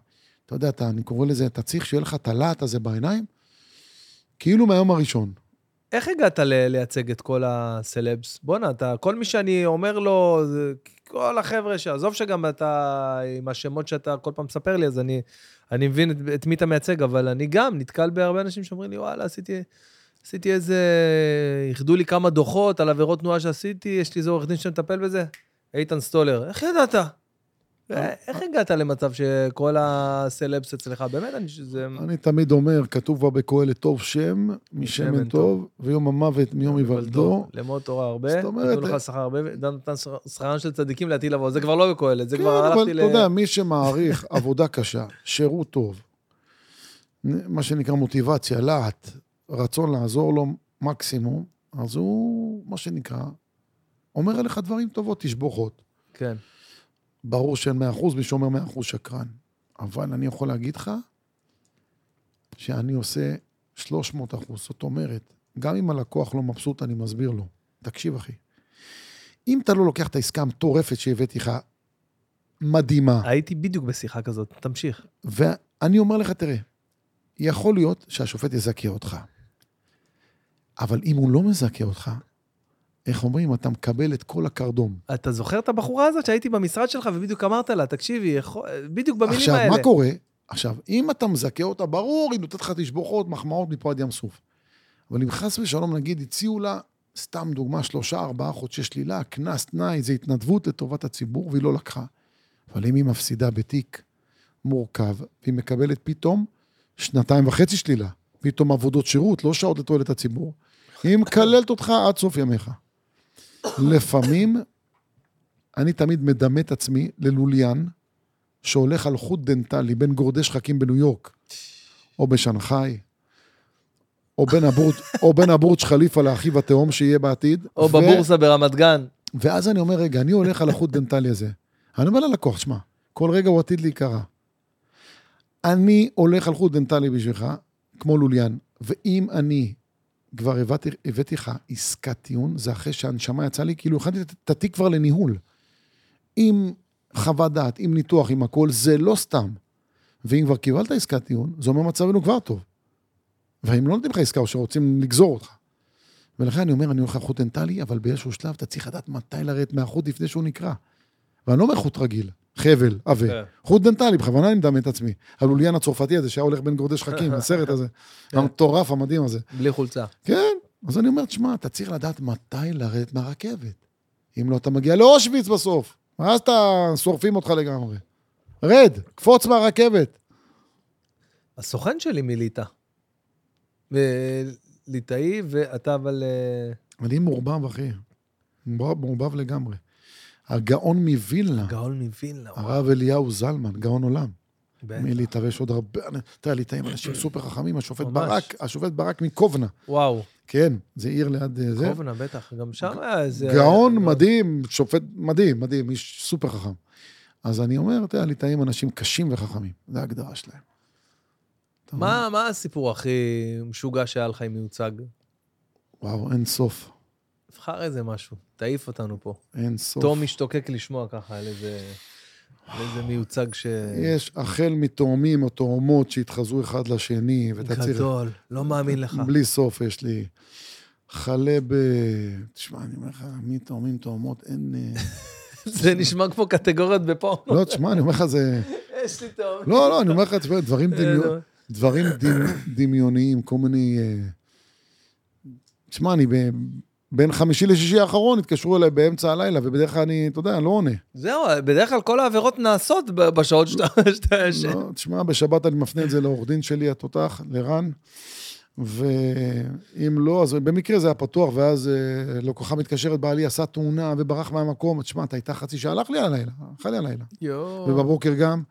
אתה יודע, אתה, אני קורא לזה, אתה צריך שיהיה לך את הלהט הזה בעיניים, כאילו מהיום הראשון. איך הגעת ל- לייצג את כל הסלבס? בואנה, אתה, כל מי שאני אומר לו, זה- כל החבר'ה, שעזוב שגם אתה, עם השמות שאתה כל פעם מספר לי, אז אני, אני מבין את, את מי אתה מייצג, אבל אני גם נתקל בהרבה אנשים שאומרים לי, וואלה, עשיתי, עשיתי איזה... איחדו לי כמה דוחות על עבירות תנועה שעשיתי, יש לי איזה עורך דין שמטפל בזה, איתן סטולר. איך ידעת? אה, איך הגעת למצב שכל הסלבס אצלך? באמת, אני... זה... Mm-hmm. אני תמיד אומר, כתוב בה בקהלת טוב שם, משמן משמן טוב. טוב, ויום המוות מיום היוולדו. למות תורה הרבה, זאת אומרת, אה, נתנו לך שכר הרבה, ודן נתן שכרן של צדיקים לעתיד לבוא, זה כבר לא בקהלת, זה כן, כבר הלכתי אבל ל... אתה יודע, מי שמעריך עבודה קשה, שירות טוב, מה שנקרא מוטיבציה, להט, רצון לעזור לו מקסימום, אז הוא, מה שנקרא, אומר עליך דברים טובות, תשבוכות. כן, ברור שאין 100%, מי שאומר 100% שקרן. אבל אני יכול להגיד לך שאני עושה 300%. זאת אומרת, גם אם הלקוח לא מבסוט, אני מסביר לו. תקשיב, אחי, אם אתה לא לוקח את העסקה המטורפת שהבאתי לך, מדהימה, הייתי בדיוק בשיחה כזאת, תמשיך. ואני אומר לך, תראה, יכול להיות שהשופט יזכה אותך, אבל אם הוא לא מזכה אותך, איך אומרים, אתה מקבל את כל הקרדום. אתה זוכר את הבחורה הזאת שהייתי במשרד שלך ובדיוק אמרת לה, תקשיבי, יכול- בדיוק במילים עכשיו, האלה. מה קורה? עכשיו, אם אתה מזכה אותה, ברור, היא נותנת לך תשבוכות, מחמאות מפה עד ים סוף. אבל אם חס ושלום, נגיד, הציעו לה, סתם דוגמה, שלושה, ארבעה חודשי שלילה, קנס, תנאי, זה התנדבות לטובת הציבור, והיא לא לקחה. אבל אם היא מפסידה בתיק מורכב, והיא מקבלת פתאום שנתיים וחצי שלילה, פתאום עבודות שירות, לא שעות לתועלת הציבור, היא מקללת אותך עד סוף ימיך. לפעמים, אני תמיד מדמה את עצמי ללוליין, שהולך על חוט דנטלי בין גורדי שחקים בניו יורק, או בשנגחאי, או בין הבורג' או בין הבורג' חליפה לאחיו התהום שיהיה בעתיד. או ו- בבורסה ברמת גן. ואז אני אומר, רגע, אני הולך על החוט דנטלי הזה. אני אומר ללקוח, שמע, כל רגע הוא עתיד להיקרע. אני הולך על חוט דנטלי בשבילך, כמו לוליין, ואם אני כבר הבאתי, הבאתי לך עסקת טיעון, זה אחרי שהנשמה יצאה לי, כאילו הכנתי את התיק כבר לניהול. אם חוות דעת, עם ניתוח, עם הכל, זה לא סתם. ואם כבר קיבלת עסקת טיעון, זה אומר מצבנו כבר טוב. והם לא נותנים לך עסקה או שרוצים לגזור אותך. ולכן אני אומר, אני הולך על חוט דנטלי, אבל באיזשהו שלב אתה צריך לדעת מתי לרדת מהחוט לפני שהוא נקרע. ואני לא אומר חוט רגיל, חבל, עבה. כן. חוט דנטלי, בכוונה אני מדמה את עצמי. הלוליין הצרפתי הזה שהיה הולך בין גורדי שחקים, הסרט הזה, המטורף המדהים הזה. בלי חולצה. כן, אז אני אומר, תשמע, אתה צריך לדעת מתי לרדת מהרכבת. אם לא, אתה מגיע לאושוויץ בסוף, ואז אתה, שורפים אותך לגמרי. רד, קפוץ מהרכבת. הסוכן שלי מליטא. ו- ליטאי, ואתה אבל... אה, אני מעורבב, אחי. מעורבב- מעורבב לגמרי. הגאון מווילנה, גאון מווילנה. וואו, הרב אליהו זלמן, גאון עולם. בטח. מליטא, ויש עוד הרבה... אתה יודע, ליטאים אנשים סופר חכמים, השופט ממש. ברק, השופט ברק מקובנה. וואו, כן, זה עיר ליד אה, זה. קובנה, בטח. גם שם היה איזה... גאון מדהים, שופט מדהים, מדהים, איש סופר חכם. אז אני אומר, אתה יודע, הליטאים אנשים קשים וחכמים, זה ההגדרה שלהם. אתה אומר, מה מה הסיפור הכי משוגע שהיה לך עם מיוצג? וואו, אין סוף. תבחר איזה משהו, תעיף אותנו פה. אין סוף. תום משתוקק לשמוע ככה על איזה... על איזה מיוצג ש... יש החל מתאומים או תאומות שהתחזו אחד לשני, ואתה צריך... גדול, לא מאמין לך. בלי סוף יש לי. חלה ב... תשמע, אני אומר לך, מי תאומים, תאומות, אין... אה, זה נשמע כמו קטגוריות בפורנו. לא, תשמע, אני אומר לך, זה... יש לי תום. לא, לא, אני אומר לך, תשמע, דברים אה, דמיון... לא. דברים דמ- דמיוניים, כל מיני... אה, תשמע, אני ב- בין חמישי לשישי האחרון התקשרו אליי באמצע הלילה, ובדרך כלל אני, אתה יודע, לא עונה. זהו, בדרך כלל כל העבירות נעשות ב- בשעות שאתה... שאתה- ש- לא, תשמע, בשבת אני מפנה את זה לעורך דין שלי, התותח, לרן, ואם לא, אז במקרה זה היה פתוח, ואז אה, לקוחה מתקשרת, בעלי עשה תאונה וברח מהמקום, תשמע, אתה הייתה חצי שעה, הלך לי הלילה, הלך לי הלילה. יואו. ובבוקר גם.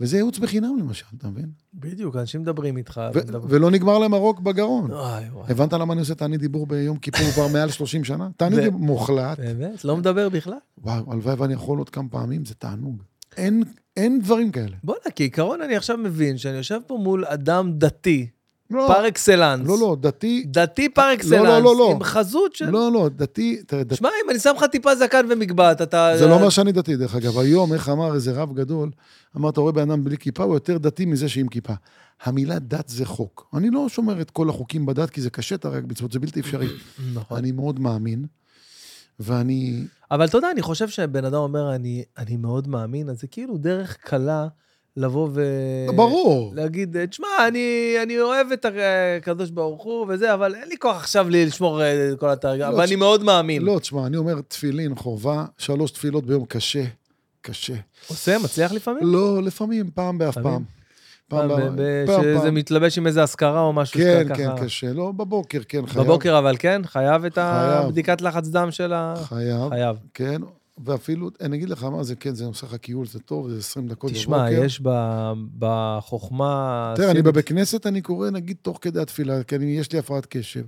וזה ייעוץ בחינם למשל, אתה מבין? בדיוק, אנשים מדברים איתך. ו- מדברים- ולא נגמר להם הרוק בגרון. וואי, וואי. נכון. הבנת למה אני עושה תענית דיבור ביום כיפור כבר מעל 30 שנה? תענית ו- דיבור מוחלט. באמת? לא מדבר בכלל? וואו, הלוואי ואני יכול עוד כמה פעמים, זה תענוג. אין- אין דברים כאלה. בוא'נה, כעיקרון אני עכשיו מבין שאני יושב פה מול אדם דתי, לא, פר אקסלנס. לא, לא, דתי... דתי פר אקסלנס, לא, לא, לא. עם חזות של... לא, לא, דתי... ת- דת- שמע, אם אני שם לך טיפה זקן ומגבעת, אתה... זה לא אומר שאני דתי, דרך אגב. היום, איך אמר איזה רב גדול, אמר, אתה רואה בן אדם בלי כיפה, הוא יותר דתי מזה שעם כיפה. המילה דת זה חוק. אני לא שומר את כל החוקים בדת, כי זה קשה, אתה רק מצוות, זה בלתי אפשרי. נכון. אני מאוד מאמין, ואני... אבל אתה יודע, אני חושב שבן אדם אומר, אני, אני מאוד מאמין, אז זה כאילו דרך קלה לבוא ו... ברור. להגיד, תשמע, אני, אני אוהב את הקדוש ברוך הוא וזה, אבל אין לי כוח עכשיו לי לשמור אה, כל התרגע, לא, אבל אני תש- מאוד מאמין. לא, תשמע, אני אומר, תפילין חובה, שלוש תפילות ביום קשה, קשה. עושה, מצליח לפעמים? לא, לפעמים, פעם באף לפעמים? פעם. פעם, בא- ב- ב- פעם, שזה פעם. מתלבש עם איזה אזכרה או משהו כן, שאתה כן, ככה... קשה. לא, בבוקר, כן, חייב. בבוקר אבל כן? חייב את חייב. הבדיקת לחץ דם של ה... חייב, חייב. כן. ואפילו, אני אגיד לך מה זה, כן, זה נושא הקיול, זה טוב, זה 20 דקות בבוקר. תשמע, יש ב- בחוכמה... תראה, אני הסינית- בבית כנסת, אני קורא, נגיד, תוך כדי התפילה, כי אני, יש לי הפרעת קשב.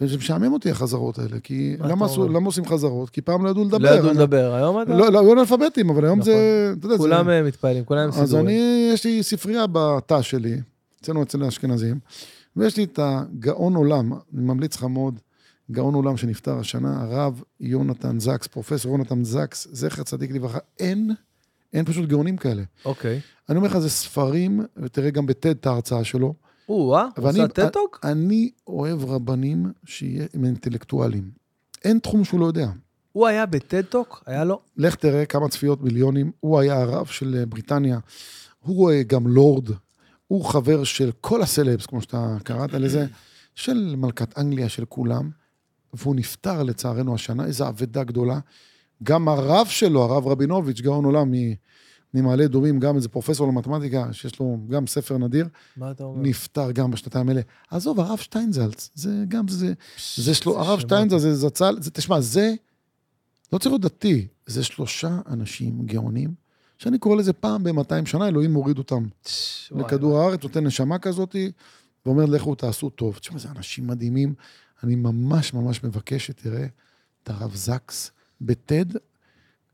וזה משעמם אותי, החזרות האלה, כי מה למה אתה עשו- אומר? למה עושים חזרות? כי פעם לא ידעו לדבר. לא ידעו אני- לדבר. היום אתה... לא, לא, היו אנאלפביתים, אבל היום זה, אתה יודע, זה... כולם אה, מתפעלים, כולם עם אז סידורים. אני, יש לי ספרייה בתא שלי, אצלנו אצל האשכנזים, ויש לי את הגאון עולם, אני ממליץ לך מאוד, גאון עולם שנפטר השנה, הרב יונתן זקס, פרופסור יונתן זקס, זכר צדיק לברכה, אין, אין פשוט גאונים כאלה. אוקיי. אני אומר לך, זה ספרים, ותראה גם בטד את ההרצאה שלו. או, אה? ואני- עושה טטוק? אני אוהב רבנים שהם אינטלקטואלים. אין תחום שהוא לא יודע. הוא היה בטטוק? היה לו? לך תראה כמה צפיות מיליונים. הוא היה הרב של אה, בריטניה, הוא אה, גם לורד, הוא חבר של כל הסלבס, כמו שאתה קראת לזה, של מלכת אנגליה, של כולם, והוא נפטר לצערנו השנה, איזו אבדה גדולה. גם הרב שלו, הרב רבינוביץ', גאון עולם מ- ממעלה אדומים, גם איזה פרופסור למתמטיקה, שיש לו גם ספר נדיר, מה אתה אומר? נפטר גם בשנתיים האלה. עזוב, הרב שטיינזלץ, זה גם, זה, זה שלו, הרב שמות. שטיינזלץ, זה זצ"ל, זה, תשמע, זה, לא צריך להיות דתי, זה שלושה אנשים גאונים, שאני קורא לזה פעם ב-200 שנה, אלוהים מוריד אותם צ'ש, וואי, לכדור הארץ, נותן נשמה כזאת, ואומר, לכו תעשו טוב. תשמע, זה אנשים מדהימים, אני ממש ממש מבקש שתראה את הרב זקס בטד.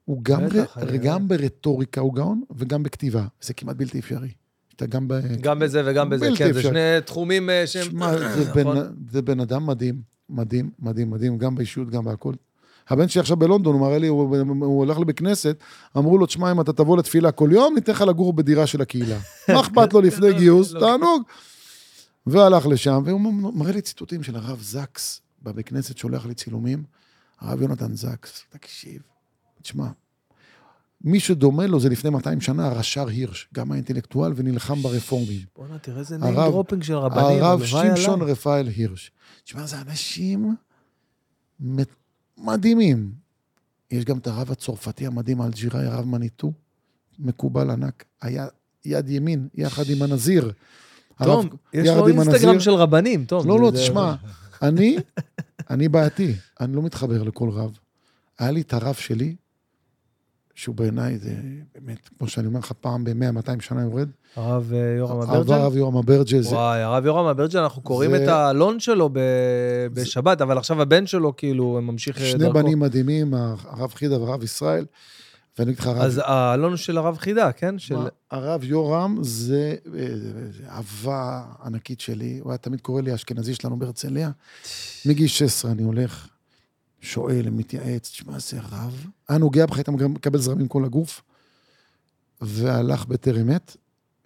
הוא גם, בטח, ר... אני- גם ברטוריקה הוא גאון, וגם בכתיבה. זה כמעט בלתי אפשרי. אתה גם ב... גם בזה וגם בזה, בלתי כן, זה אפשרי. שני תחומים אה, שהם... שמע, זה, נכון. בן- זה בן אדם מדהים, מדהים, מדהים, מדהים, גם באישיות, גם בהכל. הבן שלי עכשיו בלונדון, הוא מראה לי, הוא, הוא הולך לבית כנסת, אמרו לו, תשמע, אם אתה תבוא לתפילה כל יום, ניתן לך לגור בדירה של הקהילה. מה אכפת לו לא, לפני גיוס? תענוג. והלך לשם, והוא מראה לי ציטוטים של הרב זקס בבית כנסת, שולח לי צילומים, הרב יונתן זקס, תקשיב, תשמע, מי שדומה לו זה לפני 200 שנה, הרש"ר הירש, גם האינטלקטואל ונלחם ברפורמים. בואנה, תראה איזה הרב- name dropping של רבנים. הרב הלוואי עליי. שמשון רפאל הירש. תשמע, זה אנשים מט- מדהימים. יש גם את הרב הצרפתי המדהים, האלג'יראי, הרב מניטו, מקובל ענק, היה יד ימין, יחד עם הנזיר. הרב- תום, יש לו יחד עם אינסטגרם הנזיר. של רבנים, תום. לא, זה- לא, זה- תשמע, אני, אני בעייתי, אני לא מתחבר לכל רב. היה לי את הרב שלי, שהוא בעיניי, זה באמת, כמו שאני אומר לך, פעם ב-100-200 שנה יורד, הרב אה, יורם אברג'ל? הרב יורם אברג'ה, זה וואי, הרב יורם אברג'ל, אנחנו קוראים זה- את האלון שלו ב- בשבת, אבל עכשיו הבן שלו, כאילו, ממשיך אה, דרכו. שני בנים מדהימים, הרב חידה והרב ישראל, ואני אגיד לך, הרב אז האלון הוא של הרב חידה, כן? של... מה, הרב יורם זה אה, זה אהבה ענקית שלי, הוא היה תמיד קורא לי האשכנזי שלנו בהרצליה. מגיל 16 אני הולך, שואל, מתייעץ, תשמע, זה רב. היה נוגע בך, היית מקבל זרמים כל הגוף, והלך בטרם עת,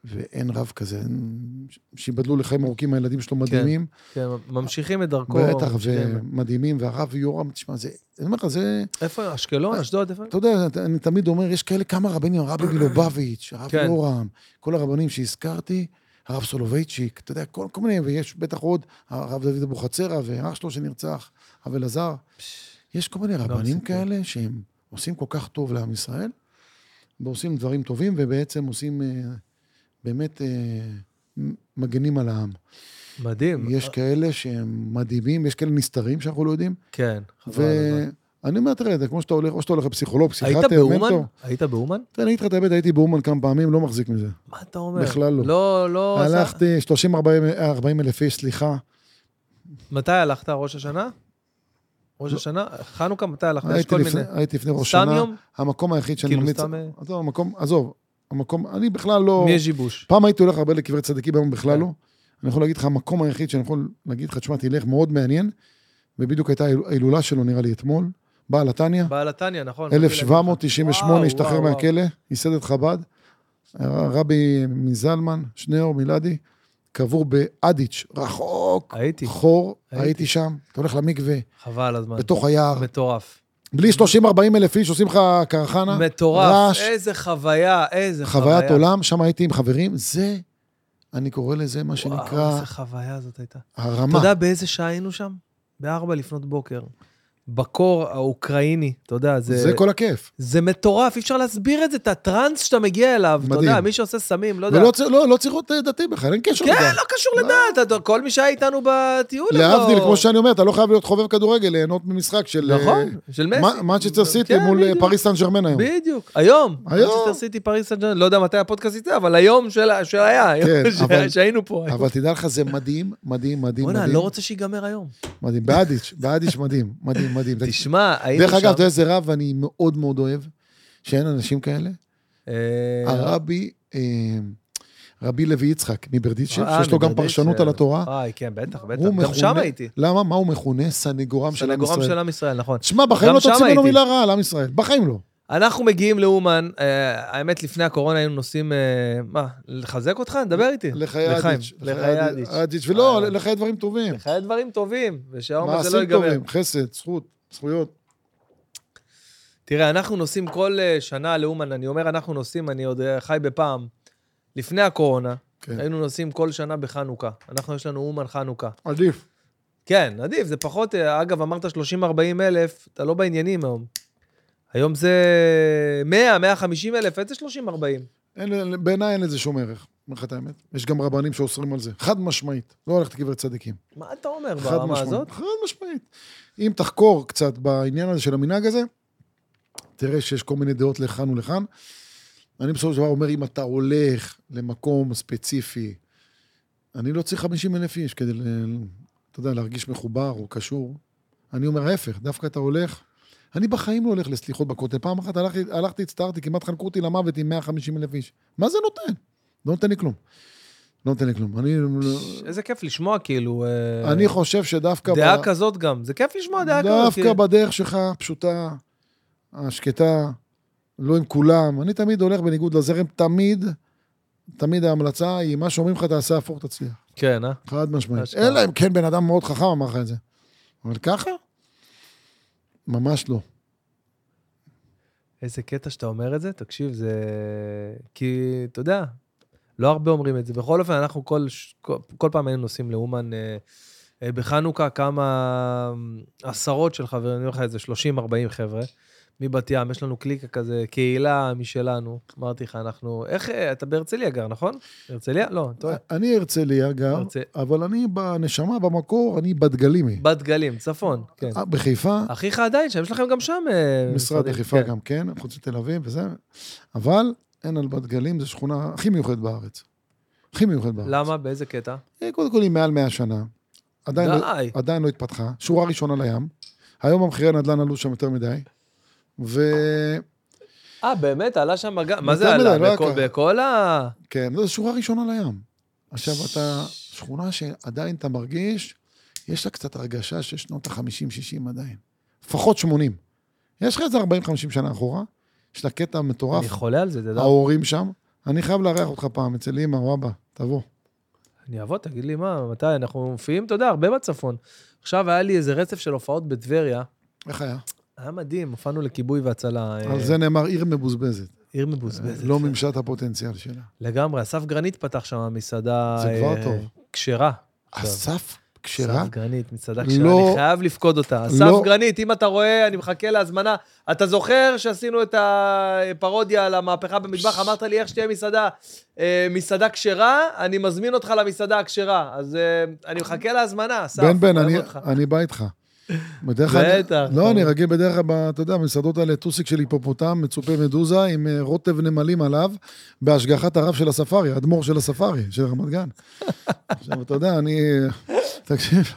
ואין רב כזה, אין- שיבדלו לחיים ארוכים, הילדים שלו מדהימים. כן, ממשיכים את דרכו. כן. בטח, ממשיכים. ומדהימים, והרב יורם, תשמע, זה, אני אומר לך, זה... איפה, אה, אשקלון, אשדוד, איפה? אתה יודע, אתה- אני תמיד אומר, יש כאלה כמה רבנים, הרבי מלובביץ', הרב כן. יורם, כל הרבנים שהזכרתי, הרב סולובייצ'יק, אתה יודע, כל, כל מיני, ויש בטח עוד, הרב דוד אבוחצירא ואח שלו שנרצח, הרב אלעזר. יש כל לא מיני רבנים סיפור. כאלה שהם עושים כל כך טוב לעם ישראל, ועושים דברים טובים, ובעצם עושים, אה, באמת, אה, מ- מגנים על העם. מדהים. יש כאלה שהם מדהימים, יש כאלה נסתרים שאנחנו לא יודעים, כן, חבל. הזמן. ואני אומר, תראה, זה כמו שאתה הולך, או שאתה הולך לפסיכולוג, פסיכיאטר, היית באומן? אה, מנטור. היית באומן? תראה, כן, אני אגיד לך את האמת, הייתי באומן כמה פעמים, לא מחזיק מזה. מה אתה אומר? בכלל לא. לא, לא... עשה- הלכתי 30-40 40 אלף איש, סליחה. מתי הלכת? ראש השנה? ראש השנה? חנוכה, מתי הלכת? יש לא. הייתי כל לפני- מיני... הייתי לפני ראש סתם שנה. יום? המקום היחיד שאני כאילו, ממליץ... סתם, אה? עזוב, המקום, עזוב, המקום, אני בכלל לא... מי יש ז'יבוש? פעם הייתי הולך הרבה לקברי צדיקים, היום בכלל כן. לא. אני יכול להגיד לך, המקום היחיד שאני יכול להגיד לך, תשמע, תלך, מאוד מעניין, ובדיוק הייתה ההילולה שלו, נראה לי, אתמול, בעל התניא. בעל התניא, נכון? 1798 וואו, השתחרר וואו, וואו. מהכלא, ייסד את חב"ד. הרבי מזלמן, שניאור מילדי, קבור באדיץ', רחוק, הייתי, חור, הייתי. הייתי שם, אתה הולך למקווה, חבל הזמן. בתוך היער, מטורף. בלי 30-40 אלף איש, עושים לך קרחנה, מטורף. רעש. איזה חוויה, איזה חוויה. חוויית עולם, שם הייתי עם חברים, זה, אני קורא לזה מה וואו, שנקרא איזה חוויה זאת הייתה. אתה הרמה. יודע באיזה שעה היינו שם? בארבע לפנות בוקר. בקור האוקראיני, אתה יודע, זה... זה כל הכיף. זה מטורף, אי אפשר להסביר את זה, את הטראנס שאתה מגיע אליו. אתה מדהים. יודע, מי שעושה סמים, לא יודע. ולא צר- לא לא צריך להיות דתי בכלל, אין קשר כן, לדת. לא קשור לדעת, אתה- כל מי שהיה איתנו בטיול. הם להבדיל, לא- כמו שאני אומר, אתה לא חייב להיות חובב כדורגל, ליהנות ממשחק של... אה, נכון, של מסי. מה- מנצ'סטר סיטי כן, מול בדיוק. אה, פריס סן ג'רמן היום. בדיוק, היום. היום. מנצ'סטר סיטי, פריס סן ג'רמן, לא יודע מתי הפודקאסט יצא, אבל היום של- שהיה, היום ש- כן, אבל- שהיינו פה. אבל תדע לך, זה מדהים, מדהים, מדהים, בוא'נה, מדהים. לא רוצה שיגמר היום. מדהים, באדיץ', באדיץ' מדהים, מדהים, מדהים. תשמע, היינו דרך שם... אגב, אתה יודע איזה רב אני מאוד מאוד אוהב, שאין אנשים כאלה? אה, הרבי, אה, רבי לוי יצחק מברדיצ'ב, אה, שיש לו גם מברדיצ'ב. פרשנות על התורה. וואי, כן, בטח, בטח. הוא גם מכונה- שם הייתי. למה? מה הוא מכונה? סנגורם של עם סנגורם של ישראל. עם ישראל, נכון. תשמע, בחיים גם לא שם תוציא ממנו הייתי. מילה רעה על עם ישראל, בחיים לא. אנחנו מגיעים לאומן, אה, האמת, לפני הקורונה היינו נוסעים, אה, מה, לחזק אותך? דבר איתי. לחיי כן, לחיים, אדיץ'. לחיי אדיץ'. אדיץ', ולא, אה. לחיי דברים טובים. לחיי דברים טובים, ושהיום הזה לא מעשים ייגמר. טובים, חסד, זכות, זכויות. תראה, אנחנו נוסעים כל אה, שנה לאומן, אני אומר אנחנו נוסעים, אני עוד אה, חי בפעם. לפני הקורונה, כן, היינו נוסעים כל שנה בחנוכה. אנחנו, יש לנו אומן חנוכה. עדיף. כן, עדיף, זה פחות... אה, אגב, אמרת 30-40 אלף, אתה לא בעניינים היום. היום זה 100, 150 אלף, איזה 30-40? אין- בעיניי אין לזה שום ערך, אומר לך את האמת. יש גם רבנים שאוסרים על זה, חד משמעית. לא הולך לקבר צדיקים. מה אתה אומר חד ברמה הזאת? משמעית. חד משמעית. אם תחקור קצת בעניין הזה של המנהג הזה, תראה שיש כל מיני דעות לכאן ולכאן. אני בסופו של דבר אומר, אם אתה הולך למקום ספציפי, אני לא צריך 50 אלף איש כדי, ל- אתה יודע, להרגיש מחובר או קשור. אני אומר ההפך, דווקא אתה הולך... אני בחיים לא הולך לסליחות בכותל. פעם אחת הלכתי, הלכתי הצטערתי, כמעט חנקו אותי למוות עם 150 אלף איש. מה זה נותן? לא נותן לי כלום. לא נותן לי כלום. אני, איזה כיף לשמוע, כאילו, אה, אני חושב שדווקא... דעה ב- כזאת גם. זה כיף לשמוע דעה כזאת. דווקא כאילו. בדרך שלך, פשוטה, השקטה, לא עם כולם. אני תמיד הולך בניגוד לזרם, תמיד, תמיד ההמלצה היא, מה שאומרים לך, תעשה הפוך, תצליח. כן, אה? חד משמעית. אשכרה. אלא אם כן בן אדם מאוד חכם אמר לך את זה. אבל ככה? ממש לא. איזה קטע שאתה אומר את זה, תקשיב, זה... כי, אתה יודע, לא הרבה אומרים את זה. בכל אופן, אנחנו כל, ש- כל, כל פעם היינו נוסעים לאומן אה, אה, בחנוכה, כמה אה, עשרות של חברים, אני אומר לך איזה 30-40 חבר'ה, מבת ים, יש לנו קליקה כזה, קהילה משלנו. אמרתי לך, אנחנו... איך... אה, אתה בהרצליה גר, נכון? הרצליה? לא, אתה טועה. אני הרצליה גר, הרצ- אבל אני בנשמה, במקור, אני בדגלימי. בת גלים, צפון, כן. אה, בחיפה, אחיך עדיין שם, יש לכם גם שם... אה, משרד משרדים, בחיפה כן. גם כן, חוץ מתל אביב וזה, אבל אין על בת גלים, זו שכונה הכי מיוחדת בארץ. הכי מיוחדת בארץ. למה? באיזה קטע? אה, קודם כל היא מעל 100 שנה, עדיין, לא, די. עדיין לא התפתחה, שורה ראשונה לים, היום המחירי הנדל"ן עלו שם יותר מדי, וכן, אה, באמת? עלה שם גם... מה זה יותר מדי, עלה? לא היה בכל- ככה. בכל ה... כן, זו שורה ראשונה לים. עכשיו אתה, שכונה שעדיין אתה מרגיש, יש לה קצת הרגשה של שנות ה-50-60 עדיין, לפחות 80. יש לך איזה 40-50 שנה אחורה, יש לה קטע מטורף. אני חולה על זה, אתה יודע. ההורים שם. אני חייב לארח אותך פעם אצל אמא או אבא, תבוא. אני אבוא, תגיד לי מה, מתי? אנחנו מופיעים, אתה יודע, הרבה בצפון. עכשיו היה לי איזה רצף של הופעות בטבריה. איך היה? היה מדהים, הופענו לכיבוי והצלה. אה, על זה נאמר עיר מבוזבזת. עיר מבוזבזת. כן. לא מימשה את הפוטנציאל שלה. לגמרי, אסף גרנית פתח שם מסעדה... זה כבר אה, טוב. כשרה. עכשיו. אסף כשרה? אסף גרנית, מסעדה כשרה. לא- אני חייב לפקוד אותה. אסף לא- גרנית, אם אתה רואה, אני מחכה להזמנה. אתה זוכר שעשינו את הפרודיה על המהפכה במטבח? אמרת לי, איך שתהיה מסעדה? אה, מסעדה כשרה, אני מזמין אותך למסעדה הכשרה. אז אה, אני מחכה להזמנה, אסף. בן בן, אוהב אני- אותך. אני בא איתך. בדרך כלל... בטח. לא, אני רגיל בדרך כלל, ב- אתה יודע, במסעדות האלה, טוסיק של היפופוטם, מצופה מדוזה, עם אה, רוטב נמלים עליו, בהשגחת הרב של הספארי, האדמו"ר של הספארי, של רמת גן. עכשיו, אתה יודע, אני... אה, תקשיב,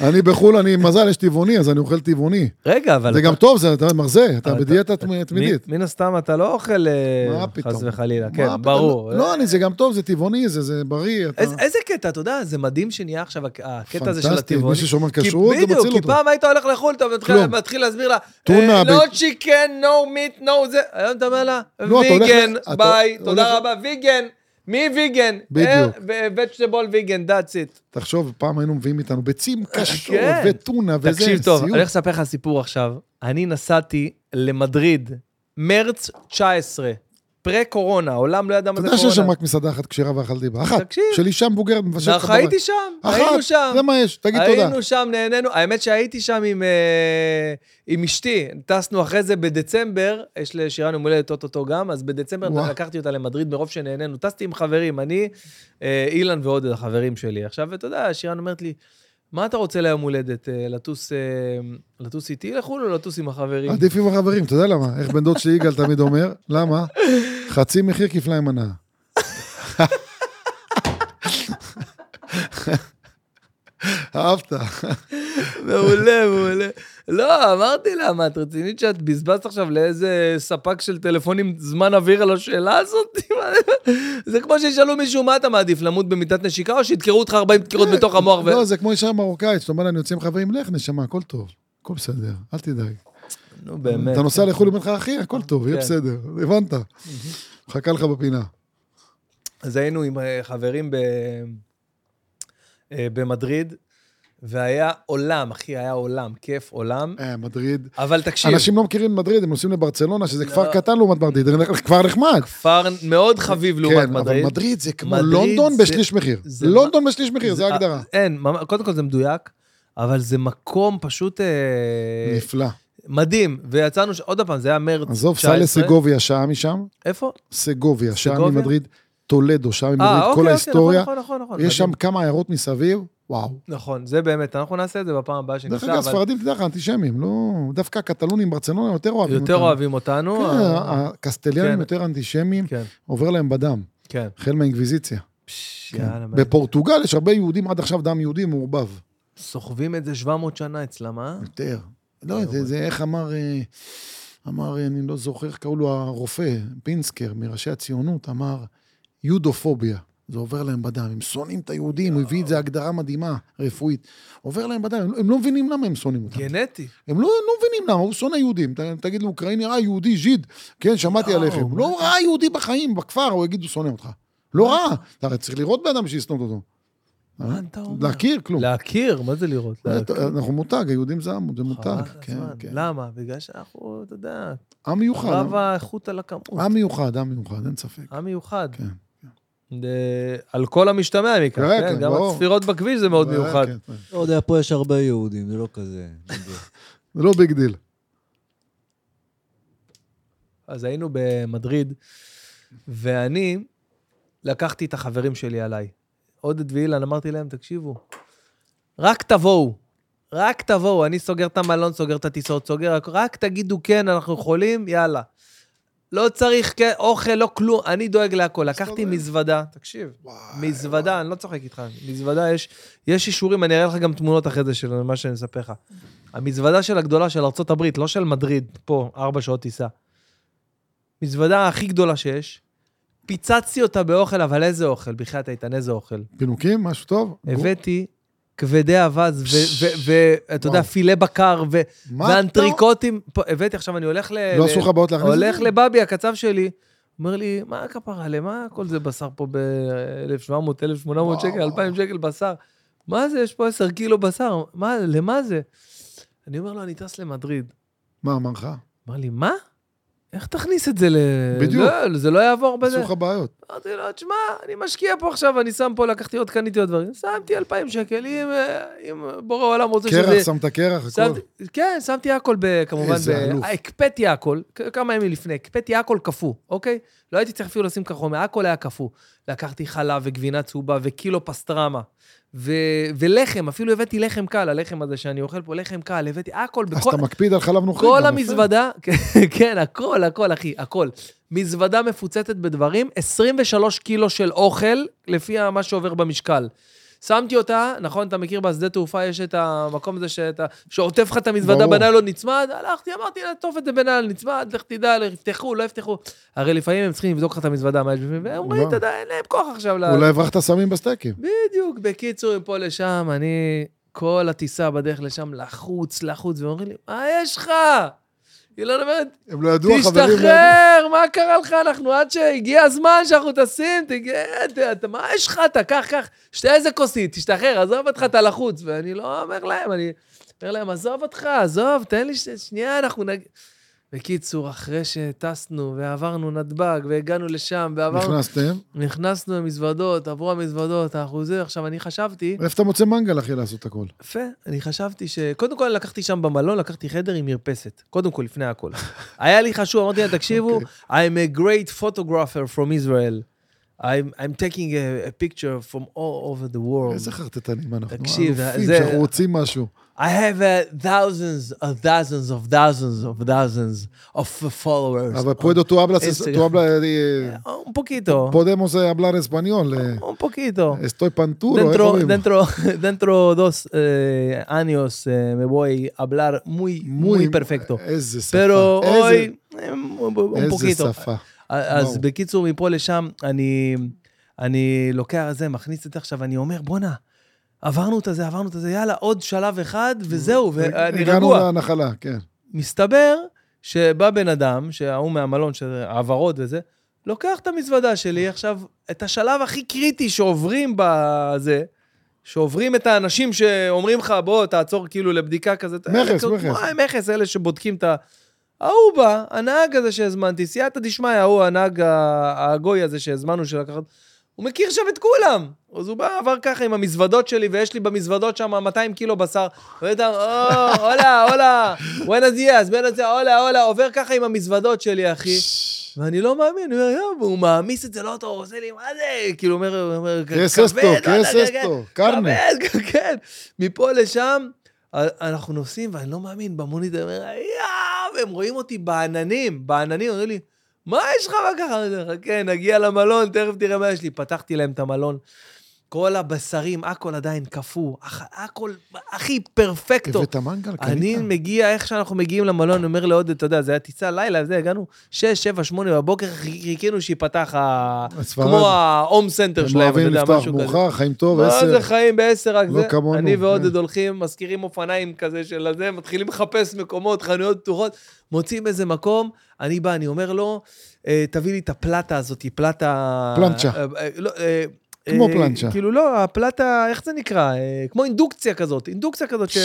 אני בחו"ל, אני, מזל, יש טבעוני, אז אני אוכל טבעוני. רגע, אבל... זה אתה- גם טוב, זה אתה מרזה, אתה אבל אתה- בדיאטה תמ- תמידית. מ- מן הסתם אתה לא אוכל, אה, מה פתאום? חס וחלילה. מה כן, פתאום? ברור. לא, אני, זה גם טוב, זה טבעוני, זה- זה בריא. אתה- איזה, איזה קטע, אתה יודע, זה מדהים שנהיה עכשיו הק- הקטע הזה של אה. פנטסטי, הטבעוני. מי ששומר כי- כשרות, זה מציל בדיוק, כי אותו. פעם היית הולך לחו"ל, אתה מתחיל, כלום. מתחיל להסביר לה, טונה, אה, לא ב- צ'יקן, נו מיט, נו זה, היום אתה אומר לה, לא, אתה הולך ויגן, ל- אתה ביי, הולך- תודה רבה, ויגן, מי אה, ויגן? בדיוק. וג'טבול ויגן, that's it. תחשוב, פעם היינו מביאים איתנו ביצים קשות, כן. וטונה, וזה, תקשיב טוב, אני סיוט. הולך לספר לך סיפור עכשיו. אני נסעתי למדריד, מרץ 19, פרה-קורונה, העולם לא ידע מה אתה זה יודע קורונה. שיש שם רק מסעדה אחת כשרה ואכלת דיבה. אחת, תקשיב. של אישה מבוגרת מבשלת לך אנחנו הייתי שם, היינו שם. אחת, זה מה יש, תגיד תודה. היינו שם, נהנינו. האמת שהייתי שם עם, אה, עם אשתי. טסנו אחרי זה בדצמבר, יש לשירן יום הולדת אוטוטו גם, אז בדצמבר וואו. לקחתי אותה למדריד מרוב שנהנינו. טסתי עם חברים, אני, אה, אילן ועוד החברים שלי. עכשיו, אתה יודע, שירן אומרת לי, מה אתה רוצה ליום הולדת? אה, לטוס, אה, לטוס איתי לחו"ל או לטוס עם החברים? עדיף עם החברים, אתה יודע למה? איך בן דוד שלי יגאל תמיד אומר, למה? חצי מחיר כפליים הנאה. אהבת. מעולה, מעולה. לא, אמרתי לה, מה, את רצינית שאת בזבזת עכשיו לאיזה ספק של טלפונים זמן אוויר על השאלה הזאת? מה- זה כמו שישאלו מישהו, מה אתה מעדיף, למות במיטת נשיקה, או שידקרו אותך 40 דקירות בתוך המוח? ו- לא, זה כמו אישה מרוקאית, שאתה אומר לה, אני יוצא עם חברים, לך נשמה, הכל טוב. הכל בסדר, אל תדאג. נו, באמת. אתה נוסע לחו"ל, אומר לך, אחי, הכל טוב, יהיה כן. בסדר, הבנת. מחכה לך בפינה. אז היינו עם אה, חברים ב... אה, במדריד, והיה עולם, אחי, היה עולם, כיף עולם. אה, מדריד. אבל תקשיב, אנשים לא מכירים מדריד, הם נוסעים לברצלונה, שזה לא. כפר קטן לעומת מדריד, זה כבר נחמד. כפר מאוד חביב לעומת כן, אבל מדריד. מדריד זה כמו מדריד לונדון זה- בשליש מחיר. זה- לונדון בשליש מחיר, זה ההגדרה. אין, ממ- קודם כל זה מדויק, אבל זה מקום פשוט אה, נפלא. מדהים. ויצאנו, ש- עוד פעם, זה היה מרץ 19. עזוב, סע לסגוביה, שעה משם. איפה? סגוביה, שעה סגוביה? ממדריד. טולדו, שעה אה, ממדריד, אוקיי, כל אוקיי, ההיסטוריה. נכון, נכון, נכון. יש מדהים. שם כמה עיירות מסביב, וואו. נכון, זה באמת, אנחנו נעשה את זה בפעם הבאה דרך שניסע, אגב, אבל הספרדים, תדע לך, אנטישמים, לא... דווקא הקטלונים, ברצלונה, יותר אוהבים יותר אותנו. אוהבים אותנו. כן, אה, הקסטליאנים כן. יותר אנטישמים, כן, עובר להם בדם, כן. החל מהאינקוויזיציה. פש, כן. יאללה, מה- בפורטוגל יש הרבה יהודים, עד עכשיו דם יהודי מעורבב. סוחבים את זה 700 שנה אצלם, אה? יותר. לא, זה- זה איך אמר, אה, אמר, אה, אני לא זוכר, קראו לו הרופא, פינסקר, מראשי הציונות, אמר, יודופוביה. זה עובר להם בדם. הם שונאים את היהודים, הוא הביא את זה הגדרה מדהימה, רפואית. עובר להם בדם, הם לא- הם לא מבינים למה הם שונאים אותם. גנטי. הם לא, לא מבינים למה, הוא שונא יהודים. ת, תגיד לאוקראיני, אה, יהודי, ז'יד, כן, שמעתי יואו, עליכם. הוא לא ראה יהודי בחיים, בכפר, הוא יגיד, הוא שונא אותך. לא ראה. אתה הרי צריך לראות בן אדם שישנא אותו. מה אתה אומר? אה? להכיר, כלום. להכיר, מה זה לראות? להכיר. אנחנו מותג, היהודים זה עם, זה מותג. לא, חבל על כן, הזמן. כן. למה? בגלל שאנחנו, אתה יודע, עם מיוחד, רב האיכות על הכמות. עם מיוחד, עם מיוחד, אין ספק. עם מיוחד. כן. זה- על כל המשתמע מכך, כן, כן? כן, גם ברור. הצפירות בכביש זה מאוד אה, מיוחד. כן, כן. לא יודע, פה יש הרבה יהודים, זה לא כזה. זה לא ביג דיל. אז היינו במדריד, ואני לקחתי את החברים שלי עליי. עודד ואילן, אמרתי להם, תקשיבו, רק תבואו, רק תבואו, אני סוגר את המלון, סוגר את הטיסות, סוגר, הכ- רק תגידו כן, אנחנו יכולים, יאללה. לא צריך כן, אוכל, לא כלום, אני דואג להכל. לקחתי מסתובב. מזוודה, תקשיב, וואי, מזוודה, אני לא צוחק איתך, מזוודה, יש, יש אישורים, אני אראה לך גם תמונות אחרי זה של מה שאני מספר לך. המזוודה של הגדולה של ארצות הברית, לא של מדריד, פה, ארבע שעות טיסה. מזוודה הכי גדולה שיש, פיצצתי אותה באוכל, אבל איזה אוכל? בחייאת איתן, איזה אוכל? פינוקים, משהו טוב? הבאתי כבדי אווז, ואתה יודע, וואו. פילה בקר, ו- מה אתה- ואנטריקוטים. פה, הבאתי, עכשיו אני הולך ל... לא ל- עשו לך בעיות להכניס את זה? הולך לבבי, הקצב שלי, אומר לי, מה הכפרה, למה כל זה בשר פה ב-1,700, 1,800 שקל, וואו. 2,000 שקל בשר? מה זה, יש פה 10 קילו בשר, מה, למה זה? אני אומר לו, אני טס למדריד. מה אמר לך? אמר לי, מה? איך תכניס את זה ל... בדיוק. לא, זה לא יעבור עשו בזה. לך בעיות. אמרתי לו, תשמע, אני משקיע פה עכשיו, אני שם פה, לקחתי עוד, קניתי עוד דברים. שמתי 2,000 שקל, אם, אה, אם בורא עולם רוצה שזה... קרח, שמת קרח, שמתי, הכל. כן, שמתי הכל, ב, כמובן, איזה ב- אלוף. הקפאתי הכל, כ- כמה ימים לפני, הקפאתי הכל קפוא, אוקיי? לא הייתי צריך אפילו לשים כחומר, הכל היה קפוא. לקחתי חלב וגבינה צהובה וקילו פסטרמה, ו, ולחם, אפילו הבאתי לחם קל, הלחם הזה שאני אוכל פה, לחם קל, הבאתי הכל, אז בכל, אתה מקפיד על חלב נוכרי. כל גם, המזוודה, כן, הכל, הכל, אחי, הכל. מזוודה מפוצצת בדברים, 23 קילו של אוכל, לפי מה שעובר במשקל. שמתי אותה, נכון, אתה מכיר, בשדה תעופה יש את המקום הזה שאתה, שעוטף לך את המזוודה ברור. בניילון נצמד, הלכתי, אמרתי, לעטוף את זה בניילון נצמד, לך תדע, יפתחו, לא יפתחו. הרי לפעמים הם צריכים לבדוק לך את המזוודה, מה יש בפנים, והם אומרים, אולי. אתה יודע, אין להם כוח עכשיו. ל- יפה. לא. אולי הברחת סמים בסטייקים. בדיוק, בקיצור, מפה לשם, אני כל הטיסה בדרך לשם לחוץ, לחוץ, ואומרים לי, מה יש לך? אילן אומרת, הם לא ידעו, החברים... תשתחרר, מה קרה לך? אנחנו עד שהגיע הזמן שאנחנו טסים, תגיע, אתה- אתה- מה יש לך? אתה קח, קח, שתה איזה כוסית, תשתחרר, עזוב אותך, אתה לחוץ. ואני לא אומר להם, אני אומר להם, עזוב אותך, עזוב, תן לי ש... שנייה, אנחנו נג... בקיצור, אחרי שטסנו ועברנו נתב"ג והגענו לשם ועברנו... נכנסתם, נכנסנו למזוודות, עברו המזוודות, אנחנו זה, עכשיו אני חשבתי, איפה אתה מוצא מנגל, אחי, לעשות הכל? יפה, אני חשבתי ש... קודם כל לקחתי שם במלון, לקחתי חדר עם מרפסת, קודם כל, לפני הכל. היה לי חשוב, אמרתי להם, תקשיבו, אוקיי. I'm a great photographer from Israel. I'm, I'm taking a, a picture from all over the world. איזה חרטטנים אנחנו, תקשיב, אלופים, זה- שאנחנו רוצים משהו. I have uh, thousands of thousands of thousands of thousands of followers. אבל פועדו tu hablas, Este- tu hablas, eh, Un poquito, podemos eh, hablar español, eh, un poquito. estoy panturo, איך Dentro, אומרים? dentro, dentro dos eh, años eh, me voy a hablar muy, muy, perfecto. איזה שפה. Pero איזה- hoy eh, un un איזה poquito. שפה. אז וואו. בקיצור, מפה לשם, אני, אני לוקח זה, מכניס את זה עכשיו, אני אומר, בואנה, עברנו את הזה, עברנו את הזה, יאללה, עוד שלב אחד, Mm, וזהו, ואני הגענו רגוע. לנחלה, כן. מסתבר שבא בן אדם, שההוא מהמלון, שזה העברות וזה, לוקח את המזוודה שלי, עכשיו, את השלב הכי קריטי שעוברים בזה, שעוברים את האנשים שאומרים לך, בוא, תעצור כאילו לבדיקה כזה. אתה- מכס, אלה, מכס. מה, מכס, אלה שבודקים את ה... ההוא בא, הנהג הזה שהזמנתי, סייעתא דשמיא, ההוא, הנהג ה- הגוי הזה שהזמנו שלקחת, הוא מכיר שם את כולם. אז הוא בא, עבר ככה עם המזוודות שלי, ויש לי במזוודות שם 200 קילו בשר. ואתה, או, הולה, הולה, בואנה דיאז, בואנה דיאז, הולה, הולה, עובר ככה עם המזוודות שלי, אחי. ואני לא מאמין, אני אומר, יואו, והוא מעמיס את זה לאוטו, הוא עושה לי, מה זה? כאילו, אומר, הוא אומר, קרס אסטו, "כבד, קרס הולה, כן, אסטו, כן, קרנה. כבד, כן. מפה לשם, אנחנו נוסעים, ואני לא מאמין, במונית, אני אומר, יואו, הם רואים אותי בעננים, בעננים, אומרים לי, "כן, מה יש לך מה ככה? אני אומר, חכה, נגיע למלון, תכף תראה מה יש לי. פתחתי להם את המלון. כל הבשרים, הכל עדיין קפוא, הכ- הכל הכי פרפקטו. הבאת מנגל? אני קנית? מגיע, איך שאנחנו מגיעים למלון, אני אומר לעודד, אתה יודע, זה היה טיסה לילה, זה, הגענו 6, 7, 8 בבוקר, חיכינו שיפתח ה... הספרד. כמו ההום סנטר הם שלהם, אתה אוהבים יודע, לפתוח משהו כזה. מאוחר, חיים טוב, מה עשר. זה חיים בעשר רק לא זה? כמונו, אני ועודד כן. הולכים, משכירים אופניים כזה של הזה, מתחילים לחפש מקומות, חנויות פתוחות, מוצאים איזה מקום, אני בא, אני אומר לו, "אה, תביא לי את הפלטה הזאת, היא פלטה... פלנצ'ה. אה, אה, לא, אה, כמו אה, פלנצ'ה. כאילו לא, הפלטה, איך זה נקרא? אה, כמו אינדוקציה כזאת, אינדוקציה כזאת ש...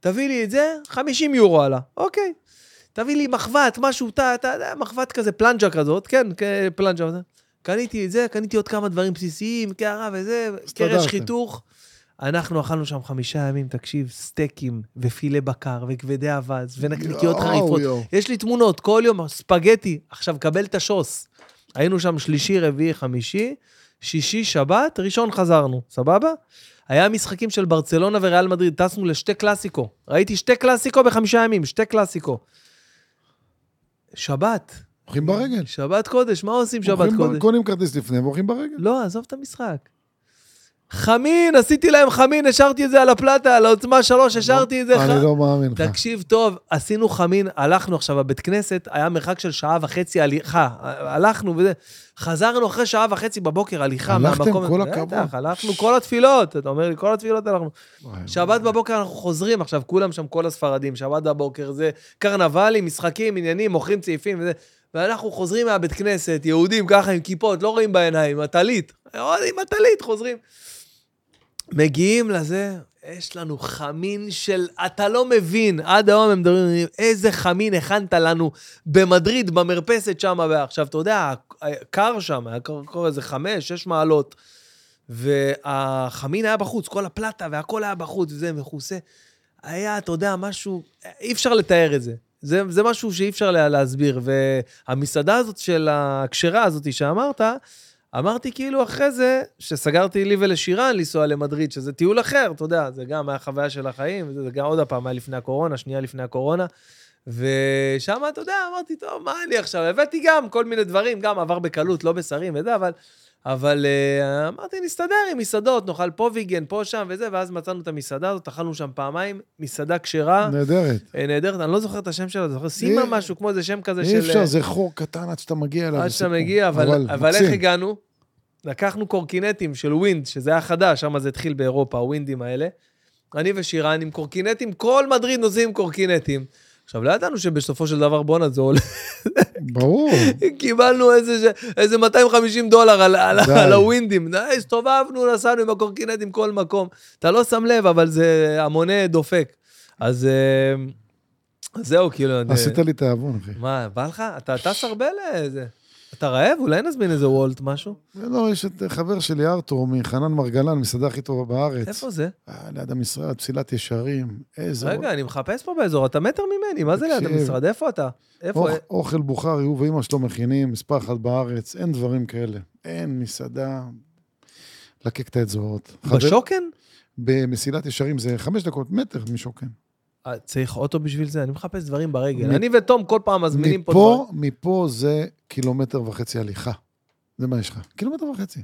תביא לי את זה, 50 יורו עלה, אוקיי. תביא לי מחבת, משהו, אתה אתה יודע, מחבת כזה, פלנג'ה כזאת, כן, כ- פלנג'ה. וזה. קניתי את זה, קניתי עוד כמה דברים בסיסיים, קערה וזה, הסתדרתם. קרש חיתוך. אנחנו אכלנו שם חמישה ימים, תקשיב, סטייקים ופילה בקר וכבדי אבץ ונקניקיות יואו, חריפות. יואו. יש לי תמונות, כל יום, ספגטי. עכשיו, קבל את השוס. היינו שם שלישי, רביעי, חמישי, שישי, שבת, ראשון חזרנו, סבבה? היה משחקים של ברצלונה וריאל מדריד, טסנו לשתי קלאסיקו. ראיתי שתי קלאסיקו בחמישה ימים, שתי קלאסיקו. שבת, הולכים ברגל. שבת קודש, מה עושים שבת הולכים כן. ב- קודש? קונים כרטיס לפני והולכים ברגל. לא, עזוב את המשחק. חמין, עשיתי להם חמין, השארתי את זה על הפלטה, על העוצמה שלוש, השארתי את זה. אני ח- לא מאמין לך. תקשיב טוב, עשינו חמין, הלכנו עכשיו, הבית כנסת, היה מרחק של שעה וחצי הליכה, הלכנו וזה, חזרנו אחרי שעה וחצי בבוקר הליכה הלכתם מהמקום. כל בטח, הכבוד. הלכנו כל התפילות, אתה אומר לי, כל התפילות הלכנו. וואי, שבת בבוקר אנחנו חוזרים עכשיו, כולם שם, כל הספרדים, שבת בבוקר זה קרנבלים, משחקים, עניינים, מוכרים צעיפים וזה. ואנחנו חוזרים מהבית כנסת, יהודים ככה עם כיפות, לא רואים בעיניים, הטלית. עוד עם הטלית חוזרים. מגיעים לזה, יש לנו חמין של, אתה לא מבין, עד היום הם מדברים, איזה חמין הכנת לנו במדריד, במרפסת שם, ועכשיו, אתה יודע, קר שם, היה קר קר איזה חמש, שש מעלות. והחמין היה בחוץ, כל הפלטה והכל היה בחוץ, וזה מכוסה. היה, אתה יודע, משהו, אי אפשר לתאר את זה. זה, זה משהו שאי אפשר לה, להסביר. והמסעדה הזאת של הכשרה הזאת שאמרת, אמרתי כאילו אחרי זה, שסגרתי לי ולשירן לנסוע למדריד, שזה טיול אחר, אתה יודע, זה גם היה חוויה של החיים, וזה- זה גם עוד הפעם היה לפני הקורונה, שנייה לפני הקורונה. ושם, אתה יודע, אמרתי, טוב, מה אני עכשיו? הבאתי גם כל מיני דברים, גם עבר בקלות, לא בשרים וזה, אבל... אבל אה, אמרתי, נסתדר עם מסעדות, נאכל פה ויגן, פה שם וזה, ואז מצאנו את המסעדה הזאת, אכלנו שם פעמיים, מסעדה כשרה, נהדרת. אה, נהדרת, אני לא זוכר את השם שלה, זוכר סימה אי- משהו, כמו איזה שם כזה של... אי אפשר, אה, זה לא חור קטן עד שאתה מגיע אליו. עד זה שאתה סיפור. מגיע, אבל, אבל מקסים. איך הגענו? לקחנו קורקינטים של ווינד, שזה היה חדש, שם זה התחיל באירופה, הווינדים האלה. אני ושירן עם קורקינטים, כל מדריד נוסעים עם קורקינטים. עכשיו, לא ידענו שבסופו של דבר, בואנה, זה עולה. ברור. קיבלנו איזה, ש- איזה 250 דולר על, על, די. על הווינדים. די, הסתובבנו, נסענו עם הקורקינטים כל מקום. אתה לא שם לב, אבל זה המונה דופק. אז אה, אז זהו, כאילו... אני- עשית לי תיאבון, אחי. מה, בא לך? אתה טס הרבה לאיזה... אתה רעב? אולי נזמין איזה וולט, משהו? לא, יש את חבר שלי, ארתור, מחנן מרגלן, מסעדה הכי טובה בארץ. איפה זה? אה, ליד המשרד, פסילת ישרים. איזה... רגע, אני מחפש פה באזור, אתה מטר ממני, מה זה ליד תקשיב. המשרד? איפה אתה? איפה? אוכ- אוכל בוכרי, הוא ואימא שלו מכינים, מספר אחת בארץ, אין דברים כאלה. אין מסעדה. לקק את האצבעות. חבר- בשוקן? במסילת ישרים זה חמש דקות, מטר משוקן. אה, צריך אוטו בשביל זה, אני מחפש דברים ברגל. מ- אני ותום כל פעם מזמינים פה... מפה, דברים. מפה זה קילומטר וחצי הליכה. זה מה יש לך. קילומטר וחצי.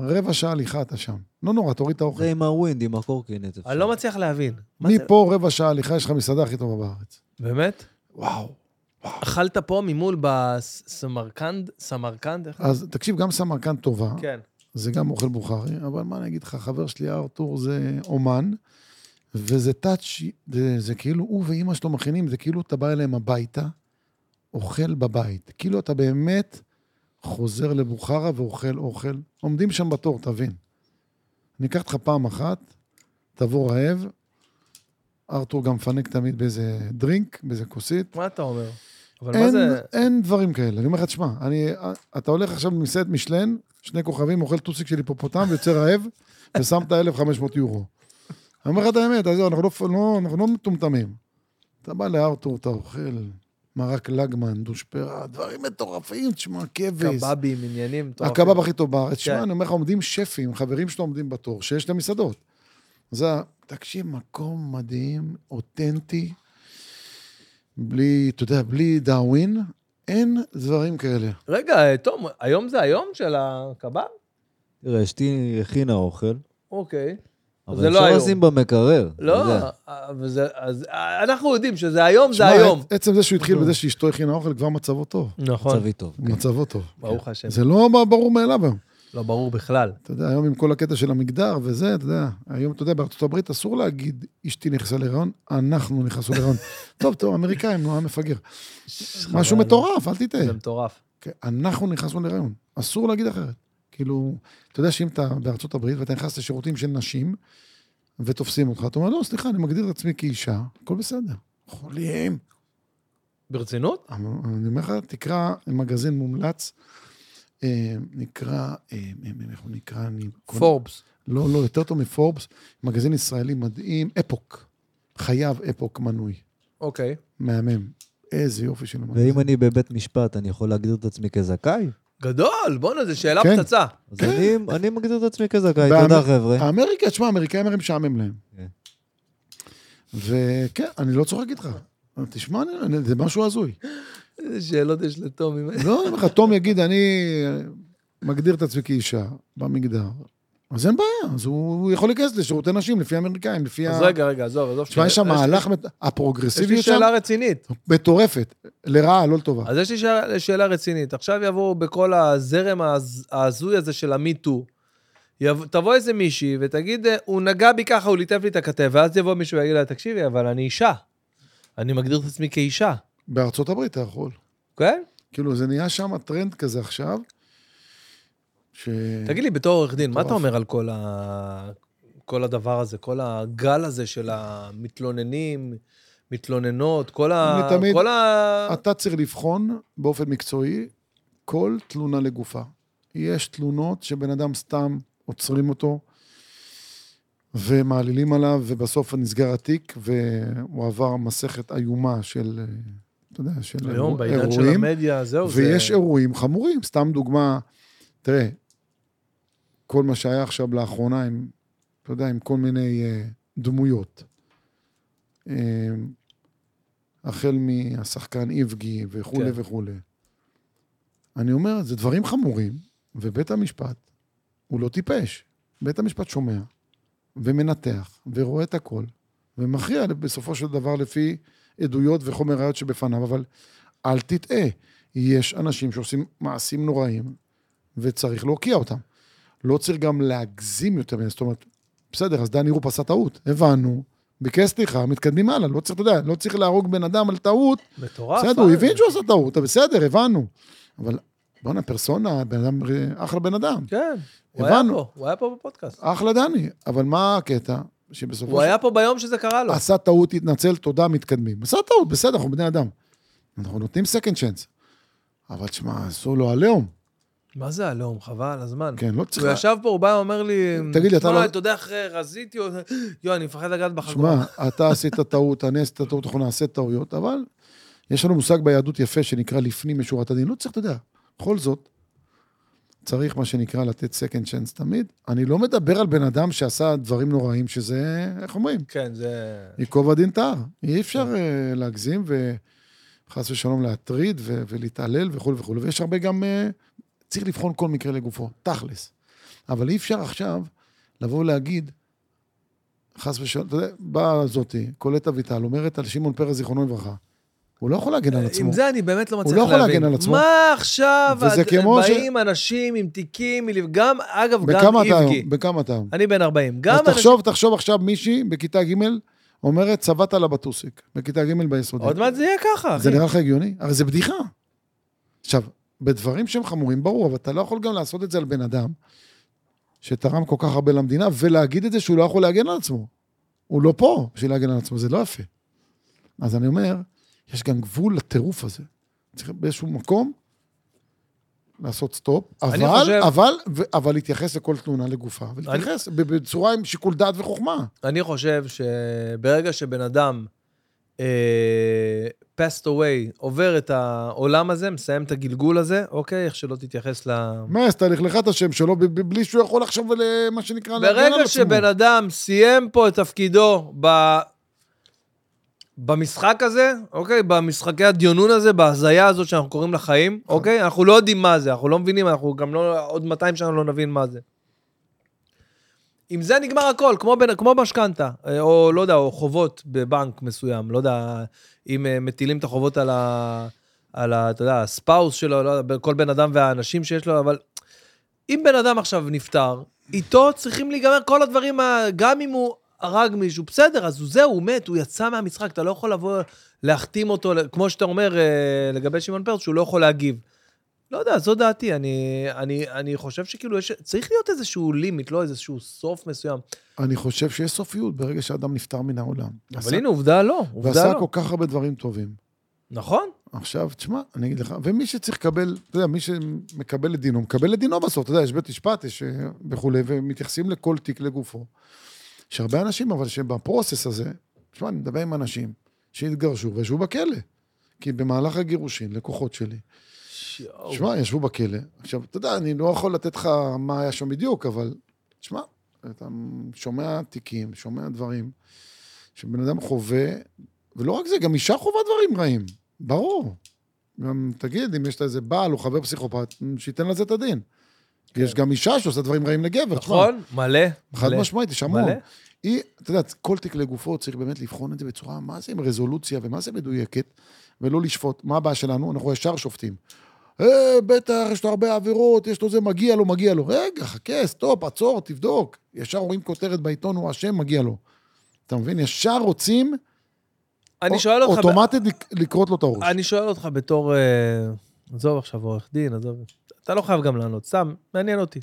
רבע שעה הליכה אתה שם. לא נורא, תוריד את האוכל. זה עם הווינד, עם הקורקינט. אפשר. אני לא מצליח להבין. מה זה? מפה רבע שעה הליכה, יש לך מסעדה הכי טובה בארץ. באמת? וואו. אכלת פה ממול בסמרקנד? סמרקנד? איך? אז תקשיב, גם סמרקן טובה, כן. זה גם אוכל בוכרי, אבל מה אני אגיד לך, חבר שלי ארתור זה אומן, וזה טאץ', זה, זה כאילו, הוא ואימא שלו מכינים, זה כאילו אתה בא אליהם הביתה, אוכל בבית. כאילו אתה באמת חוזר לבוכרה ואוכל אוכל. עומדים שם בתור, תבין. אני אקח אותך פעם אחת, תבוא רעב, ארתור גם מפנק תמיד באיזה דרינק, באיזה כוסית. מה אתה אומר? אבל מה אין, זה... אין דברים כאלה. אני אומר לך, תשמע, אני, אתה הולך עכשיו במסעדת משלן, שני כוכבים, אוכל טוסיק של היפופוטם ויוצא רעב, ושם את ה-1,500 יורו. אני אומר לך את האמת, אז אנחנו לא, לא, אנחנו לא מטומטמים. אתה בא לארתור, אתה אוכל מרק לגמן, דושפרה, דברים מטורפים, תשמע, כבש. קבבים, עניינים. מטורפים. הקבב הכי טוב בארץ. כן. תשמע, אני אומר לך, עומדים שפים, חברים שלו עומדים בתור, שיש להם מסעדות. זה, ה- תקשיב, מקום מדהים, אותנטי, בלי, אתה יודע, בלי דאווין, אין דברים כאלה. אה, רגע, תום, היום זה היום של הקבב? תראה, אשתי הכינה אוכל, אוקיי. אבל זה לא אפשר היום. לשים במקרר. אתה לא, יודע. אבל זה- אז אה, אנחנו יודעים שזה היום, זה שמע, היום. עצ- עצם זה שהוא התחיל בזה שאשתו הכינה אוכל, כבר מצבו טוב. נכון. מצבי טוב. מצבו טוב. ברוך השם. זה לא ברור מאליו היום. לא ברור בכלל. אתה יודע, היום עם כל הקטע של המגדר וזה, אתה יודע, היום, אתה יודע, בארצות הברית אסור להגיד, אשתי נכנסה להיריון, אנחנו נכנסנו להיריון. טוב, טוב, אמריקאים, נו, עם מפגר. משהו חבל. מטורף, אל תטעה. זה מטורף. כן, אנחנו נכנסנו להיריון, אסור להגיד אחרת. כאילו, אתה יודע שאם אתה בארצות הברית ואתה נכנס לשירותים של נשים ותופסים אותך, אתה אומר, לא, סליחה, אני מגדיר את עצמי כאישה, הכל בסדר. חולים. ברצינות? אני אומר לך, תקרא מגזין מומלץ, אה, נקרא, אה, אה, איך הוא נקרא? אני... פורבס. לא, לא, יותר טוב מפורבס, מגזין ישראלי מדהים, אפוק. חייב אפוק מנוי, אוקיי. מהמם. איזה יופי של המגזין. ואם אני בבית משפט, אני יכול להגדיר את עצמי כזכאי? גדול, בואנה, זו שאלה כן. פצצה. אז אני- אני מגדיר את עצמי כזכאי, באמ- תודה חבר'ה. האמריקה, תשמע, האמריקאים הרי משעמם להם. כן. וכן, אני לא צוחק איתך. תשמע, אני- אני- זה משהו הזוי. איזה שאלות יש לטומי. לא, אני אומר לך, תום יגיד, אני מגדיר את עצמי כאישה במגדר, אז אין בעיה, אז הוא הוא יכול להיכנס לשירותי נשים לפי האמריקאים, לפי ה... אז רגע, רגע, עזוב, עזוב. תשמע, יש שם יש- מהלך, מת- יש לי הפרוגרסיביות שם שאלה רצינית. מטורפת, לרעה, לא לטובה. אז יש לי שאלה- שאלה רצינית. עכשיו יבואו בכל הזרם ההז- ההזוי הזה של המיטו. יב... תבוא איזה מישהי ותגיד, "אה, הוא נגע בי ככה, הוא ליטף לי את הכתף, ואז יבוא מישהו ויגיד לה, תקשיבי, אבל אני אישה. אני מגדיר את עצמי כאישה, בארצות הברית אתה יכול. אוקיי? כאילו, זה נהיה שם טרנד כזה עכשיו, ש... תגיד לי, בתור עורך דין, מה אתה מטורף. אומר על כל, ה... כל הדבר הזה, כל הגל הזה של המתלוננים, מתלוננות, כל ה... אני תמיד- כל ה... אתה צריך לבחון באופן מקצועי כל תלונה לגופה. יש תלונות שבן אדם סתם עוצרים אותו ומעלילים עליו, ובסוף נסגר התיק, והוא עבר מסכת איומה של, אה, אתה יודע, של היום, אירוע- בעידן של המדיה, זהו, ויש זה... אירועים חמורים. סתם דוגמה, תראה, כל מה שהיה עכשיו לאחרונה עם, אתה יודע, עם כל מיני אה, דמויות. אה, החל מהשחקן איבגי וכולי כן. כן. וכולי. אני אומר, זה דברים חמורים, ובית המשפט, הוא לא טיפש. בית המשפט שומע, ומנתח, ורואה את הכל, ומכריע בסופו של דבר לפי עדויות וחומר ראיות שבפניו, אבל אל תטעה, יש אנשים שעושים מעשים נוראים, וצריך להוקיע אותם. לא צריך גם להגזים יותר מזה, זאת אומרת, בסדר, אז דני רופ עשה טעות, הבנו, ביקש סליחה, מתקדמים הלאה, לא צריך, אתה יודע, לא צריך להרוג בן אדם על טעות, מטורף. בסדר, הוא אה? הבין שהוא עשה טעות, אתה בסדר, הבנו. אבל בואנה, פרסונה, בן אדם, אחלה בן אדם, כן, הוא היה הבנו. פה, הוא היה פה בפודקאסט. אחלה דני, אבל מה הקטע? שבסופו הוא היה פה ביום שזה קרה לו. עשה טעות, התנצל, תודה, מתקדמים. עשה טעות, בסדר, אנחנו בני אדם. אנחנו נותנים second chance. אבל תשמע, עשו לו עליהום. מה זה הלאום? חבל, הזמן. כן, לא הוא צריך... ישב פה, הוא בא ואומר לי, תגיד לי, אתה "שמע, לא- אתה יודע, אחרי רזיתי, או- יואו, אני מפחד לגעת בחגורה. שמע, אתה עשית טעות, אני עשיתי טעות, אנחנו נעשה טעויות, אבל יש לנו מושג ביהדות יפה שנקרא לפנים משורת הדין. לא צריך, אתה יודע, בכל זאת, צריך מה שנקרא לתת second chance תמיד. אני לא מדבר על בן אדם שעשה דברים נוראים, שזה, איך אומרים? כן, זה... ייקוב הדין את ההר. אי אפשר אה, להגזים וחס ושלום להטריד ו- ולהתעלל וכולי וכולי. ויש הרבה גם... אה, צריך לבחון כל מקרה לגופו, תכלס. אבל אי אפשר עכשיו לבוא ולהגיד, חס ושלום, אתה יודע, באה זאתי, קולט אביטל, אומרת על שמעון פרס, זיכרונו לברכה. הוא לא יכול להגן על עצמו. אה, עם זה אני באמת לא מצליח לא להבין. יכול להגן על עצמו. מה עכשיו, וזה את- כמו ש- באים אנשים עם תיקים, מלב- גם, אגב, גם בכמה אתה איבגי. היום? בכמה אתה היום? אני בן 40. גם אז אנשים... תחשוב, תחשוב עכשיו מישהי בכיתה ג' אומרת, צבעת לה בטוסיק, בכיתה ג' ביסודי. עוד מעט זה יהיה ככה, אחי. זה נראה לך הגיוני? הרי זה בדיחה. עכשיו, בדברים שהם חמורים, ברור, אבל אתה לא יכול גם לעשות את זה על בן אדם שתרם כל כך הרבה למדינה, ולהגיד את זה שהוא לא יכול להגן על עצמו. הוא לא פה בשביל להגן על עצמו, זה לא יפה. אז אני אומר, יש גם גבול לטירוף הזה. צריך באיזשהו מקום לעשות סטופ, אני אבל, חושב- אבל, ו- אבל להתייחס לכל תלונה לגופה, ולהתייחס ב- בצורה עם שיקול דעת וחוכמה. אני חושב שברגע שבן אדם אה, passed away, עובר את העולם הזה, מסיים את הגלגול הזה, אוקיי, איך שלא תתייחס ל... מה, אז תהליך לך את השם שלו ב- ב- בלי שהוא יכול עכשיו, ל- מה שנקרא, להגן על עצמו. ברגע שבן אדם סיים פה את תפקידו ב... במשחק הזה, אוקיי? במשחקי הדיונון הזה, בהזיה הזאת שאנחנו קוראים לחיים, אוקיי? אנחנו לא יודעים מה זה, אנחנו לא מבינים, אנחנו גם לא, עוד 200 שנה לא נבין מה זה. עם זה נגמר הכל, כמו, בנ- כמו משכנתה, אה, או לא יודע, או חובות בבנק מסוים, לא יודע, אם אה, מטילים את החובות על ה... על ה... אתה יודע, הספאוס שלו, לא יודע, כל בן אדם והאנשים שיש לו, אבל אם בן אדם עכשיו נפטר, איתו צריכים להיגמר כל הדברים, ה- גם אם הוא הרג מישהו, בסדר, אז הוא זהו, הוא מת, הוא יצא מהמשחק, אתה לא יכול לבוא להחתים אותו, כמו שאתה אומר אה, לגבי שמעון פרס, שהוא לא יכול להגיב. לא יודע, זו דעתי. אני, אני, אני חושב שכאילו יש, צריך להיות איזשהו לימיט, לא איזשהו סוף מסוים. אני חושב שיש סופיות ברגע שאדם נפטר מן העולם. אבל הנה, עובדה לא, עובדה ועשה לא. כל כך הרבה דברים טובים. נכון? עכשיו, תשמע, אני אגיד לך, ומי שצריך לקבל, אתה יודע, מי שמקבל את דינו, מקבל את דינו בסוף, אתה יודע, יש בית משפט, יש אה, וכולי, ומתייחסים לכל תיק לגופו. יש הרבה אנשים, אבל שבפרוסס הזה, תשמע, אני מדבר עם אנשים שהתגרשו וישבו בכלא. כי במהלך הגירושין, לקוחות שלי, שיואו. תשמע, ישבו בכלא. עכשיו, אתה יודע, אני לא יכול לתת לך מה היה שם בדיוק, אבל תשמע, אתה שומע תיקים, שומע דברים, שבן אדם חווה, ולא רק זה, גם אישה חווה דברים רעים, ברור. גם תגיד, אם יש לה איזה בעל או חבר פסיכופת, שייתן לזה את הדין. כן. יש גם אישה שעושה דברים רעים לגבר, תשמע, נכון? מלא. חד מלא. משמעית, יש המון. מלא. היא, אתה יודע, כל תיק לגופו צריך באמת לבחון את זה בצורה, מה זה עם רזולוציה ומה זה מדויקת, ולא לשפוט. מה הבעיה שלנו? אנחנו ישר שופטים. אה, בטח, יש לו הרבה עבירות, יש לו זה, מגיע לו, מגיע לו. רגע, חכה, סטופ, עצור, תבדוק. ישר רואים כותרת בעיתון, הוא אשם, מגיע לו. אתה מבין? ישר רוצים אני או- שואל אותך... אוטומטית לק- לכרות לו את הראש. אני שואל אותך בתור... אה, עזוב עכשיו עורך דין, עזוב. אתה לא חייב גם לענות, סתם, מעניין אותי.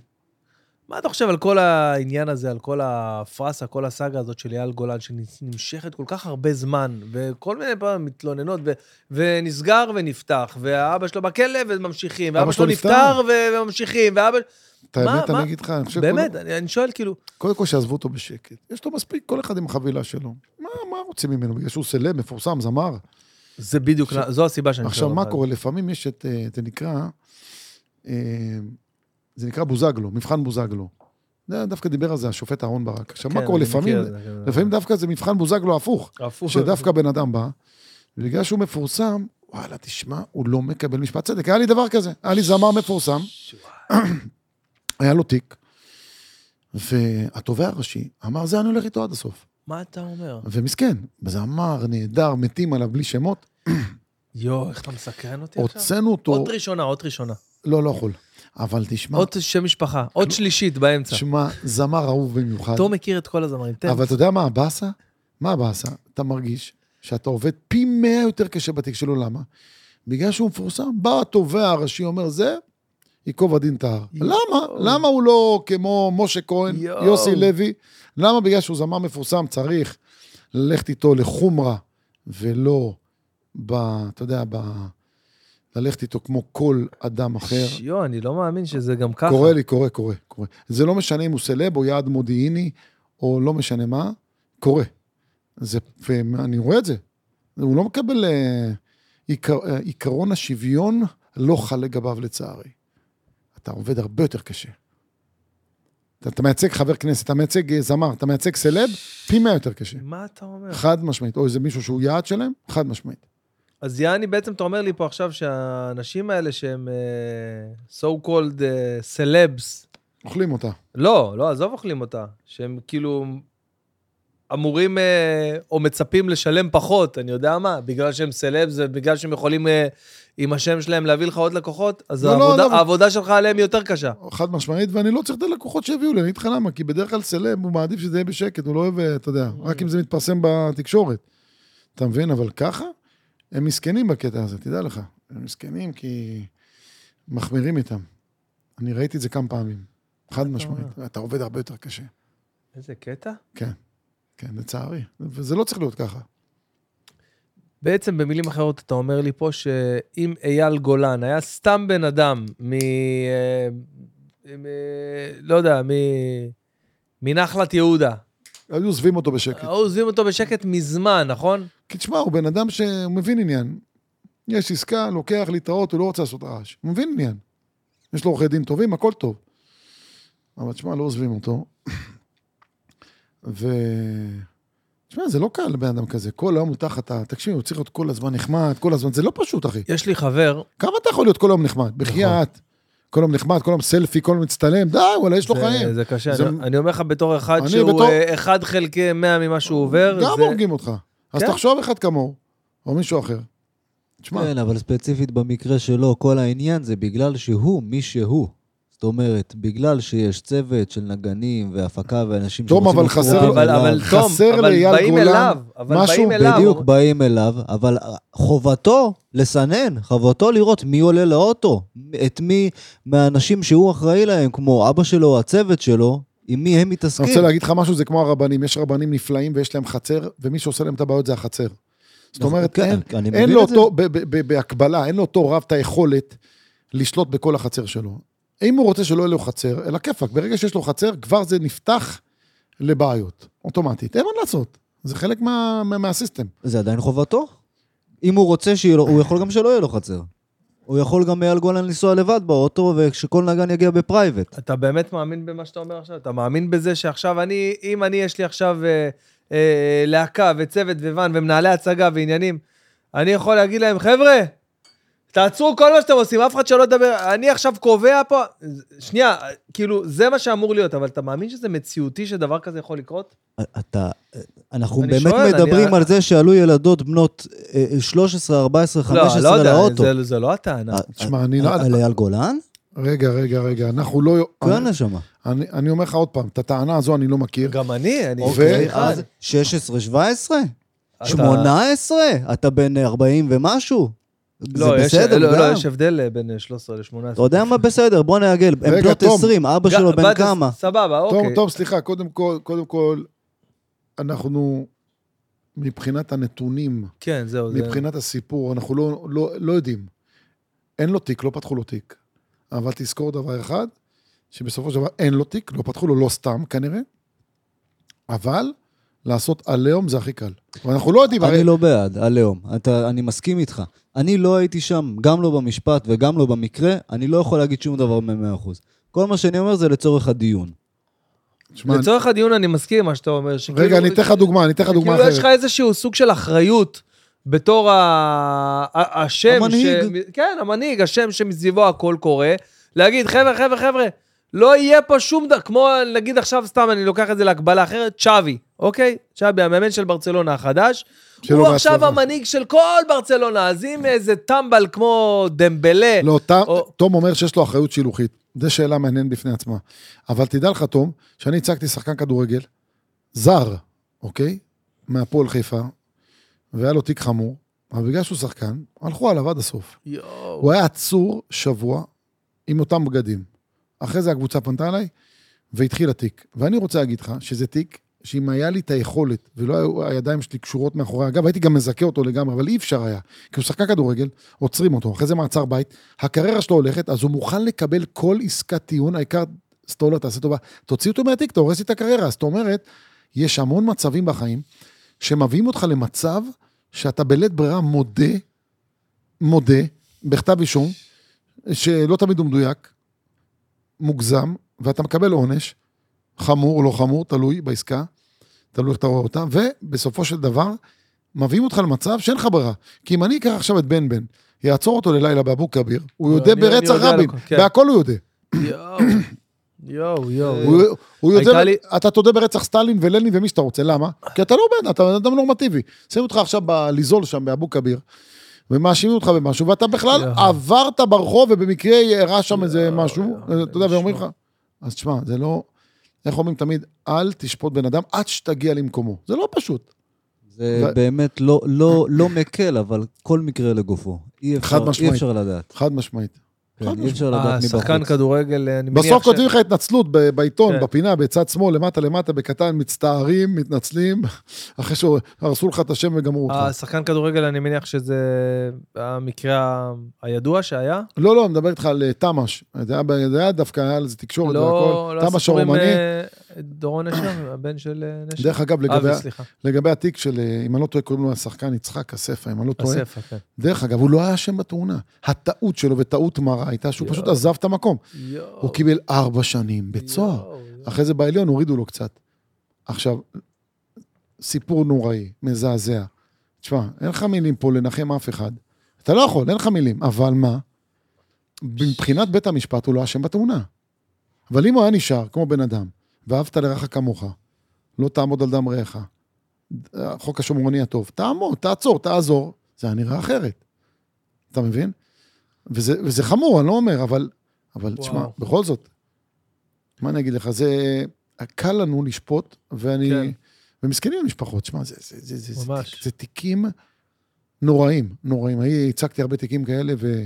מה אתה חושב על כל העניין הזה, על כל הפרסה, כל הסאגה הזאת של אייל גולן, שנמשכת כל כך הרבה זמן, וכל מיני פעמים מתלוננות, ו- ונסגר ונפתח, והאבא שלו בכלא וממשיכים, ואבא שלו נפטר ו- וממשיכים, ואבא... את מה- האמת, מה- אני אגיד לך, אני חושב... באמת, קודם- אני אני שואל כאילו, קודם כל, שיעזבו אותו בשקט. יש לו מספיק, כל אחד עם החבילה שלו. מה מה רוצים ממנו? בגלל שהוא סלב, מפורסם, זמר? זה בדיוק, עכשיו- זו הסיבה שאני שואל עכשיו, אותך. מה קורה? לפעמים יש את, אה, זה נקרא, אה, זה נקרא בוזגלו, מבחן בוזגלו. זה דווקא דיבר על זה השופט אהרן ברק. עכשיו, מה כן, קורה? אני מכיר לפעמים, את זה, כן. לפעמים דווקא זה מבחן בוזגלו הפוך, הפוך. שדווקא בן אדם בא, ובגלל שהוא מפורסם, וואלה, תשמע, הוא לא מקבל משפט צדק. היה לי דבר כזה, היה לי זמר מפורסם, היה לו תיק, והתובע הראשי אמר, זה אני הולך איתו עד הסוף. מה אתה אומר? ומסכן, זמר נהדר, מתים עליו בלי שמות, יואו, איך אתה מסקרן אותי עכשיו? הוצאנו אותו, עוד ראשונה, עוד ראשונה. לא, לא יכול. אבל תשמע, עוד שם משפחה, עוד שלישית באמצע. תשמע, זמר אהוב במיוחד. תום מכיר את כל הזמרים, תן. אבל אתה יודע מה הבאסה? מה הבאסה? אתה מרגיש שאתה עובד פי מאה יותר קשה בתיק שלו, למה? בגלל שהוא מפורסם. בא התובע הראשי, אומר, זה ייקוב הדין את ההר. יואו. למה? למה הוא לא כמו משה כהן, יואו. יוסי לוי? למה? בגלל שהוא זמר מפורסם, צריך ללכת איתו לחומרה, ולא ב... אתה יודע, ב... ללכת איתו כמו כל אדם אחר. יואו, אני לא מאמין שזה גם ככה. קורה לי, קורה, קורה, קורה. זה לא משנה אם הוא סלב או יעד מודיעיני, או לא משנה מה, קורה. זה, ואני רואה את זה. הוא לא מקבל... אה, עיקר, אה, עיקרון השוויון לא חל לגביו לצערי. אתה עובד הרבה יותר קשה. אתה, אתה מייצג חבר כנסת, אתה מייצג אה, זמר, אתה מייצג סלב, פי מאה יותר קשה. מה אתה אומר? חד משמעית. או איזה מישהו שהוא יעד שלהם, חד משמעית. אז יעני, בעצם אתה אומר לי פה עכשיו שהאנשים האלה שהם אה, so called סלבס, אוכלים אותה. לא, לא, עזוב אוכלים אותה, שהם כאילו אמורים אה, או מצפים לשלם פחות, אני יודע מה, בגלל שהם סלבס ובגלל שהם יכולים אה, עם השם שלהם להביא לך עוד לקוחות, אז לא, לא, העבודה, לא. העבודה שלך עליהם היא יותר קשה. חד משמעית, ואני לא צריך את הלקוחות שיביאו לי, אני אגיד לך למה, כי בדרך כלל סלב, הוא מעדיף שזה יהיה בשקט, הוא לא אוהב, אתה יודע, רק אם זה מתפרסם בתקשורת. אתה מבין? אבל ככה, הם מסכנים בקטע הזה, תדע לך. הם מסכנים כי מחמירים איתם. אני ראיתי את זה כמה פעמים, חד משמעית. אתה עובד הרבה יותר קשה. איזה קטע? כן, כן, לצערי. וזה לא צריך להיות ככה. בעצם במילים אחרות אתה אומר לי פה שאם אייל גולן היה סתם בן אדם מ... אה, מ... לא יודע, מ... מנחלת יהודה, היו עוזבים אותו בשקט. היו עוזבים אותו בשקט מזמן, נכון? כי תשמע, הוא בן אדם שהוא מבין עניין. יש עסקה, לוקח להתראות, הוא לא רוצה לעשות רעש. הוא מבין עניין. יש לו עורכי דין טובים, הכל טוב. אבל תשמע, לא עוזבים אותו. ו... תשמע, זה לא קל לבן אדם כזה. כל היום הוא תחת ה... תקשיב, הוא צריך להיות כל הזמן נחמד, כל הזמן. זה לא פשוט, אחי. יש לי חבר, נכון. כמה אתה יכול להיות כל היום נחמד? בחייאת. כל יום נחמד, כל יום סלפי, כל יום מצטלם, די, וואלה, יש לו חיים. זה קשה. זה- אני- אני אומר לך בתור אחד אני שהוא בתור- אה, אחד חלקי 100 ממה שהוא עובר. גם זה- הורגים אותך. אז כן. תחשוב אחד כמוהו, או מישהו אחר. תשמע, כן, אבל ספציפית במקרה שלו, כל העניין זה בגלל שהוא מי שהוא. זאת אומרת, בגלל שיש צוות של נגנים והפקה ואנשים תום, אבל לחבור חסר- אבל- אבל תום, חסר אבל לאייל באים גולן אליו, אבל משהו באים אליו. בדיוק, באים אליו, אבל חובתו לסנן, חובתו לראות מי עולה לאוטו, את מי מהאנשים שהוא אחראי להם, כמו אבא שלו או הצוות שלו, עם מי הם אני מתעסקים. רוצה להגיד לך משהו, זה כמו הרבנים, יש רבנים נפלאים ויש להם חצר, ומי שעושה להם את הבעיות זה החצר. זאת אומרת, כן, אין, אני אין מבין לו את זה. אותו, ב- ב- ב- בהקבלה, אין לו אותו רב את היכולת לשלוט בכל החצר שלו. אם הוא רוצה שלא יהיה לו חצר, אלא כיפאק, ברגע שיש לו חצר, כבר זה נפתח לבעיות, אוטומטית. אין מה לעשות, זה חלק מה, מה, מהסיסטם. זה עדיין חובתו. אם הוא רוצה, שיהיה לו- הוא יכול גם שלא יהיה לו חצר. הוא יכול גם אייל גולן לנסוע לבד באוטו, וכשכל נגן יגיע בפרייבט. אתה באמת מאמין במה שאתה אומר עכשיו? אתה מאמין בזה שעכשיו אני, אם אני, יש לי עכשיו אה, אה, להקה וצוות וואן ומנהלי הצגה ועניינים, אני יכול להגיד להם, חבר'ה, תעצרו כל מה שאתם עושים, אף אחד שלא ידבר, אני עכשיו קובע פה... שנייה, כאילו, זה מה שאמור להיות, אבל אתה מאמין שזה מציאותי שדבר כזה יכול לקרות? אתה, אנחנו אני באמת שואל, מדברים אני- על זה שעלו ילדות בנות אה, אה, 13, 14, לא, 15 לא לאוטו. אה, יודע, זה, זה לא הטענה. תשמע, אני לא... על- על אייל גולן? רגע, רגע, רגע, אנחנו לא... כן, נשמה. אני, אני אומר לך עוד פעם, את הטענה הזו אני לא מכיר. גם אני, אני... אוקיי, אחד. אז 16, 17? אתה- 18? אתה בן 40 ומשהו? זה לא, יש- בסדר, לא, לא, גם. יש הבדל אה, בין אה, 13 ל-18. אתה יודע מה? בסדר, בוא נעגל. הם רגע, בנות תום. 20, אבא שלו בן כמה? סבבה, אוקיי. תום, תום, סליחה, קודם כל, קודם כל, אנחנו, מבחינת הנתונים, כן, זהו. זה- מבחינת הסיפור, אנחנו לא, לא, לא יודעים. אין לו תיק, לא פתחו לו תיק. אבל תזכור דבר אחד, שבסופו של דבר אין לו תיק, לא פתחו לו, לא סתם כנראה, אבל לעשות עליהום זה הכי קל. ואנחנו לא יודעים, הרי... אני לא בעד, הלאום. אתה- אני מסכים איתך. אני לא הייתי שם, גם לא במשפט וגם לא במקרה, אני לא יכול להגיד שום דבר מ-100%. כל מה שאני אומר זה לצורך הדיון. תשמע, אני- לא- לצורך הדיון אני מסכים עם מה שאתה אומר. שכאילו- רגע, אני אתן לך דוגמה, אני אתן לך דוגמה כאילו יש לך אחרת. איזשהו סוג של אחריות בתור ה... ה- השם... המנהיג. ש... כן, המנהיג, השם שמסביבו הכל קורה. להגיד, חבר'ה, חבר'ה, חבר'ה, לא יהיה פה שום דבר, כמו נגיד עכשיו, סתם, אני לוקח את זה להקבלה אחרת, צ'אבי, אוקיי? צ'אבי, המאמן של ברצלונה החדש. שלא הוא בהצלחה. עכשיו המנהיג של כל ברצלונה, אז אם איזה טמבל כמו דמבלה... לא, תום- או- תום אומר שיש לו אחריות שילוחית. זו שאלה מעניינת בפני עצמה. אבל תדע לך, תום, שאני הצגתי שחקן כדורגל, זר, אוקיי? מהפועל חיפה, והיה לו תיק חמור, אבל בגלל שהוא שחקן, הלכו עליו עד הסוף. יואו. הוא היה עצור שבוע עם אותם בגדים. אחרי זה הקבוצה פנתה אליי והתחיל התיק. ואני רוצה להגיד לך שזה תיק שאם היה לי את היכולת ולא היו הידיים שלי קשורות מאחורי הגב, הייתי גם מזכה אותו לגמרי, אבל אי אפשר היה. כי הוא שחקן כדורגל, עוצרים אותו, אחרי זה מעצר בית, הקריירה שלו הולכת, אז הוא מוכן לקבל כל עסקת טיעון, העיקר סטולר, תעשה טובה, תוציא אותו מהתיק, אתה הורס לי את הקריירה. זאת אומרת, יש המון מצבים בחיים שמביאים אותך למצב שאתה בלית ברירה מודה, מודה, בכתב אישום, שלא תמיד הוא מדויק, מוגזם, ואתה מקבל עונש, חמור או לא חמור, תלוי בעסקה, תלוי איך אתה רואה אותה, ובסופו של דבר, מביאים אותך למצב שאין לך ברירה. כי אם אני אקח עכשיו את בן בן, יעצור אותו ללילה באבו כביר, הוא יודע אני- אני ברצח יודע רבין, על הכל, כן. בהכל הוא יודע. יואו, יואו, יואו. הוא- הוא יודע, הייתה לי- אתה תודה ברצח סטלין ולנין ומי שאתה רוצה, למה? כי אתה לא בן, אתה בן אדם נורמטיבי. שמים אותך עכשיו בליזול שם באבו כביר, ומאשימים אותך במשהו, ואתה בכלל יואו. עברת ברחוב ובמקרה אירע שם איזה יואו, משהו, יואו, אתה יודע, זה ואומרים לך, נשמע. אז תשמע, זה לא, איך אומרים תמיד, אל תשפוט בן אדם עד שתגיע למקומו. זה לא פשוט. זה ו- באמת לא, לא, לא מקל, אבל כל מקרה לגופו. אי אפשר, חד משמעית. אי אפשר לדעת. חד משמעית. כן, חד אי אפשר אה, לדעת השחקן מבחוץ. כדורגל, אני מניח בסוף ש- כותבים לך התנצלות ב- בעיתון, כן. בפינה, בצד שמאל, למטה למטה, בקטן, מצטערים, מתנצלים, אחרי שהרסו לך את השם וגמרו אותך. השחקן כדורגל, אני מניח שזה המקרה ה- הידוע שהיה. לא, לא, אני מדבר איתך על אה, תמ"ש. זה היה, ב- זה היה דווקא, היה על זה תקשורת לא, והכל. לא תמ"ש הסיפור עם הרומני. אה, דורון נשר, הבן של אה, נשר. דרך אגב, לגבי, אבי, סליחה. לגבי התיק של, אה, אם אני לא טועה, קוראים לו השחקן יצחק אספה, אם אני לא טועה. אסף, כן. דרך אגב, הוא לא היה אשם בתאונה. הטעות שלו, וטעות מרה, הייתה שהוא יואו. פשוט עזב את המקום. יואו, הוא קיבל ארבע שנים בית סוהר. יואו, יואו. אחרי זה בעליון הורידו לו קצת. עכשיו, סיפור נוראי, מזעזע. תשמע, אין לך מילים פה לנחם אף אחד. אתה לא יכול, אין לך מילים. אבל מה? מבחינת בית המשפט הוא לא אשם בתאונה. אבל אם הוא היה נשאר כמו בן אדם, ואהבת לרעך כמוך, לא תעמוד על דם רעך, החוק השומרוני הטוב, תעמוד, תעצור, תעזור, זה היה נראה אחרת. אתה מבין? וזה, וזה חמור, אני לא אומר, אבל, אבל תשמע, וואו. בכל זאת, מה אני אגיד לך, זה... קל לנו לשפוט, ואני... כן. כן. ומסכנים המשפחות, שמע, זה, זה, זה, זה, זה, ממש. זה תיקים נוראים, נוראים. אני הצגתי הרבה תיקים כאלה, ו...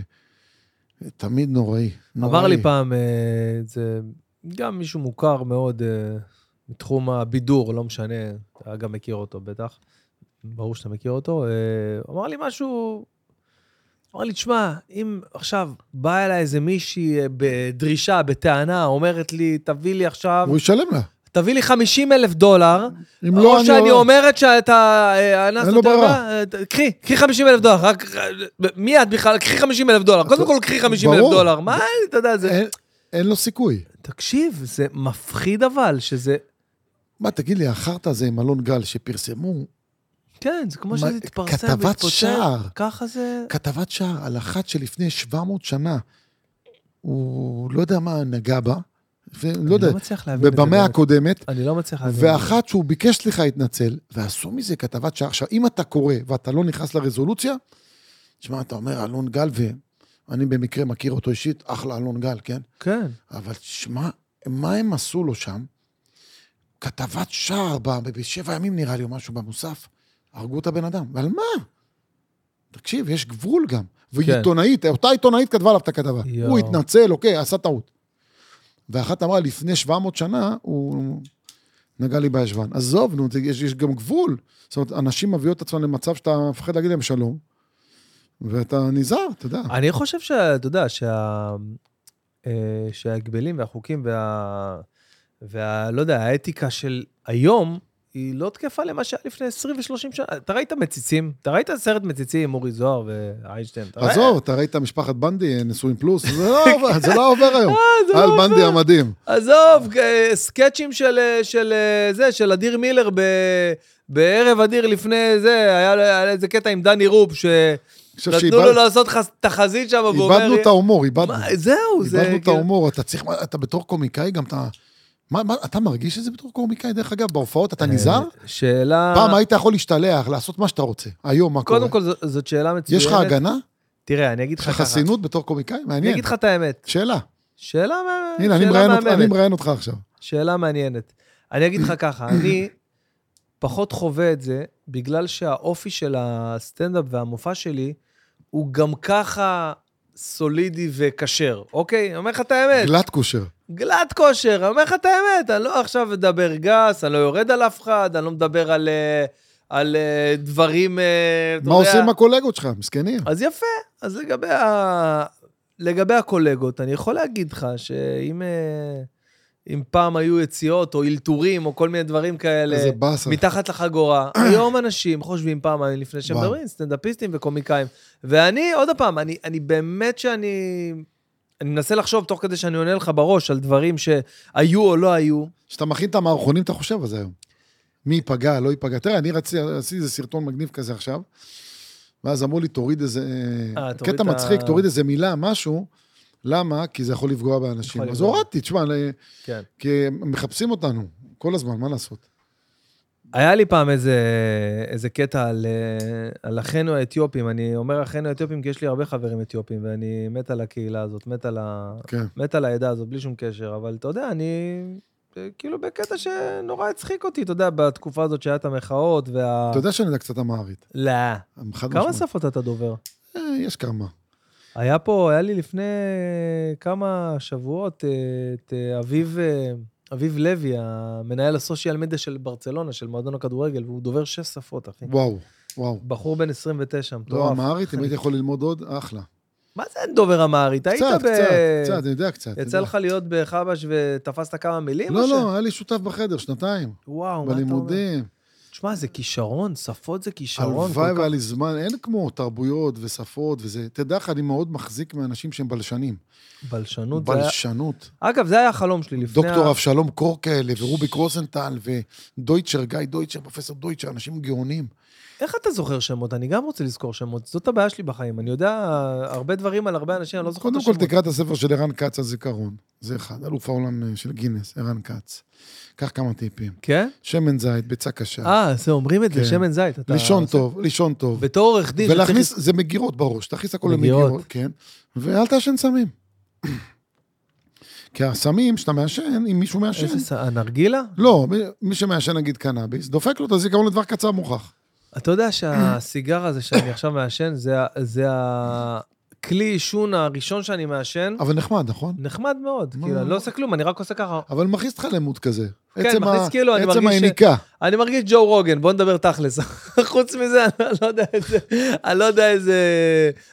תמיד נוראי. נוראי. אמר לי פעם, אה, זה גם מישהו מוכר מאוד אה, מתחום הבידור, לא משנה, אתה גם מכיר אותו בטח, ברור שאתה מכיר אותו, אה, אמר לי משהו, אמר לי, תשמע, אם עכשיו באה אליי איזה מישהי אה, בדרישה, בטענה, אומרת לי, תביא לי עכשיו, הוא ישלם לה. תביא לי 50 אלף דולר, אם או לא, אני... שאני הורג. אומרת שאתה אה, אנס אין לו אותה, ברירה. אה, ת- קחי, קחי 50 אלף דולר, רק, מי את בכלל? קחי 50 אלף דולר, קודם כל קחי 50 אלף ברור. דולר, מה, אתה יודע, זה... אין, אין לו סיכוי. תקשיב, זה מפחיד אבל, שזה... מה, תגיד לי, החרטא הזה עם אלון גל שפרסמו כן, זה כמו מה, שזה התפרסם כתבת והתפוצץ. שער. לא ככה זה... כתבת שער על אחת שלפני 700 שנה, הוא לא יודע מה נגע בה, אני לא ולא יודע, מצליח להבין את זה. במאה באמת. הקודמת, אני לא מצליח להבין. את זה. ואחת שהוא ביקש סליחה התנצל, ועשו מזה כתבת שער. עכשיו, אם אתה קורא ואתה לא נכנס לרזולוציה, תשמע, אתה אומר אלון גל, ואני במקרה מכיר אותו אישית, אחלה אלון גל, כן? כן. אבל תשמע, מה הם עשו לו שם? כתבת שער ב- ב- בשבע ימים נראה לי, או משהו במוסף, הרגו את הבן אדם. ועל מה? תקשיב, יש גבול גם. ועיתונאית, אותה עיתונאית כתבה עליו את הכתבה. יואו. הוא התנצל, אוקיי, עשה טעות. ואחת אמרה, לפני 700 שנה, הוא נגע לי בישבן. עזוב, נו, זה- יש, יש גם גבול. זאת אומרת, אנשים מביאות את עצמם למצב שאתה מפחד להגיד להם שלום, ואתה נזהר, אתה יודע. אני חושב שאתה יודע, שה... אה, שההגבלים והחוקים וה... וה... לא יודע, האתיקה של היום, היא לא תקפה למה שהיה לפני 20 ו-30 שנה. אתה ראית מציצים? אתה ראית סרט מציצים עם אורי זוהר ואיינשטיין? אתה עזוב, אתה ראית משפחת בנדי, אה, נשואים פלוס, זה לא עובר- זה לא עובר היום. ראית? עזוב, על בנדי המדהים. עזוב, אה, סקצ'ים של, אה, של אה, זה, של אדיר מילר ב... בערב אדיר לפני זה, היה לו- היה לו איזה קטע עם דני רופ, שנתנו אני חושב לו שאיבד- לעשות חס- תחזית שם, והוא אומר... איבדנו את ההומור, איבדנו. מה, זהו, זה... איבדנו את כאילו- ההומור, אתה צריך, מה, אתה בתור קומיקאי גם אתה... מה, מה, אתה מרגיש את זה בתור קומיקאי? דרך אגב, בהופעות אתה נזהר? אה, שאלה... פעם היית יכול להשתלח, לעשות מה שאתה רוצה. היום, מה קורה? קודם כל, זו- זאת שאלה מצוינת. יש לך הגנה? תראה, אני אגיד לך יש ככה. לך חסינות בתור קומיקאי? אני מעניין. אגיד לך את האמת. שאלה. שאלה מה- הנה, אני שאלה מראיין אותך- מהממת. אני מראיין אותך עכשיו. שאלה מעניינת. אני אגיד לך ככה, אני פחות חווה את זה, בגלל שהאופי של הסטנדאפ והמופע שלי, הוא גם ככה סולידי וכשר, אוקיי? אני אומר לך את האמת. גלת כושר. גלת כושר, אני אומר לך את האמת, אני לא עכשיו מדבר גס, אני לא יורד על אף אחד, אני לא מדבר על, אה, על אה, דברים, אה, אתה מה יודע- עושים עם הקולגות שלך? מסכנים. אז יפה, אז לגבי, ה... לגבי הקולגות, אני יכול להגיד לך שאם אה, אם פעם היו יציאות או אלתורים או כל מיני דברים כאלה, איזה באסה. מתחת לחגורה, היום אנשים חושבים פעמיים לפני שהם וואו. מדברים, סטנדאפיסטים וקומיקאים. ואני, עוד פעם, אני, אני באמת שאני... אני מנסה לחשוב תוך כדי שאני עונה לך בראש על דברים שהיו או לא היו. כשאתה מכין את המערכונים, אתה חושב על זה היום. מי ייפגע, לא ייפגע. תראה, אני רציתי, עשיתי איזה סרטון מגניב כזה עכשיו, ואז אמרו לי, תוריד איזה... אה, תוריד קטע את ה- מצחיק, תוריד איזה מילה, משהו. למה? כי זה יכול לפגוע באנשים. יכול אז לפגוע. הורדתי, תשמע, ל- כן. כי הם מחפשים אותנו כל הזמן, מה לעשות? היה לי פעם איזה, איזה קטע על, אה, על אחינו האתיופים. אני אומר אחינו האתיופים כי יש לי הרבה חברים אתיופים, ואני מת על הקהילה הזאת, מת על, ה... כן. מת על העדה הזאת, בלי שום קשר. אבל אתה יודע, אני אה, כאילו בקטע שנורא הצחיק אותי, אתה יודע, בתקופה הזאת שהיה את המחאות וה... אתה יודע שאני יודע קצת אמהרית. לא. חד כמה משמעית. שפות אתה דובר? אה, יש כמה. היה פה, היה לי לפני כמה שבועות אה, את אה, אביב, אה, אביב לוי, המנהל הסושיאל מדיה של ברצלונה, של מועדון הכדורגל, והוא דובר שש שפות, אחי. וואו, וואו. בחור בן 29, כן. מטורף. לא, אמהרית, אם הייתי יכול ללמוד עוד, אחלה. מה זה דובר אמהרית? היית קצת, ב... קצת, קצת, אני יודע קצת. יצא לך להיות בחבש ותפסת כמה מילים? או לא, ש- לא, היה לי שותף בחדר, שנתיים. וואו, מה אתה אומר? בלימודים. תשמע, זה כישרון, שפות זה כישרון. הלוואי כל כך- והיה לי זמן, אין כמו תרבויות ושפות וזה. תדע לך, אני מאוד מחזיק מאנשים שהם בלשנים. בלשנות זה היה... בלשנות. אגב, זה היה החלום שלי לפני... דוקטור ה- אבשלום קור כאלה, ורוביק רוזנטל, ודויטשר, גיא דויטשר, פרופסור דויטשר, אנשים גאונים. איך אתה זוכר שמות? אני גם רוצה לזכור שמות. זאת הבעיה שלי בחיים. אני יודע הרבה דברים על הרבה אנשים, אני לא זוכר את קודם כל השמות. תקרא את הספר של ערן כץ, הזיכרון. זה אחד, אלוף העולם אה, של גינס, ערן כץ. קח כמה טיפים. כן? שמן זית, ביצה קשה. אה, זה אומרים את זה, כן. שמן זית. אתה- לישון טוב, לישון טוב. בתור עורך דין, שצריך ולהכניס, זה מגירות בראש, תכניס הכל מגירות. למגירות, כן, ואל תעשן סמים. כי הסמים שאתה מעשן, אם מישהו מעשן, איזה ס- הנרגילה? לא, מי- מי שמעשן נגיד קנאביס, דופק לו את הזיכרון לטווח קצר מוכח. אתה יודע שהסיגר הזה שאני עכשיו מעשן, זה ה- זה הכלי עישון הראשון שאני מעשן, אבל נחמד, נכון? נחמד מאוד. מה? כאילו, אני לא עושה כלום, אני רק עושה ככה. אבל מכניס אותך למוד כזה. כן, עצם מכניס ה- כאילו, אני עצם מרגיש ש- היניקה. אני מרגיש ג'ו רוגן, בוא נדבר תכלס. חוץ מזה, אני לא יודע איזה... אני לא יודע איזה...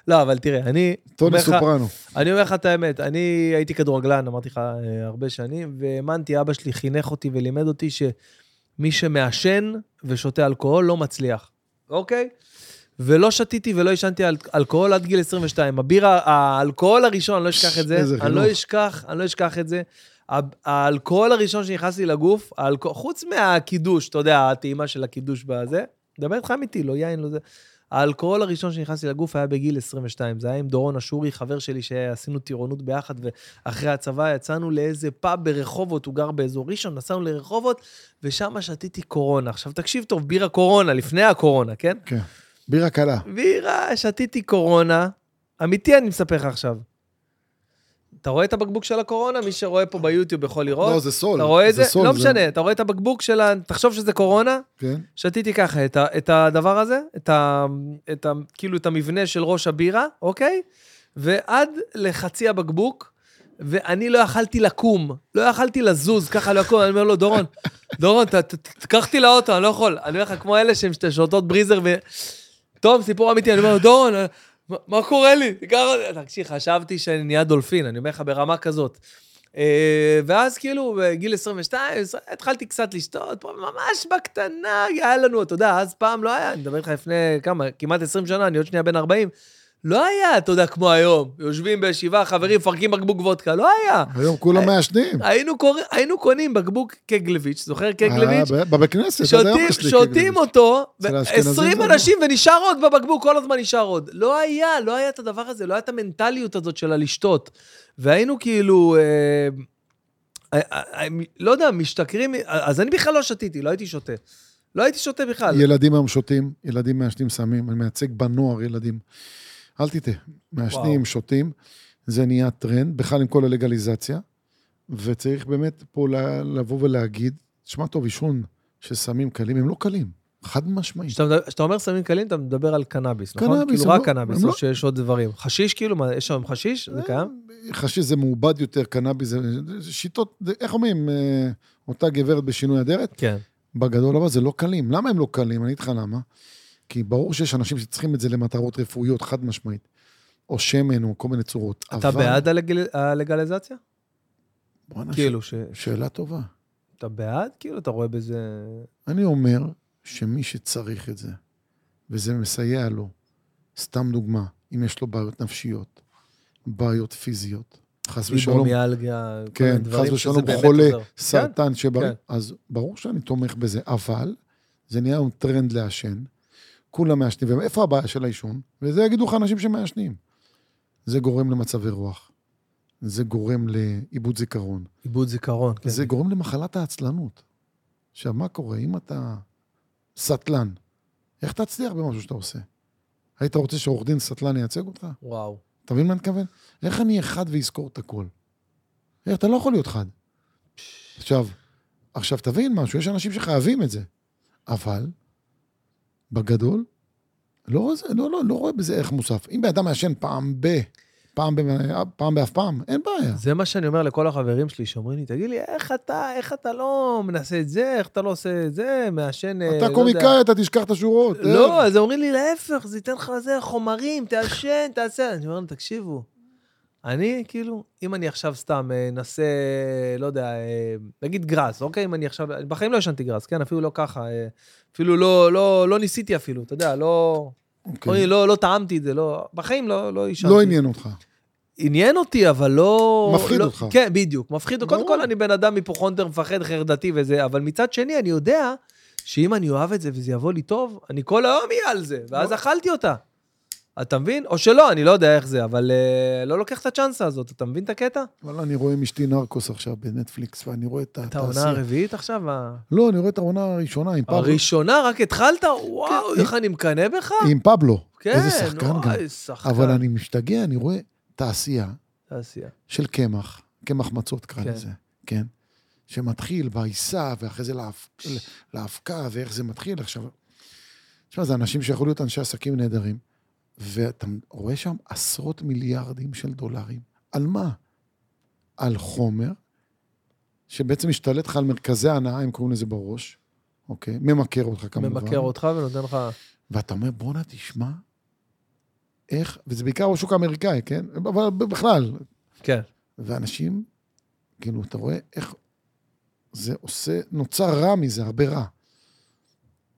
לא, אבל תראה, אני... טוני אומר לך- סופרנו. אני אומר לך את האמת, אני הייתי כדורגלן, אמרתי לך, אה, הרבה שנים, והאמנתי, אבא שלי חינך אותי ולימד אותי שמי שמעשן ושותה אלכוהול לא מצליח, אוקיי? ולא שתיתי ולא עישנתי אל- אלכוהול עד גיל 22. הבירה, האלכוהול הראשון, אני לא אשכח את זה. איזה אני לא חינוך. אשכח, אני לא אשכח את זה. הב- האלכוהול הראשון שנכנס לי לגוף, האלכוה- חוץ מהקידוש, אתה יודע, הטעימה של הקידוש בזה, מדבר איתך אמיתי, לא יין, לא זה. האלכוהול הראשון שנכנסתי לגוף היה בגיל 22. זה היה עם דורון אשורי, חבר שלי, שעשינו טירונות ביחד, ואחרי הצבא יצאנו לאיזה פאב ברחובות, הוא גר באזור ראשון, נסענו לרחובות, ושם שתיתי קורונה. עכשיו, תקשיב טוב, בירה קורונה, לפני הקורונה, כן? כן. בירה קלה. בירה, שתיתי קורונה. אמיתי, אני מספר לך עכשיו. אתה רואה את הבקבוק של הקורונה? מי שרואה פה ביוטיוב יכול לראות. לא, זה סול. אתה רואה את זה? סול, לא משנה, אתה רואה את הבקבוק של ה... תחשוב שזה קורונה? כן. שתיתי ככה את, ה, את הדבר הזה, את ה, את ה, כאילו את המבנה של ראש הבירה, אוקיי? ועד לחצי הבקבוק, ואני לא יכלתי לקום, לא יכלתי לזוז, ככה לא יקום, אני אומר לו, דורון, דורון, ת- ת- תיקח אותי לאוטו, אני לא יכול. אני אומר לך, כמו אלה שהן שת- שותות בריזר ו... טוב, סיפור אמיתי, אני אומר לו, דורון, מה- מה קורה לי? תיקח אותי. תקשיב, חשבתי שאני נהיה דולפין, אני אומר לך, ברמה כזאת. אה, ואז כאילו, בגיל 22, עשרה, התחלתי קצת לשתות, פה ממש בקטנה, היה לנו, אתה יודע, אז פעם לא היה, אני מדבר איתך לפני כמה, כמעט 20 שנה, אני עוד שנייה בן 40. לא היה, אתה יודע, כמו היום. יושבים בישיבה, חברים, מפרקים בקבוק וודקה, לא היה. היום כולם מעשנים. היינו, קור... היינו קונים בקבוק קגלביץ', זוכר קגלביץ'? אה, ב- בבית כנסת. אתה יודע, שותים, יש לי שותים קגלביץ'. אותו, אצל האשכנזים ו-20 זה לא. אנשים, ונשאר עוד בבקבוק, כל הזמן נשאר עוד. לא היה, לא היה את הדבר הזה, לא היה את המנטליות הזאת של הלשתות. והיינו כאילו, אה, אה, אה, לא יודע, משתכרים, אז אני בכלל לא שתיתי, לא הייתי שותה. לא הייתי שותה בכלל. ילדים היום שותים, ילדים מעשנים סמים, אני מייצג בנוער ילדים. אל תטעה, וואו. מעשנים, שותים, זה נהיה טרנד, בכלל עם כל הלגליזציה, וצריך באמת פה ל- לבוא ולהגיד, תשמע טוב, עישון של סמים קלים, הם לא קלים, חד משמעית. כשאתה מדבר- כשאתה אומר סמים קלים, אתה מדבר על קנאביס, נכון? קנאביס, כאילו הם רק לא- קנאביס, הם או לא- אה, שיש עוד דברים. חשיש, כאילו, מה, יש שם חשיש? זה קיים? חשיש זה מעובד יותר, קנאביס זה זה שיטות, זה- איך אומרים, אה, אותה גברת בשינוי אדרת, כן. בגדול אבל זה לא קלים. למה הם לא קלים? אני אגיד לך למה. כי ברור שיש אנשים שצריכים את זה למטרות רפואיות, חד משמעית. או שמן, או כל מיני צורות. אתה אבל- בעד הלגל- הלגליזציה? בואנה, כאילו, ש- שאלה טובה. אתה בעד? כאילו, אתה רואה בזה... אני אומר שמי שצריך את זה, וזה מסייע לו, סתם דוגמה, אם יש לו בעיות נפשיות, בעיות פיזיות, חס ושלום, פיברומיאלגיה, כל מיני כן, דברים חס שזה ושלום באמת חולה עוזר. סרטן שבריא, כן. אז ברור שאני תומך בזה, אבל זה נהיה היום טרנד לעשן, כולם מעשנים, ואיפה הבעיה של העישון? וזה יגידו לך אנשים שמעשנים. זה גורם למצבי רוח, זה גורם לאיבוד זיכרון, עיבוד זיכרון, כן. זה גורם למחלת העצלנות. עכשיו, מה קורה? אם אתה סטלן, איך תצליח במשהו שאתה עושה? היית רוצה שעורך דין סטלן ייצג אותך? וואו. אתה מבין מה אני מתכוון? איך אני אחד ואזכור את הכל? איך אתה לא יכול להיות חד. עכשיו, עכשיו תבין משהו, יש אנשים שחייבים את זה, אבל בגדול, לא, זה- לא, לא, לא רואה בזה ערך מוסף. אם בן אדם מעשן פעם ב... פעם, ב, פעם באף פעם, אין בעיה. זה מה שאני אומר לכל החברים שלי שאומרים לי, תגיד לי, איך אתה, איך אתה לא מנסה את זה, איך אתה לא עושה את זה, מעשן... אה, לא אתה יודע." קומיקאי, אתה תשכח את השורות. אה, לא, אז אומרים לי, להפך, זה ייתן לך זה, חומרים, תעשן, תעשה. אני אומר להם, תקשיבו, אני, כאילו, אם אני עכשיו סתם אה, אנסה, לא יודע, אה, נגיד גראס, אוקיי? אם אני עכשיו, בחיים לא ישנתי גראס, כן? אפילו לא ככה, אה, אפילו לא, לא, לא ניסיתי אפילו, אתה יודע, לא... אוי, אוקיי. לא, לא טעמתי את זה, לא, בחיים לא, לא עישנתי. לא עניין אותך. עניין אותי, אבל לא... מפחיד לא, אותך. כן, בדיוק, מפחיד. קודם ברור. כל, אני בן אדם היפוכונדר, מפחד, חרדתי וזה, אבל מצד שני, אני יודע שאם אני אוהב את זה וזה יבוא לי טוב, אני כל היום אהיה על זה, לא. ואז אכלתי אותה. אתה מבין? או שלא, אני לא יודע איך זה, אבל אה, לא לוקח את הצ'אנסה הזאת, אתה מבין את הקטע? אבל אני רואה עם אשתי נרקוס עכשיו בנטפליקס, ואני רואה את את העונה התעשייה. הרביעית עכשיו? ה- לא, אני רואה את העונה הראשונה עם פבלו. הראשונה, רק התחלת? וואו, איך אני מקנא בך? כן. עם פבלו. כן, איזה שחקן גם. וואי, שחקן. אבל אני משתגע, אני רואה תעשייה תעשייה. של קמח, קמח מצות קרא כן. לזה, כן? שמתחיל בעיסה, ואחרי זה להאב- להאבקה, ואיך זה מתחיל. עכשיו, תשמע, זה אנשים שיכולו להיות אנשי עסקים נהדרים, ואתה רואה שם עשרות מיליארדים של דולרים. על מה? על חומר, שבעצם משתלט לך על מרכזי ההנאה, הם קוראים לזה בראש, אוקיי? ממכר אותך כמובן. ממכר אותך ונותן לך... ואתה אומר, בואנה, תשמע, איך, וזה בעיקר בשוק האמריקאי, כן? אבל בכלל, כן. ואנשים, כאילו, אתה רואה איך זה עושה, נוצר רע מזה, הרבה רע.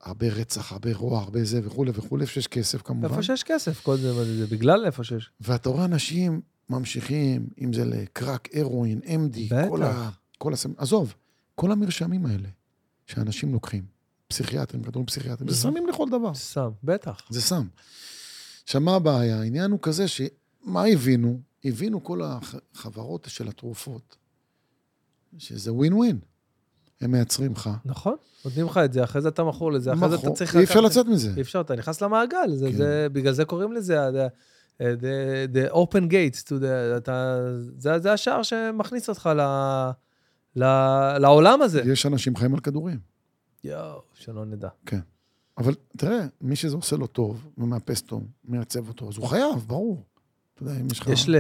הרבה רצח, הרבה רוע, הרבה זה וכולי וכולי, איפה שיש כסף כמובן. איפה שיש כסף, כל זה, מה זה, זה בגלל איפה שיש. ואתה רואה אנשים ממשיכים, אם זה לקרק, הרואין, MD, בטח. כל ה... כל הסמ... עזוב, כל המרשמים האלה שאנשים לוקחים, פסיכיאטרים, כדורים פסיכיאטרים, זה Mhm. סמים לכל דבר. סם, בטח. זה סם. עכשיו, מה הבעיה? העניין הוא כזה שמה הבינו? הבינו כל החברות של התרופות, שזה ווין ווין. הם מייצרים לך. נכון, נותנים לך את זה, אחרי זה אתה מכור לזה, אחרי זה אתה מכרו- צריך... אי אפשר לקחת- לצאת מזה. אי אפשר, אתה נכנס למעגל, זה, כן. זה, בגלל זה קוראים לזה ה- the, the, the open gates, to the, אתה, זה, זה השער שמכניס אותך ל, ל, לעולם הזה. יש אנשים חיים על כדורים. יואו, שלא נדע. אבל תראה, מי שזה עושה לו טוב, ומאפס אותו, מייצב אותו, אז הוא חייב, ברור. אתה יודע, אם יש לך... יש ל...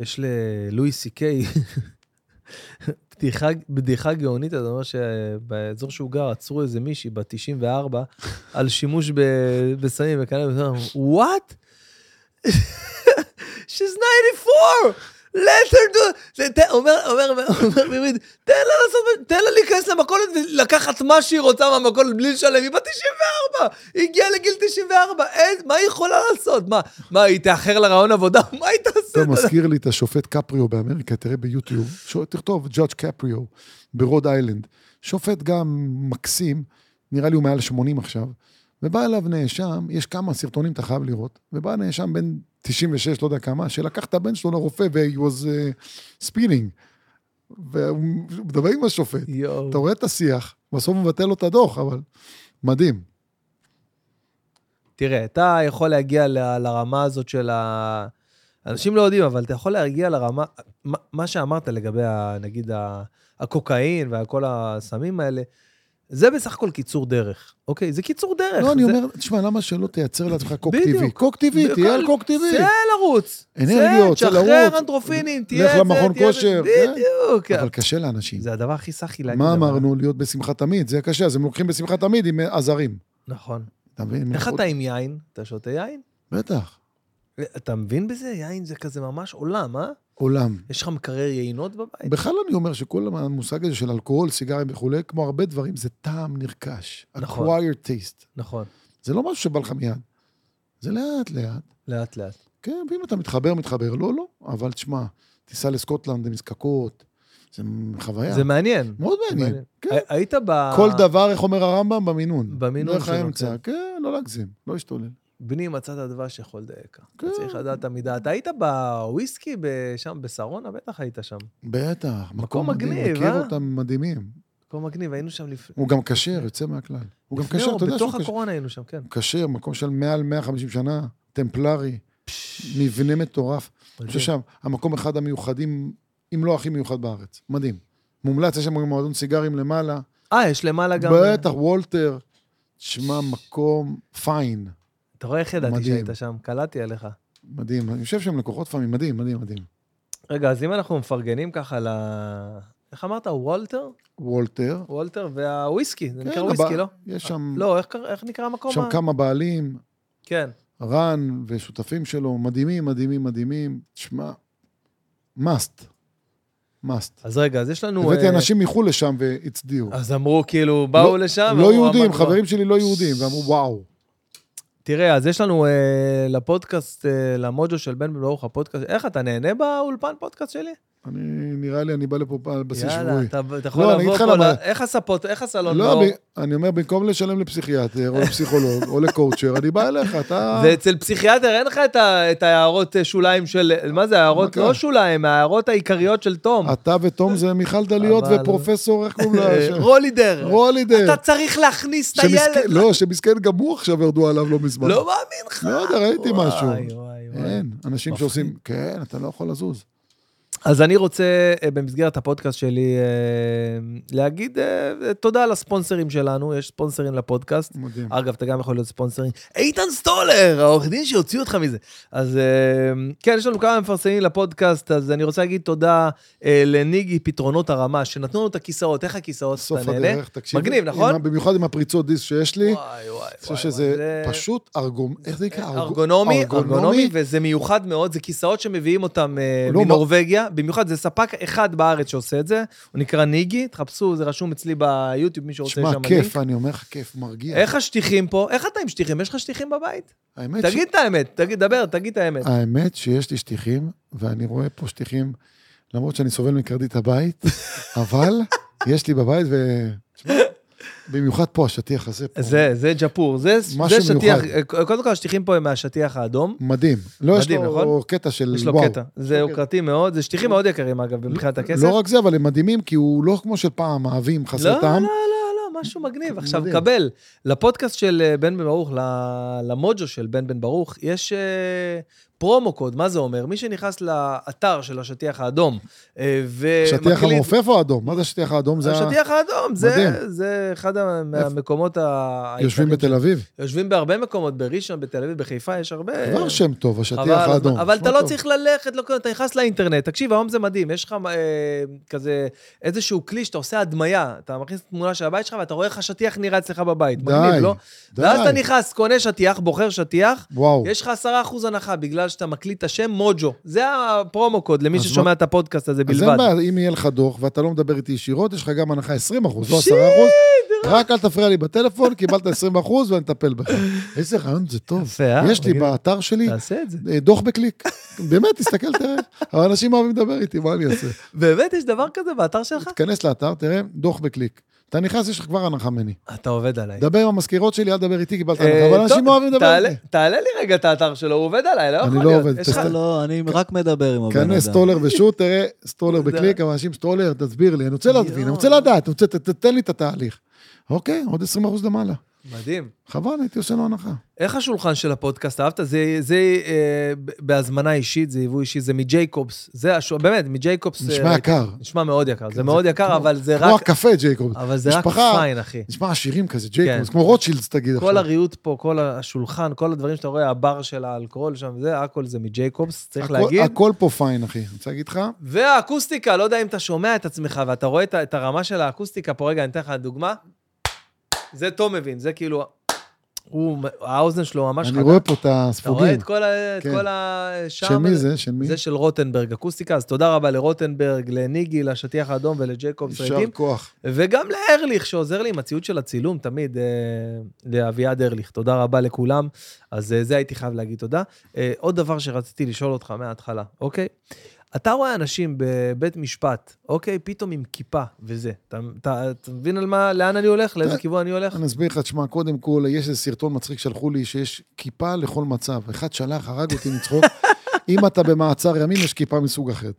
יש ללואי סי קיי פתיחה, בדיחה גאונית, אתה אומר שבאזור שהוא גר עצרו איזה מישהי בת 94 על שימוש ב, בסמים וכאלה, וואט? She's 94! let her do... זה- ת- אומר, אומר, אומר, מימית, תן לה לעשות, מה- תן לה להיכנס למכולת ולקחת מה שהיא רוצה מהמכולת בלי לשלם, היא בת 94! היא הגיעה לגיל 94, אין, מה היא יכולה לעשות? מה, מה, היא תאחר לרעיון עבודה? מה היא תעשה? אתה מזכיר לי את השופט קפריו באמריקה, תראה ביוטיוב, ש- תכתוב ג'אדג' קפריו ברוד איילנד. שופט גם מקסים, נראה לי הוא מעל 80 עכשיו, ובא אליו נאשם, יש כמה סרטונים אתה חייב לראות, ובא נאשם בן 96, לא יודע כמה, שלקח את הבן שלו לרופא ו-he was uh, spinning. והוא הוא מדבר עם השופט, יואו. אתה רואה את השיח, בסוף הוא מבטל לו את הדוח, אבל מדהים. תראה, אתה יכול להגיע ל- לרמה הזאת של ה... אנשים לא יודעים, אבל אתה יכול להגיע לרמה... מה- מה שאמרת לגבי, ה- נגיד, ה- הקוקאין וכל הסמים האלה, זה בסך הכל קיצור דרך, אוקיי? זה קיצור דרך. לא, אני זה- אומר, תשמע, למה שלא תייצר לעצמך קוק בדיוק. טבעי? קוק טבעי, תהיה על קוק טבעי. צא לרוץ. אנרגיות, צא צא, לרוץ. תשחרר אנדרופינים, לך תהיה את זה, למכון תהיה את כושר, זה. כן. אבל בדיוק. קשה לאנשים. זה הדבר הכי סחי להגיד. מה אבל- אמרנו? להיות בשמחה תמיד, זה קשה, אז הם לוקחים בשמחה תמיד עם עזרים. נכון. אתה מבין? איך מלכות- אתה עם יין? אתה שותה יין? בטח, אתה מבין בזה? יין זה כזה ממש עולם, אה? עולם. יש לך מקרר יינות בבית? בכלל אני אומר שכל המושג הזה של אלכוהול, סיגרים וכולי, כמו הרבה דברים, זה טעם נרכש. נכון. acquired taste. נכון. זה לא משהו שבא לך מיד. זה לאט-לאט. לאט לאט. כן, ואם אתה מתחבר, מתחבר. לא, לא. אבל תשמע, תיסע לסקוטלנד, נזקקות, זה חוויה. זה מעניין. מאוד כן. מעניין. מעניין. כן. הי- היית ב... כל דבר, איך אומר הרמב"ם? במינון. במינון דרך שלו, האמצע. כן. כן, לא להגזים, לא להשתולל. בני מצא את הדבש יכול לדייק. אתה כן. צריך לדעת את המידה. אתה היית בוויסקי ב- שם, בשרונה? בטח היית שם. בטח, מקום מקום מדהים, מגניב, מכיר אה? אותם מדהימים. מקום מגניב, היינו שם לפ- לפני... הוא גם כשר, יוצא מהכלל. הוא גם כשר, או אתה יודע בתוך שהוא כשר. הקורונה היינו שם, כן. כשר, מקום של מעל 150 שנה, טמפלרי, מבנה מטורף. אני חושב שהמקום אחד המיוחדים, אם לא הכי מיוחד בארץ. מדהים. מומלץ, יש שם גם מועדון סיגרים למעלה. אה, יש למעלה גם... בטח, וולטר. תשמע, מקום פיין. אתה רואה איך ידעתי מדהים. שהיית שם, קלעתי עליך. מדהים. אני חושב שהם לקוחות פעמים, מדהים, מדהים, מדהים. רגע, אז אם אנחנו מפרגנים ככה ל... איך אמרת? וולטר? וולטר. וולטר והוויסקי, זה נקרא כן, וויסקי, הבא- לא? יש שם, לא, איך קר- איך נקרא המקום? שם ה- כמה בעלים, כן. רן ושותפים שלו, מדהימים, מדהימים, מדהימים. תשמע, must, must. אז רגע, אז יש לנו... הבאתי אה, אנשים מחו"ל לשם והצדיעו. אז אמרו, כאילו, באו לא- לשם... לא אמרו, יהודים, אמרנו, חברים שלי לא יהודים, ואמרו, וואו. תראה, אז יש לנו אה, לפודקאסט, אה, למוג'ו של בן בן ברוך, הפודקאסט, איך אתה נהנה באולפן פודקאסט שלי? אני, נראה לי, אני בא לפה על בסיס יאללה, שבועי. אתה אתה יכול לא, אני לבוא פה, אגיד לך למה. ל- איך הספות, איך הסלון לא, באור? ב- אני אומר, במקום לשלם לפסיכיאטר, או לפסיכולוג, או לקואוצ'ר, אני בא אליך, אתה... ואצל פסיכיאטר אין לך את ה- את ההערות אה, שוליים של... מה זה, ההערות מה לא קרה? אה, שוליים, ההערות העיקריות של תום. אתה ותום זה מיכל דליות אבל- ופרופסור, איך קוראים אה, לה? רולידר. לא רולידר. אתה צריך להכניס את שמסכן- הילד. לא, שמסכן גם הוא עכשיו ירדו עליו לא מזמן. לא מאמין לך. לא יודע, ראיתי וואי, משהו. אה, וואי, וואי. אין, אנשים מפחיד. שעושים, כן, אתה לא יכול לזוז. אז אני רוצה, אה, במסגרת הפודקאסט שלי, אה, להגיד אה, תודה לספונסרים שלנו, יש ספונסרים לפודקאסט. מדהים. אגב, אתה גם יכול להיות ספונסרים. איתן סטולר, העורך דין שהוציא אותך מזה. אז אה, כן, יש לנו כמה מפרסמים לפודקאסט, אז אני רוצה להגיד תודה אה, לניגי פתרונות הרמה, שנתנו לנו את הכיסאות. איך הכיסאות? סוף אתה נהנה? הדרך, תקשיב. מגניב, עם נכון? ה- במיוחד עם הפריצות דיסק שיש לי. וואי, וואי, אני חושב וואי, שזה וואי, זה- פשוט ארגום... איך זה נקרא? ארג- אה, ארגונומי, ארגונומי, וזה מיוחד מאוד, זה כיסאות שמביאים אותם אה, לא, מנורבגיה, במיוחד זה ספק אחד בארץ שעושה את זה, הוא נקרא ניגי, תחפשו, זה רשום אצלי ביוטיוב, מי שרוצה תשמע, שם לינק. כיף, אני אומר לך, כיף, מרגיע. איך השטיחים פה? איך אתה עם שטיחים? יש לך שטיחים בבית? האמת ש- תגיד את האמת, תגיד, דבר, תגיד את האמת. האמת שיש לי שטיחים, ואני רואה פה שטיחים, למרות שאני סובל מקרדיט הבית, אבל יש לי בבית, ו... תשמע, במיוחד פה, השטיח הזה פה. זה, זה ג'פור, זה משהו זה שטיח, אה, מיוחד. קודם כל השטיחים פה הם מהשטיח האדום, מדהים. לא, יש מדהים, לו נכון? קטע של יש לו וואו. קטע, זה אוקיי. יוקרתי מאוד, זה שטיחים מאוד יקרים אגב, מבחינת הכסף. לא רק זה, אבל הם מדהימים, כי הוא לא כמו של פעם, אהבים, חסר טעם. לא, לא, לא, לא, משהו מגניב. עכשיו, מדהים. קבל, לפודקאסט של אה, בן בן ברוך, ל- למוג'ו של בן בן ברוך, יש אה, פרומו קוד, מה זה אומר? מי שנכנס לאתר של השטיח האדום, אה, ומקליט... שטיח המעופף או האדום? מה זה השטיח האדום? זה ה- השטיח האדום, זה, מדהים. זה אחד ה- מהמקומות ה... יושבים בתל אביב. יושבים בהרבה מקומות, בראשון, בתל אביב, בחיפה, יש הרבה... כבר שם טוב, השטיח חבל על האדום. הזמן. אה. אבל נשמע אתה לא טוב. צריך ללכת, לא, אתה נכנס לאינטרנט. תקשיב, היום זה מדהים, יש לך אה, כזה איזשהו כלי שאתה עושה הדמיה, אתה מכניס תמונה של הבית שלך ואתה רואה איך השטיח נראה אצלך בבית. די, מגניב, לא? די. ואז אתה נכנס, קונה שטיח, בוחר שטיח, וואו. יש לך 10% הנחה בגלל שאתה מקליט את השם מוג'ו. זה הפרומו קוד למי אז ששומע מה- את הפודקאסט הזה אז אין בלבד. בעיה, אם יהיה לך דוח ואתה לא מדבר איתי ישירות, יש לך גם הנחה 20 אחוז, לא 10 שיט, אחוז. רק אל תפריע לי בטלפון, קיבלת 20 אחוז ואני אטפל בך. איזה רעיון זה טוב. יפה, אה? יש לי תגיד, באתר שלי תעשה את זה. אה, דוח בקליק. באמת, תסתכל, תראה. אבל אנשים אוהבים לדבר איתי, מה אני אעשה? באמת יש דבר כזה באתר שלך? תיכנס לאתר, תראה, דוח בקליק. אתה נכנס, יש לך כבר הנחה ממני. אתה עובד עליי. דבר עם המזכירות שלי, אל תדבר איתי, קיבלת אוקיי. אה, הנחה. אבל אנשים טוב, לא אוהבים לדבר תעלה- איתי. תעלה לי רגע את האתר שלו, הוא עובד עליי, לא אני יכול לא להיות. עובד, יש לך- תסתכל. לא, לא, אני רק מדבר עם הבן אדם. כנס כן, סטולר ושות, תראה, סטולר בקליק, אבל אנשים, סטולר, תסביר לי, אני רוצה לא- להבין, אני רוצה לדעת, אני רוצה- ת- ת- תן לי את התהליך. אוקיי, עוד 20% למעלה. מדהים. חבל, הייתי עושה לו הנחה. איך השולחן של הפודקאסט, אהבת? זה, זה אה, ב- בהזמנה אישית, זה יבוא אישי, זה מג'ייקובס. זה, השו... באמת, מג'ייקובס... אה, נשמע ראיתי- יקר. כן, נשמע מאוד יקר, זה מאוד יקר, אבל זה כמו רק... הקפה, ג'ייקובס. אבל זה רק משפחה, פיין, אחי. נשמע עשירים כזה, כן. ג'ייקובס, כמו רוטשילדס, תגיד כל עכשיו. הריהוט פה, כל השולחן, כל הדברים שאתה רואה, הבר של האלכוהול שם, זה, הכל זה מג'ייקובס, צריך הכל- להגיד. הכל פה פיין, אחי. אני רוצה להגיד לך, והאקוסטיקה, לא יודע אם אתה שומע את עצמך ואתה רואה את, ה- את הרמה של האקוסטיקה פה, רגע, אני אתן לך דוגמה. זה תום מבין, זה כאילו... הוא, האוזן שלו ממש אני חדה. רואה פה את אתה רואה הספוגים. את כל ה... את כן. כל ה... שם של מי הזה? זה? של מי? זה של רוטנברג אקוסטיקה, אז תודה רבה לרוטנברג, לניגי, לשטיח האדום ולג'ייקובס יישר רייטים, כוח. וגם לארליך שעוזר לי עם הציוד של הצילום תמיד, אה, לאביעד ארליך, תודה רבה לכולם. אז אה, זה הייתי חייב להגיד תודה. אה, עוד דבר שרציתי לשאול אותך מההתחלה, אוקיי? אתה רואה אנשים בבית משפט, אוקיי? פתאום עם כיפה וזה. אתה, אתה, אתה מבין על מה, לאן אני הולך? לאיזה אתה- כיוון אני הולך? אני אסביר לך, תשמע, קודם כל, יש איזה סרטון מצחיק שלחו לי שיש כיפה לכל מצב. אחד שלח, הרג אותי מצחוק. אם אתה במעצר ימים, יש כיפה מסוג אחר.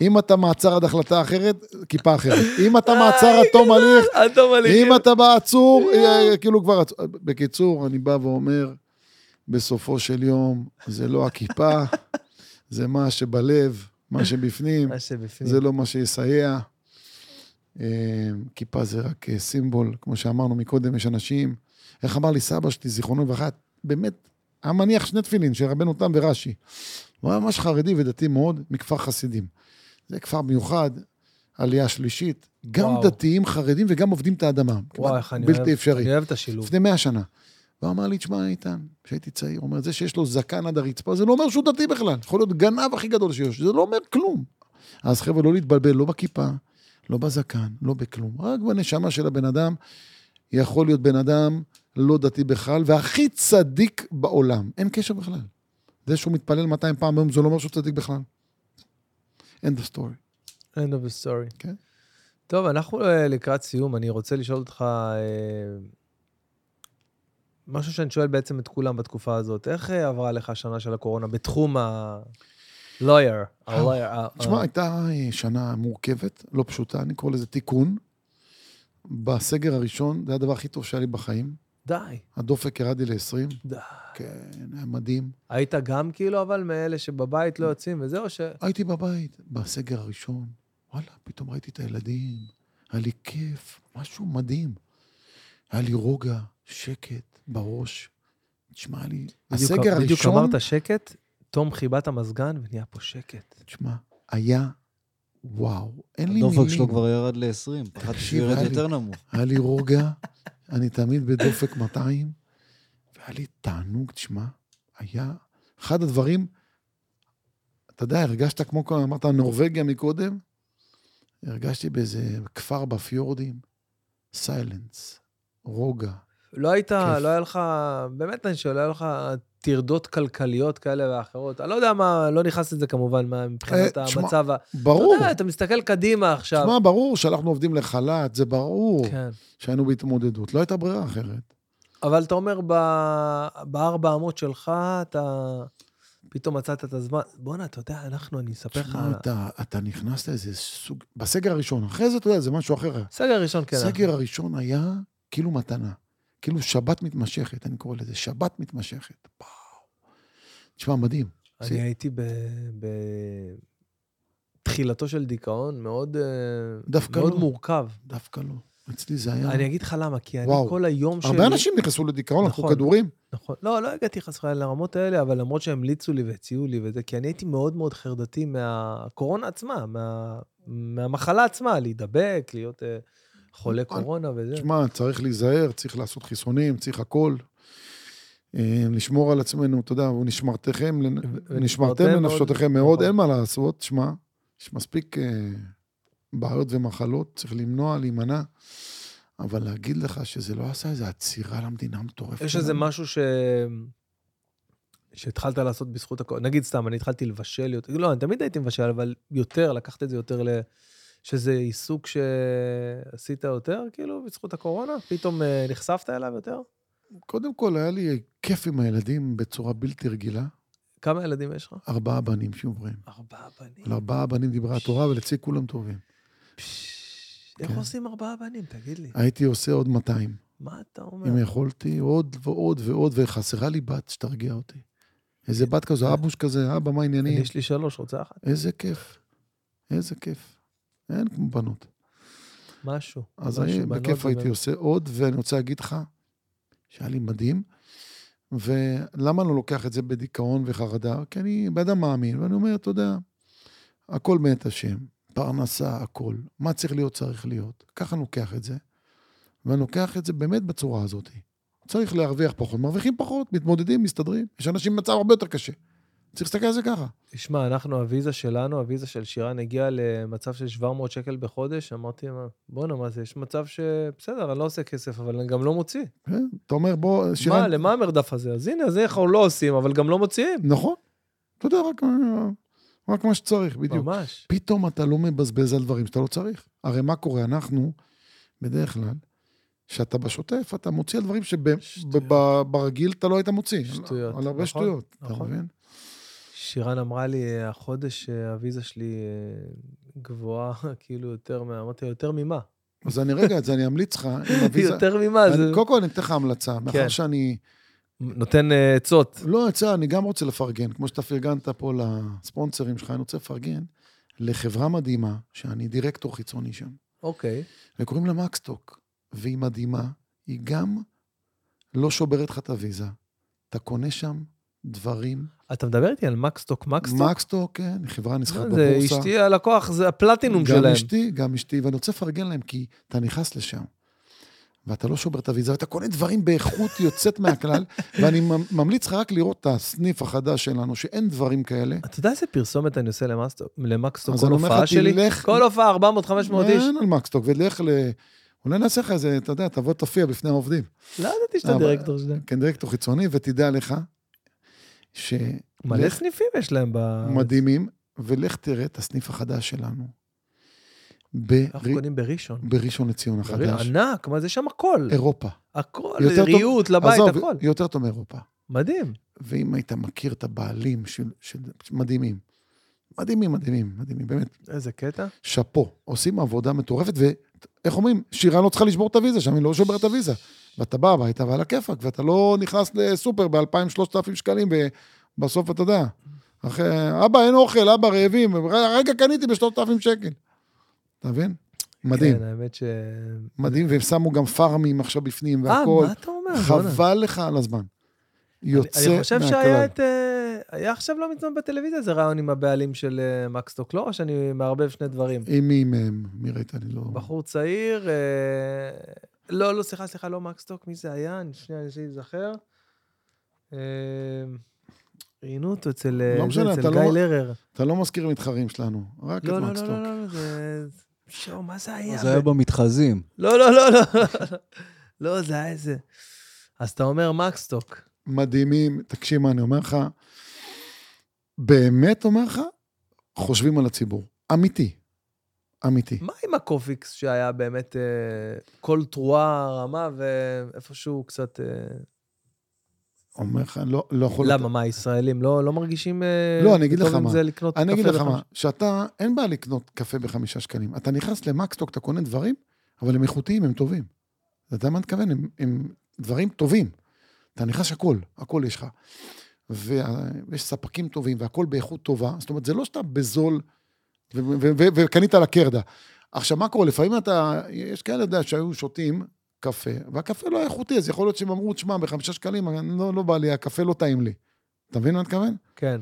אם אתה מעצר עד החלטה אחרת, כיפה אחרת. אם אה, אתה מעצר עד תום הליך, אל תאמר לי, אם אתה בעצור, אה, אה, כאילו כבר... עצ- בקיצור, אני בא ואומר, בסופו של יום, זה לא הכיפה, זה מה שבלב, מה שבפנים, מה אה, שבפנים. זה לא מה שיסייע. אה, כיפה זה רק אה, סימבול, כמו שאמרנו מקודם, יש אנשים. איך אמר לי סבא שלי, זיכרונו לברכה, באמת, היה מניח שני תפילין של רבנו תם ורש"י. הוא היה ממש חרדי ודתי מאוד, מכפר חסידים. זה כפר מיוחד, עלייה שלישית, גם וואו. וואו. דתיים חרדים וגם עובדים את האדמה. וואי, כמעט איך אני אוהב. בלתי אפשרי. אני אוהב את השילוב. לפני 100 שנה. והוא אמר לי, תשמע, איתן, כשהייתי צעיר, הוא אומר, זה שיש לו זקן עד הרצפה, זה לא אומר שהוא דתי בכלל. יכול להיות גנב הכי גדול שיש, זה לא אומר כלום. אז חבר'ה, לא להתבלבל, לא בכיפה, לא בזקן, לא בכלום. רק בנשמה של הבן אדם, יכול להיות בן אדם לא דתי בכלל, והכי צדיק בעולם. אין קשר בכלל. זה שהוא מתפלל 200 פעם ביום, זה לא אומר שהוא צדיק בכלל. end of story. end of the story. כן. טוב, אנחנו אה, לקראת סיום, אני רוצה לשאול אותך אה, משהו שאני שואל בעצם את כולם בתקופה הזאת. איך אה, עברה לך השנה של הקורונה בתחום ה... lawyer, ה- lawyer, ה- אה, תשמע, ה- הייתה אה, שנה מורכבת, לא פשוטה, אני קורא לזה תיקון. בסגר הראשון, זה הדבר הכי טוב שהיה לי בחיים. די, הדופק ירד לי ל-20. די. כן, היה מדהים. היית גם כאילו, אבל מאלה שבבית לא יוצאים וזהו, ש... הייתי בבית, בסגר הראשון, וואלה, פתאום ראיתי את הילדים, היה לי כיף, משהו מדהים. היה לי רוגע, שקט בראש. תשמע לי, הסגר בדיוק- בדיוק הראשון, אמרת שקט, תום חיבה את המזגן ונהיה פה שקט. תשמע, היה וואו, אין לי הדופק שלו מילים. כבר ירד ל-20, פחדתי תקשיב, שהוא ירד היה לי- יותר נמוך. היה לי רוגע, אני תמיד בדופק 200, והיה לי תענוג, תשמע, היה אחד הדברים, אתה יודע, הרגשת כמו כל- אמרת נורבגיה מקודם, הרגשתי באיזה כפר בפיורדים, סיילנס, רוגע. לא היית, כיף. לא היה לך, באמת אני שואל, לא היה לך טרדות כלכליות כאלה ואחרות. אני לא יודע מה, לא נכנס לזה כמובן, מה, מבחינת אה, תשמע, המצב ה... ברור, אתה יודע, אתה מסתכל קדימה עכשיו. תשמע, ברור שאנחנו עובדים לחל"ת, זה ברור כן. שהיינו בהתמודדות, לא הייתה ברירה אחרת. אבל אתה אומר, ב- בארבע אמות שלך, אתה פתאום מצאת את הזמן. בואנה, אתה יודע, אנחנו, אני אספר לך... תשמע, אתה, אתה נכנס לאיזה סוג, בסגר הראשון, אחרי זה, אתה יודע, זה משהו אחר. סגר ראשון, כן. הסגר הראשון היה כאילו מתנה, כאילו שבת מתמשכת, אני קורא לזה, שבת מתמשכת. וואו. תשמע, מדהים. אני זה- הייתי בתחילתו של דיכאון מאוד, אה, דווקא מאוד לא. מורכב. דווקא לא. אצלי זה היה... אני אגיד לך למה, כי אני וואו. כל היום שלי... הרבה אנשים נכנסו לדיכאון, לקחו נכון. כדורים. נכון. לא, לא הגעתי חס וחלילה לרמות האלה, אבל למרות שהמליצו לי והציעו לי וזה, כי אני הייתי מאוד מאוד חרדתי מהקורונה עצמה, מה, מהמחלה עצמה, להידבק, להיות אה, חולה נכון. קורונה וזה. תשמע, צריך להיזהר, צריך לעשות חיסונים, צריך הכל. אה, לשמור על עצמנו, אתה יודע, ונשמרתכם, לנ- ונשמרתם מאוד, לנפשותכם מאוד, נכון. אין מה לעשות, תשמע, יש מספיק אה, בעיות ומחלות, צריך למנוע, להימנע. אבל להגיד לך שזה לא עשה איזו עצירה למדינה המטורפת. יש איזה שלנו? משהו ש... שהתחלת לעשות בזכות הכל, נגיד סתם, אני התחלתי לבשל יותר, לא, אני תמיד הייתי מבשל, אבל יותר, לקחת את זה יותר ל... שזה עיסוק שעשית יותר, כאילו, בזכות הקורונה? פתאום אה, נחשפת אליו יותר? קודם כל, היה לי כיף עם הילדים בצורה בלתי רגילה. כמה ילדים יש לך? ארבעה בנים שיוברים. ארבעה בנים. על ארבעה בנים דיברה התורה, ולצי כולם טובים. פשש, איך כן. עושים ארבעה בנים? תגיד לי. הייתי עושה עוד 200. מה אתה אומר? אם יכולתי, עוד ועוד ועוד, וחסרה לי בת שתרגיע אותי. איזה בת כזו, אבוש כזה, אבא, מה העניינים? אה, יש לי שלוש, רוצה אחת? איזה כיף. איזה כיף. אין כמו בנות. משהו. אז משהו, אני בנות בכיף זה הייתי באמת- עושה עוד, ואני רוצה להגיד לך שהיה לי מדהים. ולמה אני לא לוקח את זה בדיכאון וחרדה? כי אני בן אדם מאמין, ואני אומר, אתה יודע, הכל מאת השם, פרנסה, הכל. מה צריך להיות, צריך להיות. ככה אני לוקח את זה, ואני לוקח את זה באמת בצורה הזאת. צריך להרוויח פחות, מרוויחים פחות, מתמודדים, מסתדרים. יש אנשים במצב הרבה יותר קשה. צריך להסתכל על זה ככה. תשמע, אנחנו, הוויזה שלנו, הוויזה של שירן הגיעה למצב של 700 שקל בחודש, אמרתי לה, בואנה, מה זה, יש מצב ש... בסדר, אני לא עושה כסף, אבל אני גם לא מוציא. כן? אתה אומר, בוא, שירן... מה, למה המרדף הזה? אז הנה, זה אנחנו לא עושים, אבל גם לא מוציאים. נכון. אתה יודע, רק, רק מה שצריך, בדיוק. ממש. פתאום אתה לא מבזבז על דברים שאתה לא צריך. הרי מה קורה? אנחנו, בדרך כלל, כשאתה בשוטף, אתה מוציא על דברים שטויות. שברגיל אתה לא היית מוציא. שטויות, על הרבה נכון, שטויות, אתה נכון. מבין? שירן אמרה לי, החודש אה, הוויזה שלי אה, גבוהה, כאילו, יותר מה... אמרתי לה, יותר ממה? אז אני רגע, אז אני אמליץ לך, עם הוויזה... יותר כן. ממה? אני- זה- קודם כל אני אתן לך המלצה, מאחר שאני... נותן אה, עצות. לא יצא, אני גם רוצה לפרגן, כמו שאתה פרגנת פה לספונסרים שלך, אני רוצה לפרגן לחברה מדהימה, שאני דירקטור חיצוני שם. אוקיי. וקוראים לה מקסטוק, והיא מדהימה, היא גם לא שוברת לך את הוויזה. אתה קונה שם דברים. אתה מדבר איתי על מקסטוק, מקסטוק? מקסטוק, כן, היא חברה נסחרת מה בבורסה. זה אשתי הלקוח, זה הפלטינום גם שלהם. אשתי, גם אשתי, ואני רוצה לפרגן להם, כי אתה נכנס לשם, ואתה לא שובר את הוויזה, ואתה קונה דברים באיכות יוצאת מהכלל, ואני ממ- ממליץ לך רק לראות את הסניף החדש שלנו, שאין דברים כאלה. אתה יודע איזה פרסומת אני עושה למאסטוק- למקסטוק, אז כל אני אומר לך, הופעה שלי? תלך- כן. כל הופעה 400-500 איש. אין על מקסטוק, ולך ל... אולי נעשה לך איזה, אתה יודע, תבוא תופיע בפני העובדים. לא ידעתי שאתה אבל- דירקטור שלהם. כן, דירקטור חיצוני, ותדע לך מלא שמלא סניפים יש להם ב... מדהימים, ולך תראה את הסניף החדש שלנו, אנחנו בר... קונים בראשון. בראשון לציון החדש. ענק, מה זה שם הכל. אירופה. הכל, יותר טוב- ריהוט, לבית, עזוב, אה, הכל. יותר טוב מאירופה. מדהים. ואם היית מכיר את הבעלים של... של... מדהימים. מדהימים, מדהימים, מדהימים, באמת. איזה קטע. שאפו, עושים עבודה מטורפת, ואיך אומרים, שירה לא צריכה לשבור את הוויזה, שם היא לא שוברת את הוויזה. ואתה בא הביתה ועל הכיפאק, ואתה לא נכנס לסופר ב-2,000-3,000 שקלים, ובסוף אתה יודע, אחרי, אבא, אין אוכל, אבא, רעבים, רגע קניתי ב-3,000 שקל. אתה מבין? מדהים, כן, האמת ש... מדהים, והם שמו גם פארמים עכשיו בפנים אה, והכול. מה אתה אומר? בואנה. חבל לך על הזמן. יוצא מהכלל. אני חושב שהיה את... אה, היה עכשיו לא מזמן בטלוויזיה איזה רעיון עם הבעלים של אה, מקסטוק, לא? או שאני מערבב שני דברים. עם מי מהם? מי ראית? אני לא... בחור צעיר, אה, לא, לא, סליחה, סליחה, לא מקסטוק, מי זה היה? אני- שנייה, אני אנסה להיזכר. אה, ראיינו אותו אצל אה, לא זה, משנה, אצל אתה גיא לא- לרר. אתה לא מזכיר מתחרים שלנו, רק את לא, לא, לא, מקסטוק. לא, לא, זה... שואו, מה זה היה? זה היה במתחזים. לא, לא, לא, לא. לא, זה היה איזה... אז אתה אומר מקסטוק. מדהימים. תקשיב מה אני אומר לך, באמת אומר לך, חושבים על הציבור. אמיתי. אמיתי. מה עם הקופיקס שהיה באמת אה, כל תרועה רמה ואיפשהו קצת... אה, אומר לך, לא, לא יכול... למה, מה, הישראלים לא לא מרגישים... אה, לא, אני אגיד טוב לך עם מה. זה לקנות אני אגיד קפה לך מה, בחמישה? שאתה, אין בעיה לקנות קפה בחמישה שקלים. אתה נכנס למקסטוק, אתה קונה דברים, אבל הם איכותיים, הם טובים. אתה יודע מה אני מתכוון? הם, הם דברים טובים. אתה נכנס הכל, הכל יש לך. וה- ויש ספקים טובים, והכל באיכות טובה. זאת אומרת, זה לא שאתה בזול ו- ו- ו- ו- וקנית על הקרדה. עכשיו, מה קורה? לפעמים אתה, יש כאלה, אתה יודע, שהיו שותים קפה, והקפה לא היה איכותי, אז יכול להיות שהם אמרו, תשמע, בחמישה שקלים, אני לא, לא בא לי, הקפה לא טעים לי. אתה מבין מה אני מתכוון? כן.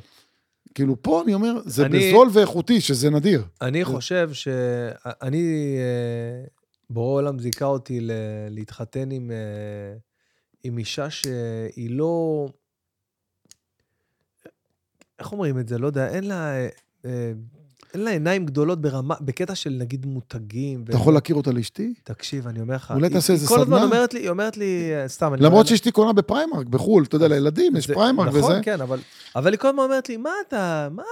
כאילו, פה אני אומר, זה אני- בזול ואיכותי, שזה נדיר. אני חושב ש... אני... אה, בורא עולם זיכה אותי ל... להתחתן עם, אה, עם אישה שהיא לא... איך אומרים את זה? לא יודע, אין לה... אה, אה, אין לה עיניים גדולות ברמה, בקטע של נגיד מותגים. אתה יכול להכיר אותה לאשתי? תקשיב, אני אומר לך, אולי היא- תעשה היא איזה כל הזמן סדנה? אומרת לי, היא אומרת לי, אה, סתם, אני... למרות אומר- שאשתי קונה בפריימרק, בחו"ל, אתה יודע, לילדים, יש זה- פריימרק וזה. נכון, כן, אבל... אבל היא כל הזמן אומרת לי, מה אתה, מה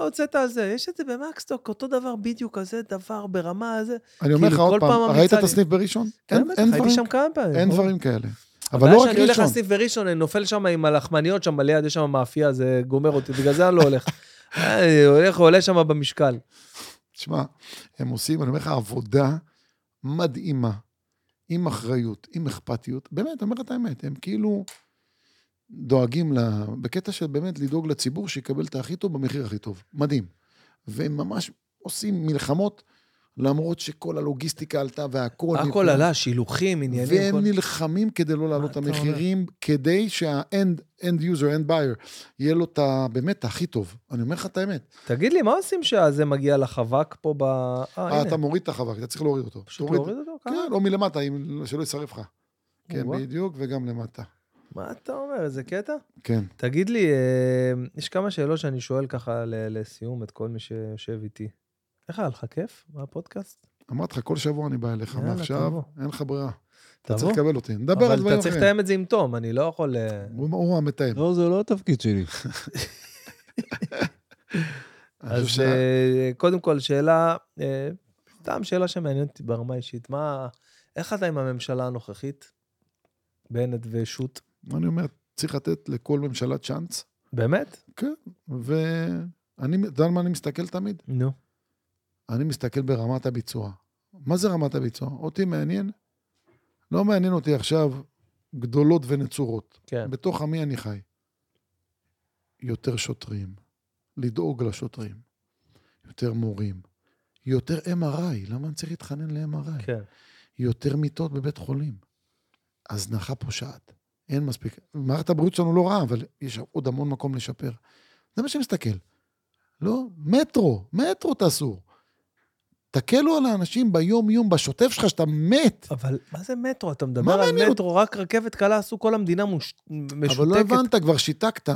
הוצאת על זה? יש את זה במקסטוק, אותו דבר בדיוק, כזה דבר ברמה הזה. אני אומר לך כאילו, כל עוד פעם פעם, ממליצה ראית את לי. הסניף בראשון? כן, אין- בטח, אין הייתי דברים- שם כמה פעמים. אין ברור. דברים כאלה. אבל הבעיה לא רק שאני הולך ראשון. לסניף בראשון, אני נופל שם עם הלחמניות שם ליד, יש שם מאפייה, זה גומר אותי, בגלל זה אני לא הולך. אני הולך, עולה שם במשקל. תשמע, הם עושים, אני אומר לך, עבודה מדהימה, עם אחריות, עם אכפתיות. באמת, אני אומר לך את האמת, הם כאילו דואגים, ל... בקטע של באמת לדאוג לציבור שיקבל את הכי טוב במחיר הכי טוב. מדהים. והם ממש עושים מלחמות, למרות שכל הלוגיסטיקה עלתה והכל... הכל עלה, שילוחים, עניינים. והם כל- נלחמים כדי לא להעלות את אתה אומר? המחירים, כדי שה-end end user, end buyer, יהיה לו את ה... באמת הכי טוב. אני אומר לך את האמת. תגיד לי, מה עושים שהזה מגיע לחבק פה ב... אה, אה, הנה. אתה מוריד את החבק, אתה צריך להוריד אותו. פשוט תוריד- להוריד אותו? ככה? כן, או מלמטה, אם- שלא ישרף לך. כן, וואו. בדיוק, וגם למטה. מה אתה אומר? איזה קטע? כן. תגיד לי, אה, יש כמה שאלות שאני שואל ככה ל- לסיום את כל מי שיושב איתי. איך היה לך כיף מהפודקאסט? אמרתי לך, כל שבוע אני בא אליך, יאללה, מעכשיו, תבוא. אין לך ברירה. אתה צריך תבוא. לקבל אותי. נדבר על אבל דברים אתה צריך אחרים. לתאם את זה עם תום, אני לא יכול... אה, הוא הוא המתאם. לא, זה לא התפקיד שלי. אני אז חושב ש- אה, קודם כל, שאלה, אה, סתם שאלה שמעניינת אותי ברמה האישית. מה, איך אתה עם הממשלה הנוכחית? בנט ושות'. אני אומר, צריך לתת לכל ממשלה צ'אנס, באמת? ואני, אתה יודע על מה אני מסתכל תמיד? נו. אני מסתכל ברמת הביצוע. מה זה רמת הביצוע? אותי מעניין. לא מעניין אותי עכשיו גדולות ונצורות. כן. בתוך עמי אני חי. יותר שוטרים, לדאוג לשוטרים, יותר מורים, יותר MRI, למה אני צריך להתחנן ל-MRI? כן. יותר מיטות בבית חולים. הזנחה פושעת, אין מספיק. מערכת הבריאות שלנו לא רעה, אבל יש עוד המון מקום לשפר. זה מה שמסתכל. לא, מטרו, מטרו תעשו. תקלו על האנשים ביום-יום, בשוטף שלך, שאתה מת. אבל מה זה מטרו? אתה מה מדבר על מעניין מטרו, רק רכבת קלה עשו, כל המדינה מוש- משותקת. אבל לא הבנת, כבר שיתקת,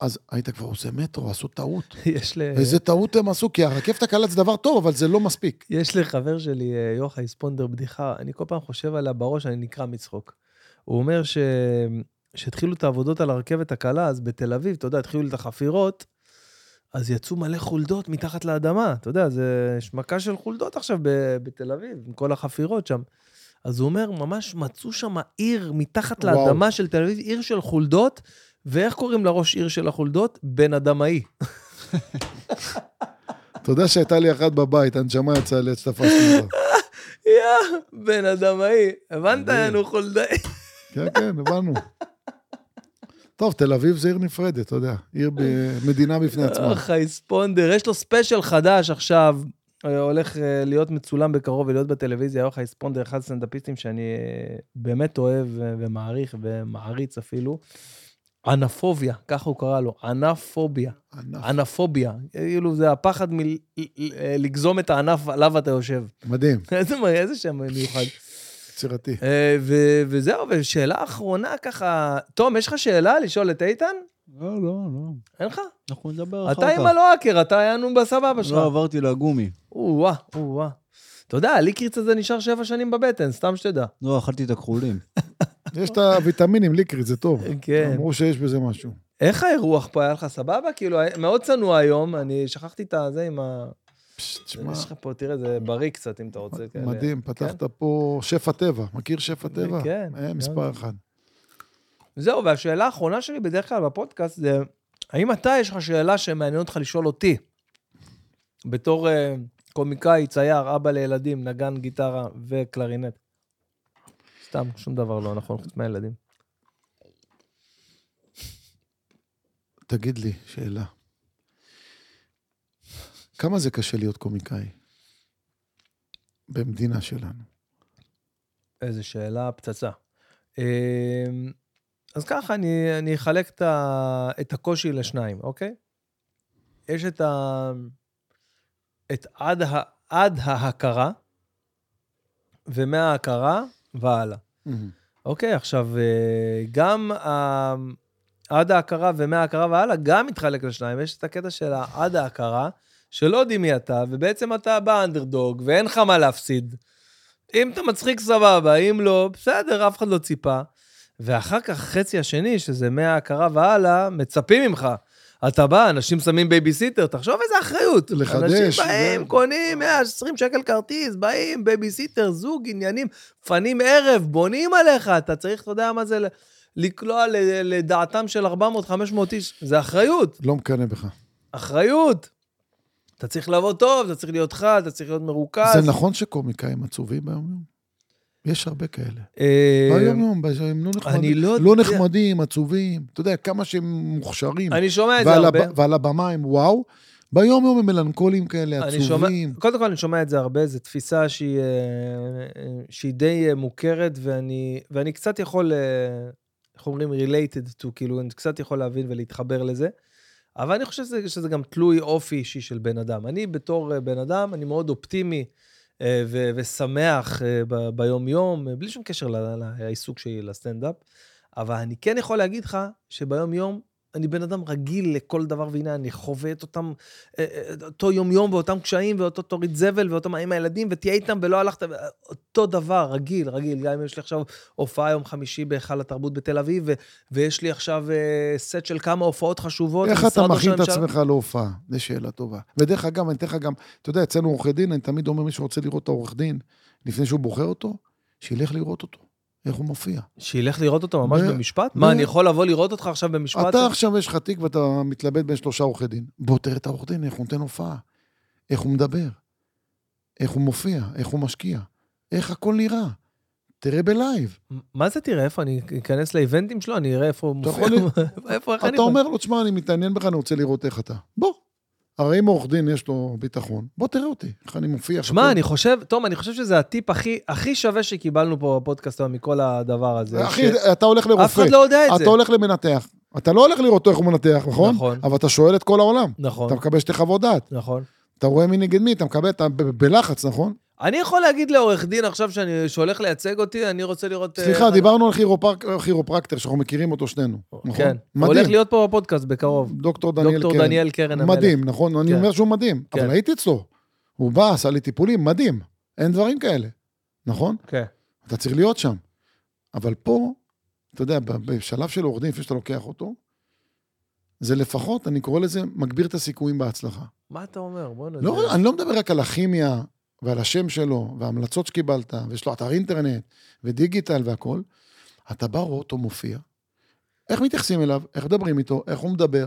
אז היית כבר עושה מטרו, עשו טעות. יש ל... איזה טעות הם עשו, כי הרכבת הקלה זה דבר טוב, אבל זה לא מספיק. יש לחבר שלי, אה, יוחאי ספונדר, בדיחה, אני כל פעם חושב עליה בראש, אני נקרע מצחוק. הוא אומר ש... שהתחילו את העבודות על הרכבת הקלה, אז בתל אביב, אתה יודע, התחילו את החפירות, אז יצאו מלא חולדות מתחת לאדמה. אתה יודע, זה- יש מכה של חולדות עכשיו ב- בתל אביב, עם כל החפירות שם. אז הוא אומר, ממש מצאו שם עיר מתחת וואו. לאדמה של תל אביב, עיר של חולדות, ואיך קוראים לראש עיר של החולדות? בן אדמאי. אתה יודע שהייתה לי אחת בבית, הנשמה יצאה לי עד שתפסתי אותה. יא, בן אדמאי. הבנת? מדהים. יענו חולדאי. כן, כן, הבנו. טוב, תל אביב זה עיר נפרדת, אתה יודע. עיר, ב- מדינה בפני עצמה. אה, חייספונדר, יש לו ספיישל חדש עכשיו, אה, הולך אה, להיות מצולם בקרוב ולהיות בטלוויזיה, יוחאי ספונדר, אחד הסטנדאפיסטים שאני אה, באמת אוהב אה, ומעריך ומעריץ אפילו. ענפוביה, ככה הוא קרא לו, ענפוביה, ענף. ענפוביה. כאילו זה הפחד מלגזום את הענף עליו אתה יושב. מדהים, איזה מ- איזה שם מיוחד. יצירתי. אה, ו- וזהו, ושאלה אחרונה ככה, תום, יש לך שאלה לשאול את איתן? לא, לא, לא. אין לך? אנחנו נדבר אחר כך. אתה עם הלואקר, אתה היינו בסבבה שלך. לא עברתי לגומי. או-אה, או-אה. אתה יודע, הליקריץ הזה נשאר שבע שנים בבטן, סתם שתדע. לא, אכלתי את הכחולים. יש את הוויטמינים, ליקריט, זה טוב. כן. אמרו שיש בזה משהו. איך האירוח פה, היה לך סבבה? כאילו, היה- מאוד צנוע היום, אני שכחתי את הזה עם ה... פש, תשמע, יש לך פה, תראה, זה בריא קצת, אם אתה רוצה. כאלה. מדהים, פתחת פה שפע טבע. מכיר שפע טבע? כן, אה, גם. מספר אחד. זהו, והשאלה האחרונה שלי בדרך כלל בפודקאסט זה, האם אתה, יש לך שאלה שמעניין אותך לשאול אותי, בתור אה, קומיקאי, צייר, אבא לילדים, נגן גיטרה וקלרינט? סתם, שום דבר לא נכון, חוץ מהילדים. תגיד לי, שאלה. כמה זה קשה להיות קומיקאי במדינה שלנו? איזה שאלה, פצצה. אמ, אז ככה, אני, אני אחלק את, ה, את הקושי לשניים, אוקיי? יש את, ה, את עד, ה, עד ההכרה, ומההכרה והלאה. אוקיי, עכשיו, אה, גם ה... עד ההכרה ומההכרה והלאה, גם מתחלק לשניים. יש את הקטע של העד ההכרה, שלא יודעים מי אתה, ובעצם אתה באנדרדוג, ואין לך מה להפסיד. אם אתה מצחיק, סבבה, אם לא, בסדר, אף אחד לא ציפה. ואחר כך, חצי השני, שזה מההכרה והלאה, מצפים ממך. אתה בא, אנשים שמים בייביסיטר, תחשוב איזה אחריות. לחדש, אנשים זה- באים, קונים 120 שקל כרטיס, באים, בייביסיטר, זוג, עניינים, מפנים ערב, בונים עליך, אתה צריך, אתה יודע מה זה, ל- לקלוע ל- לדעתם של 400-500 איש, זה אחריות, לא מקנא בך. אחריות. אתה צריך לבוא טוב, אתה צריך להיות חד, אתה צריך להיות מרוכז. זה נכון שקומיקאים עצובים ביום-יום? יש הרבה כאלה. אה, ביום-יום, בש- הם לא אני נחמדים. לא לא יודע. נחמדים, עצובים. אתה יודע, כמה שהם מוכשרים. אני שומע את זה ועל הרבה. הב- ועל הבמה הם וואו. ביום-יום הם מלנכולים כאלה, אני שומע, עצובים. קודם כל אני שומע את זה הרבה, זו תפיסה שהיא, אה, אה, שהיא די אה, מוכרת, ואני, ואני קצת יכול, אה, איך אומרים, related to, כאילו, אני קצת יכול להבין ולהתחבר לזה. אבל אני חושב שזה, שזה גם תלוי אופי אישי של בן אדם. אני בתור אה, בן אדם, אני מאוד אופטימי אה, ו- ושמח אה, ב- ביום-יום, אה, בלי שום קשר ל- ל- לעיסוק שלי לסטנדאפ, אבל אני כן יכול להגיד לך שביום-יום אני בן אדם רגיל לכל דבר, והנה אני חווה את אותם, אה, אה, אותו יום-יום ואותם קשיים, ואותו תוריד זבל, ואותו מה עם הילדים, ותהיה איתם ולא הלכת, ו- אותו דבר, רגיל, רגיל. גם אם יש לי עכשיו הופעה יום חמישי בהיכל התרבות בתל אביב, ו- ויש לי עכשיו אה, סט של כמה הופעות חשובות. איך משרד אתה ראש מכין את הממשלה. עצמך להופעה? זו שאלה טובה. ודרך אגב, אני אתן לך גם, אתה יודע, אצלנו עורכי דין, אני תמיד אומר, מי שרוצה לראות את העורך דין, לפני שהוא בוחר אותו, שילך לראות אותו, איך הוא מופיע. שילך לראות אותו ממש ב- במשפט? ב- מה, אני יכול לבוא לראות אותך עכשיו במשפט? אתה עכשיו יש לך תיק ואתה מתלבט בין שלושה עורכי דין. בוא תראה את העורך דין, איך הוא נותן הופעה, איך הוא מדבר, איך הוא מופיע, איך הוא משקיע, איך הכל נראה. תראה בלייב. מה זה תראה? איפה? אני אכנס לאיבנטים שלו, אני אראה איפה הוא אתה מופיע. איפה, איך אני... אתה אומר לו, תשמע, אני מתעניין בך, אני רוצה לראות איך אתה. בוא. הרי אם עורך דין יש לו ביטחון, בוא תראה אותי, איך אני מופיע. שמע, הכל. אני חושב, תום, אני חושב שזה הטיפ הכי, הכי שווה שקיבלנו פה בפודקאסט היום מכל הדבר הזה. אחי, ש- אתה הולך אף לרופא, אחד לא יודע את זה. אתה הולך למנתח. אתה לא הולך לראות איך הוא מנתח, נכון? נכון. אבל אתה שואל את כל העולם. אתה נכון, מקבל שתי חוות דעת. נכון. אתה רואה מי נגד מי, אתה מקבל, אתה ב- בלחץ, נכון? אני יכול להגיד לעורך דין עכשיו שאני, שהולך לייצג אותי, אני רוצה לראות... אה, סליחה, איך- דיברנו על כירופרק- כירופרקטר, שאנחנו מכירים אותו שנינו, נכון? כן. הוא הולך מדהים. להיות פה בפודקאסט בקרוב. דוקטור דניאל דוקטור קרן. דניאל קרן המלך. מדהים, נכון? אני כן. אומר שהוא מדהים, כן. אבל הייתי אצלו. הוא בא, עשה לי טיפולים, מדהים. אין דברים כאלה, נכון? כן. אתה צריך להיות שם. אבל פה, אתה יודע, ב- בשלב של עורך דין, לפני שאתה לוקח אותו, זה לפחות, אני קורא לזה, מגביר את הסיכויים בהצלחה. מה אתה אומר? בוא נדבר. לא, אני לא מדבר רק על הכימיה ועל השם שלו וההמלצות שקיבלת, ויש לו אתר אינטרנט ודיגיטל והכול. אתה בא, רואה אותו מופיע, איך מתייחסים אליו, איך מדברים איתו, איך הוא מדבר.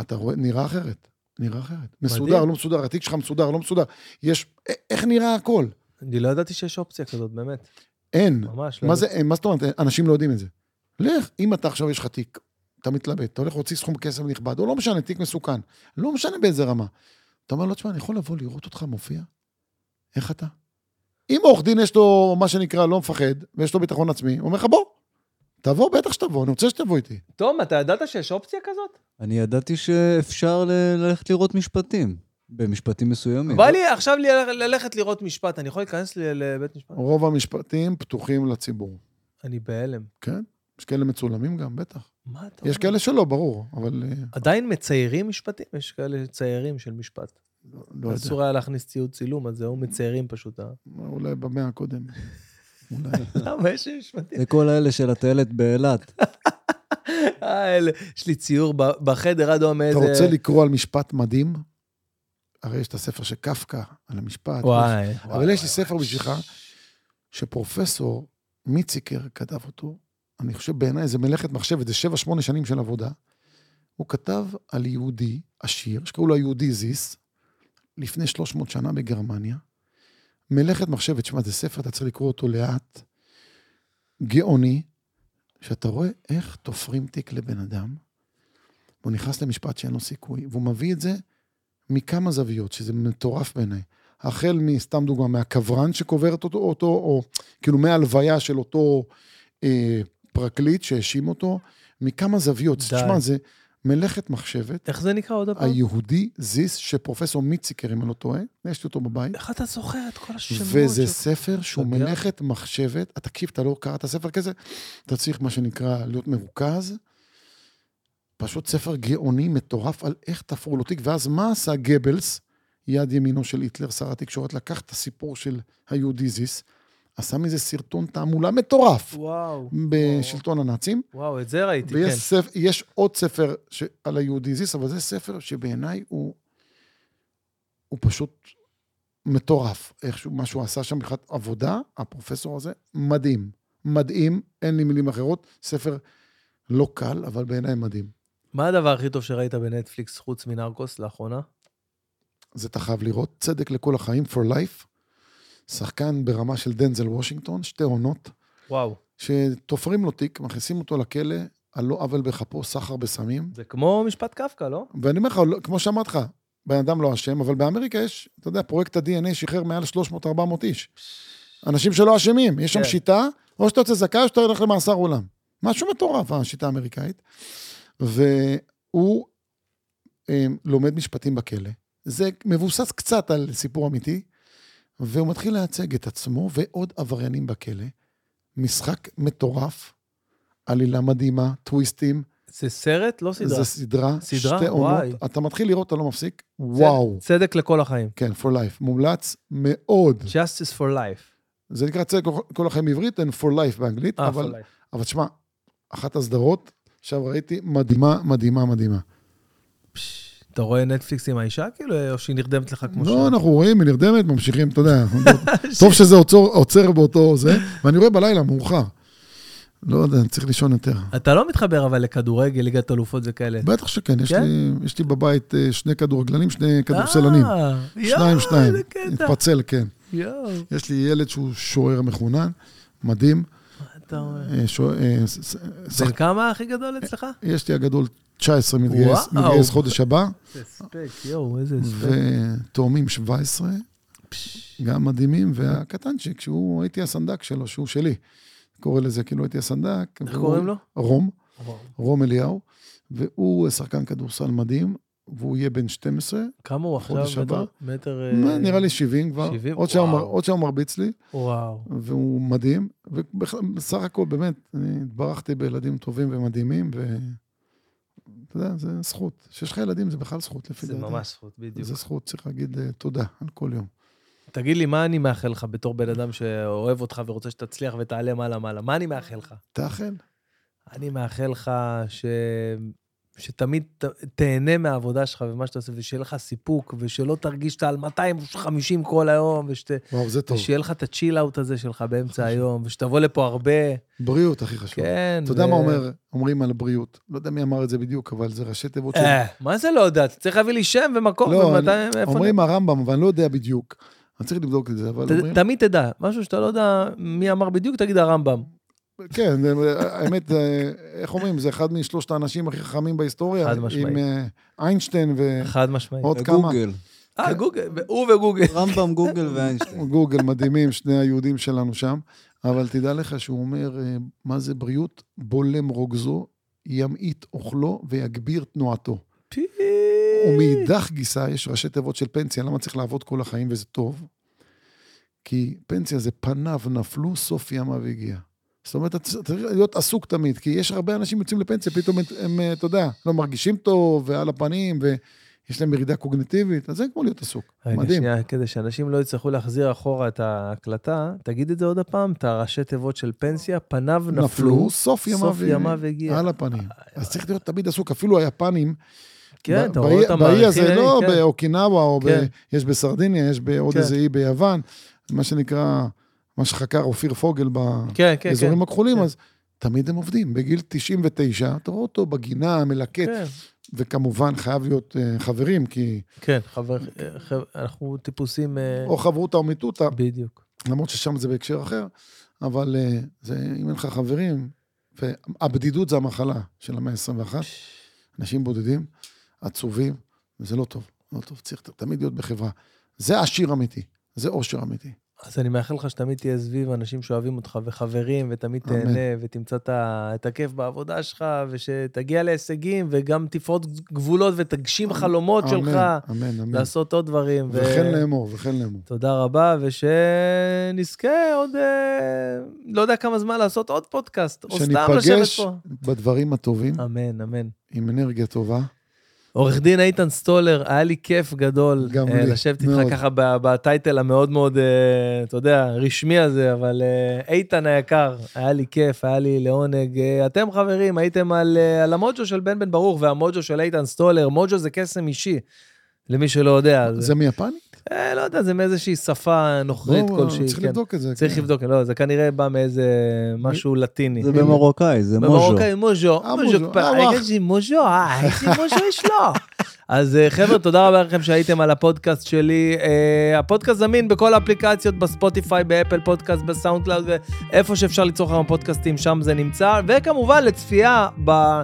אתה רואה, נראה אחרת. נראה אחרת. מסודר, לא מסודר, התיק שלך מסודר, לא מסודר. יש, א- איך נראה הכל? אני לא ידעתי שיש אופציה כזאת, באמת. אין. ממש. לא מה זה, ידעתי. אין? מה זאת אומרת? אנשים לא יודעים את זה. לך, אם אתה עכשיו יש לך תיק, אתה מתלבט, אתה הולך להוציא סכום כסף נכבד, או לא משנה, תיק מסוכן, לא משנה באיזה רמה. אתה אומר לו, תשמע, אני יכול לבוא לראות אותך מופיע? איך אתה? אם עורך דין יש לו, מה שנקרא, לא מפחד, ויש לו ביטחון עצמי, הוא אומר לך, בוא, תבוא, בטח שתבוא, אני רוצה שתבוא איתי. תום, אתה ידעת שיש אופציה כזאת? אני ידעתי שאפשר ל- ללכת לראות משפטים, במשפטים מסוימים. לא- בא לי עכשיו ל- ללכת לראות משפט, אני יכול להיכנס ל- לבית משפט? רוב המשפטים פתוחים לציבור. אני בהלם. יש כאלה מצולמים גם, בטח. מה אתה אומר? יש כאלה שלא, ברור, אבל אה, עדיין מציירים משפטים? יש כאלה ציירים של משפט. לא יודע. אסור היה להכניס ציוד צילום, אז זהו מציירים פשוט. אה? אולי במאה הקודמת. אולי. למה יש לי משפטים? זה כל האלה של הטיילת באילת. אה, אלה, יש לי ציור ב- בחדר אדום אתה איזה... רוצה לקרוא על משפט מדהים? הרי יש את הספר של קפקא, על המשפט. וואי. אבל יש לי ספר בשבילך, שפרופסור מיציקר כתב אותו, אני חושב בעיניי זה מלאכת מחשבת, זה שבע, שמונה שנים של עבודה. הוא כתב על יהודי עשיר, שקראו לו היהודי זיס, לפני 300 שנה בגרמניה. מלאכת מחשבת, שמע, זה ספר, אתה צריך לקרוא אותו לאט, גאוני, שאתה רואה איך תופרים תיק לבן אדם, והוא נכנס למשפט שאין לו סיכוי, והוא מביא את זה מכמה זוויות, שזה מטורף בעיניי. החל מסתם דוגמה, מהקברן שקובר אותו, אותו או כאילו מהלוויה של אותו אה, פרקליט שהאשים אותו, מכמה זוויות. די. תשמע, זה מלאכת מחשבת. איך זה נקרא עוד פעם? היהודי זיס, שפרופסור מיציקר, אם אני לא טועה, יש לי אותו בבית, איך אתה זוכר את כל השמות? וזה של- ספר שהוא אתה יודע? מלאכת מחשבת. אה, תקשיב, אתה לא קראת ספר כזה? אתה צריך, מה שנקרא, להיות מרוכז. פשוט ספר גאוני מטורף על איך תפרו לו תיק, ואז מה עשה גבלס, יד ימינו של היטלר, שר התקשורת, לקח את הסיפור של היהודי זיס, עשה מזה סרטון תעמולה מטורף וואו, בשלטון הנאצים, וואו, את זה ראיתי, ויש כן. ספר, יש עוד ספר ש... על היהודי זיס, אבל זה ספר שבעיניי הוא, הוא פשוט מטורף. איכשהו, מה שהוא עשה שם מבחינת עבודה, הפרופסור הזה, מדהים. מדהים, אין לי מילים אחרות. ספר לא קל, אבל בעיניי מדהים. מה הדבר הכי טוב שראית בנטפליקס חוץ מנרקוס לאחרונה? זה אתה חייב לראות. צדק לכל החיים, for life. שחקן ברמה של דנזל וושינגטון, שתי עונות, וואו, שתופרים לו תיק, מכניסים אותו לכלא, על לא עוול בכפו, סחר בסמים. זה כמו משפט קפקא, לא? ואני אומר לך, לא- כמו שאמרתי לך, בן אדם לא אשם, אבל באמריקה יש, אתה יודע, פרויקט ה-DNA שחרר מעל 300-400 איש. אנשים שלא אשמים, יש שם כן. שיטה, או שאתה יוצא זכאי או שאתה הולך למאסר עולם. משהו מטורף, השיטה האמריקאית. והוא אה, לומד משפטים בכלא. זה מבוסס קצת על סיפור אמיתי, והוא מתחיל לייצג את עצמו ועוד עבריינים בכלא. משחק מטורף, עלילה מדהימה, טוויסטים, זה סרט, לא סדרה. זה סדרה, סדרה? שתי עונות. וואי. אתה מתחיל לראות, אתה לא מפסיק. צד- וואו. צדק לכל החיים. כן, for life. מומלץ מאוד. Justice for life. זה נקרא צדק כל החיים בעברית, and for life באנגלית, אה, אבל for life. אבל תשמע, אחת הסדרות, עכשיו ראיתי, מדהימה, מדהימה, מדהימה. פש, אתה רואה נטפליקס עם האישה כאילו, או שהיא נרדמת לך כמו לא, אנחנו רואים, היא נרדמת, ממשיכים, אתה יודע. טוב שזה עוצר- עוצר באותו זה, ואני רואה בלילה, מאוחר. לא יודע, אני צריך לישון יותר. אתה לא מתחבר אבל לכדורגל, ליגת אלופות וכאלה. בטח שכן, יש כן? לי- יש לי בבית אה, שני כדורגלנים, שני כדורסלנים. אה, יואו, שניים, שניים. זה קטע. התפצל, כן. יואו, יש לי ילד שהוא שוער מחונן, מדהים. מה אתה אומר? אה, שוער- אה, ס- ס- שח- בן כמה הכי גדול אצלך? יש לי הגדול 19 מתגייס, וואו. מתגייס חודש הבא, זה הספק, יואו, איזה הספק. ותאומים 17, גם מדהימים, והקטנצ'יק, שהוא, הייתי הסנדק שלו, שהוא שלי. קורא לזה, כאילו הייתי הסנדק. איך והוא- קוראים לו? רום, רום אליהו, והוא שחקן כדורסל מדהים, והוא יהיה בן 12, כמה הוא חודש עכשיו? הבא? מטר- מטר... אה, נראה לי 70 כבר, 70? עוד שעה הוא מר- וואו. עוד שעה הוא מרביץ לי. וואו. והוא מדהים, ובסך הכל באמת, אני התברכתי בילדים טובים ומדהימים, ואתה יודע, זה זכות. כשיש לך ילדים זה בכלל זכות, לפי זה דעתי. ממש זכות, בדיוק. זה זכות, צריך להגיד אה, תודה על כל יום. תגיד לי, מה אני מאחל לך בתור בן אדם שאוהב אותך ורוצה שתצליח ותעלה מעלה מעלה? מה אני מאחל לך? תאכל. אני מאחל לך ש... שתמיד ת, תהנה מהעבודה שלך ומה שאתה עושה, ושיהיה לך סיפוק, ושלא תרגיש שאתה על 250 כל היום, ושת, וואו, זה טוב. ושיהיה לך את הצ'יל-אאוט הזה שלך באמצע היום, ושתבוא לפה הרבה. בריאות הכי חשוב. כן. אתה יודע ו- מה אומר, אומרים על בריאות? לא יודע מי אמר את זה בדיוק, אבל זה ראשי תיבות של... אה, מה זה לא יודעת? צריך להביא לי שם ומקום לא, ומתי, אני- איפה... אומרים הרמב"ם, ואני לא יודע בדיוק. אני צריך לבדוק את זה, אבל אני- אומרים... ת- תמיד תדע, משהו שאתה לא יודע מי אמר בדיוק, תגיד הרמב"ם. כן, זה- האמת, אה, איך אומרים, זה אחד משלושת האנשים הכי חכמים בהיסטוריה. חד משמעית. אה, עם אה, איינשטיין חד משמעית. ועוד כמה. גוגל. כן. אה, גוגל, הוא וגוגל. רמב"ם, גוגל ואיינשטיין. גוגל מדהימים, שני היהודים שלנו שם. אבל תדע לך שהוא אומר, אה, מה זה בריאות? בולם רוגזו, ימעיט אוכלו ויגביר תנועתו. פי. ומאידך גיסא יש ראשי תיבות של פנסיה, למה צריך לעבוד כל החיים וזה טוב? כי פנסיה זה פניו נפלו, סוף ימיו הגיע. זאת אומרת, אתה צריך להיות עסוק תמיד, כי יש הרבה אנשים יוצאים לפנסיה, פתאום הם- הם, אה, אתה יודע, לא מרגישים טוב ועל הפנים, ויש להם ירידה קוגניטיבית, אז זה כמו להיות עסוק. רגע, מדהים. שנייה, כדי שאנשים לא יצטרכו להחזיר אחורה את ההקלטה, תגיד את זה עוד הפעם, את הראשי תיבות של פנסיה, פניו נפלו, נפלו, סוף ימיו סוף ימיו הגיע. על הפנים. אז צריך להיות תמיד עסוק, אפילו היפנים, כן, אה, ב- אתה רואה אותם באי הזה, מעריכים, לא כן. באוקינאווה, או ב- כן. יש בסרדיניה, יש בעוד כן. איזה אי ביוון, מה שנקרא, מה שחקר אופיר פוגל כן, כן, כן. באזורים הכחולים, כן. אז תמיד הם עובדים. בגיל 99, אתה רואה אותו בגינה, מלקט, כן, וכמובן חייב להיות אה, חברים, כי כן, חבר, חבר- אנחנו טיפוסים, אה, או חברותא או מיתותא, בדיוק. למרות ששם זה בהקשר אחר, אבל אה, זה, אם אין לך חברים, והבדידות זה המחלה של המאה ה-21, אנשים בודדים, עצובים, וזה לא טוב. לא טוב, צריך תמיד להיות בחברה. זה עשיר אמיתי, זה עושר אמיתי. אז אני מאחל לך שתמיד תהיה סביב אנשים שאוהבים אותך וחברים, ותמיד אמן. תהנה, ותמצא את ה- את הכיף בעבודה שלך, ושתגיע להישגים, וגם תפרוץ גבולות ותגשים חלומות שלך, אמן, אמן, אמן. לעשות עוד דברים. ו- וכן לאמור, וכן לאמור. תודה רבה, ושנזכה עוד, אה, לא יודע כמה זמן לעשות עוד פודקאסט, או סתם לשבת שניפגש פה. אה. בדברים הטובים, אמן, אמן. עם אנרגיה טובה. עורך דין איתן סטולר, היה לי כיף גדול גם אה, לי, לשבת מאוד. איתך ככה ב- בטייטל המאוד מאוד, אה, אתה יודע, רשמי הזה, אבל אה, איתן היקר, היה לי כיף, היה לי לעונג. אה, אתם חברים, הייתם על, אה, על המוג'ו של בן בן ברוך והמוג'ו של איתן סטולר. מוג'ו זה קסם אישי, למי שלא יודע. זה... זה מיפנית? אה, לא יודע, זה מאיזושהי שפה נוכרית בואו, כלשהי. לא, צריך כן. לבדוק את זה. צריך כן. לבדוק, לא, זה כנראה בא מאיזה משהו לטיני. זה במרוקאי, זה מוז'ו. במרוקאי אוקיי, מוז'ו, אה, מוז'ו, מוז'ו, כבר, אה, אה, וואח. איזה מוז'ו, אה, איזה מוז'ו יש לו. אז אה, חבר'ה, תודה רבה לכם שהייתם על הפודקאסט שלי. אה, הפודקאסט זמין בכל האפליקציות, בספוטיפיי, באפל פודקאסט, בסאונד קלאוד, ואיפה שאפשר ליצור כמה פודקאסטים, שם זה נמצא. וכמובן, לצפייה ב, אה,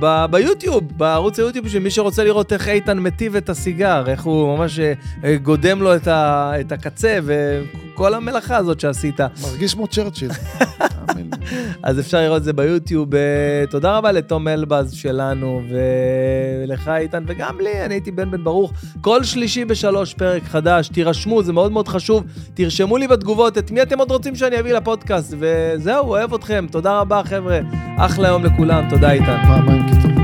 ב, ביוטיוב, בערוץ היוטיוב, שמי שרוצה לראות איך איתן מטיב את הסיגר, איך הוא ממש אה, אה, גודם לו את, ה, את הקצה, וכל המלאכה הזאת שעשית. מרגיש כמו צ'רצ'יל. תאמין לי. אז אפשר לראות את זה ביוטיוב. אה, תודה רבה לתום אלבז שלנו, ולך איתן, וגם לי, אני הייתי בן בן ברוך. כל שלישי בשלוש פרק חדש, תירשמו, זה מאוד מאוד חשוב. תרשמו לי בתגובות את מי אתם עוד רוצים שאני אביא לפודקאסט, וזהו, אוהב אתכם. תודה רבה, חבר'ה. אחלה יום לכולם, תודה איתן. פעמיים כי טוב.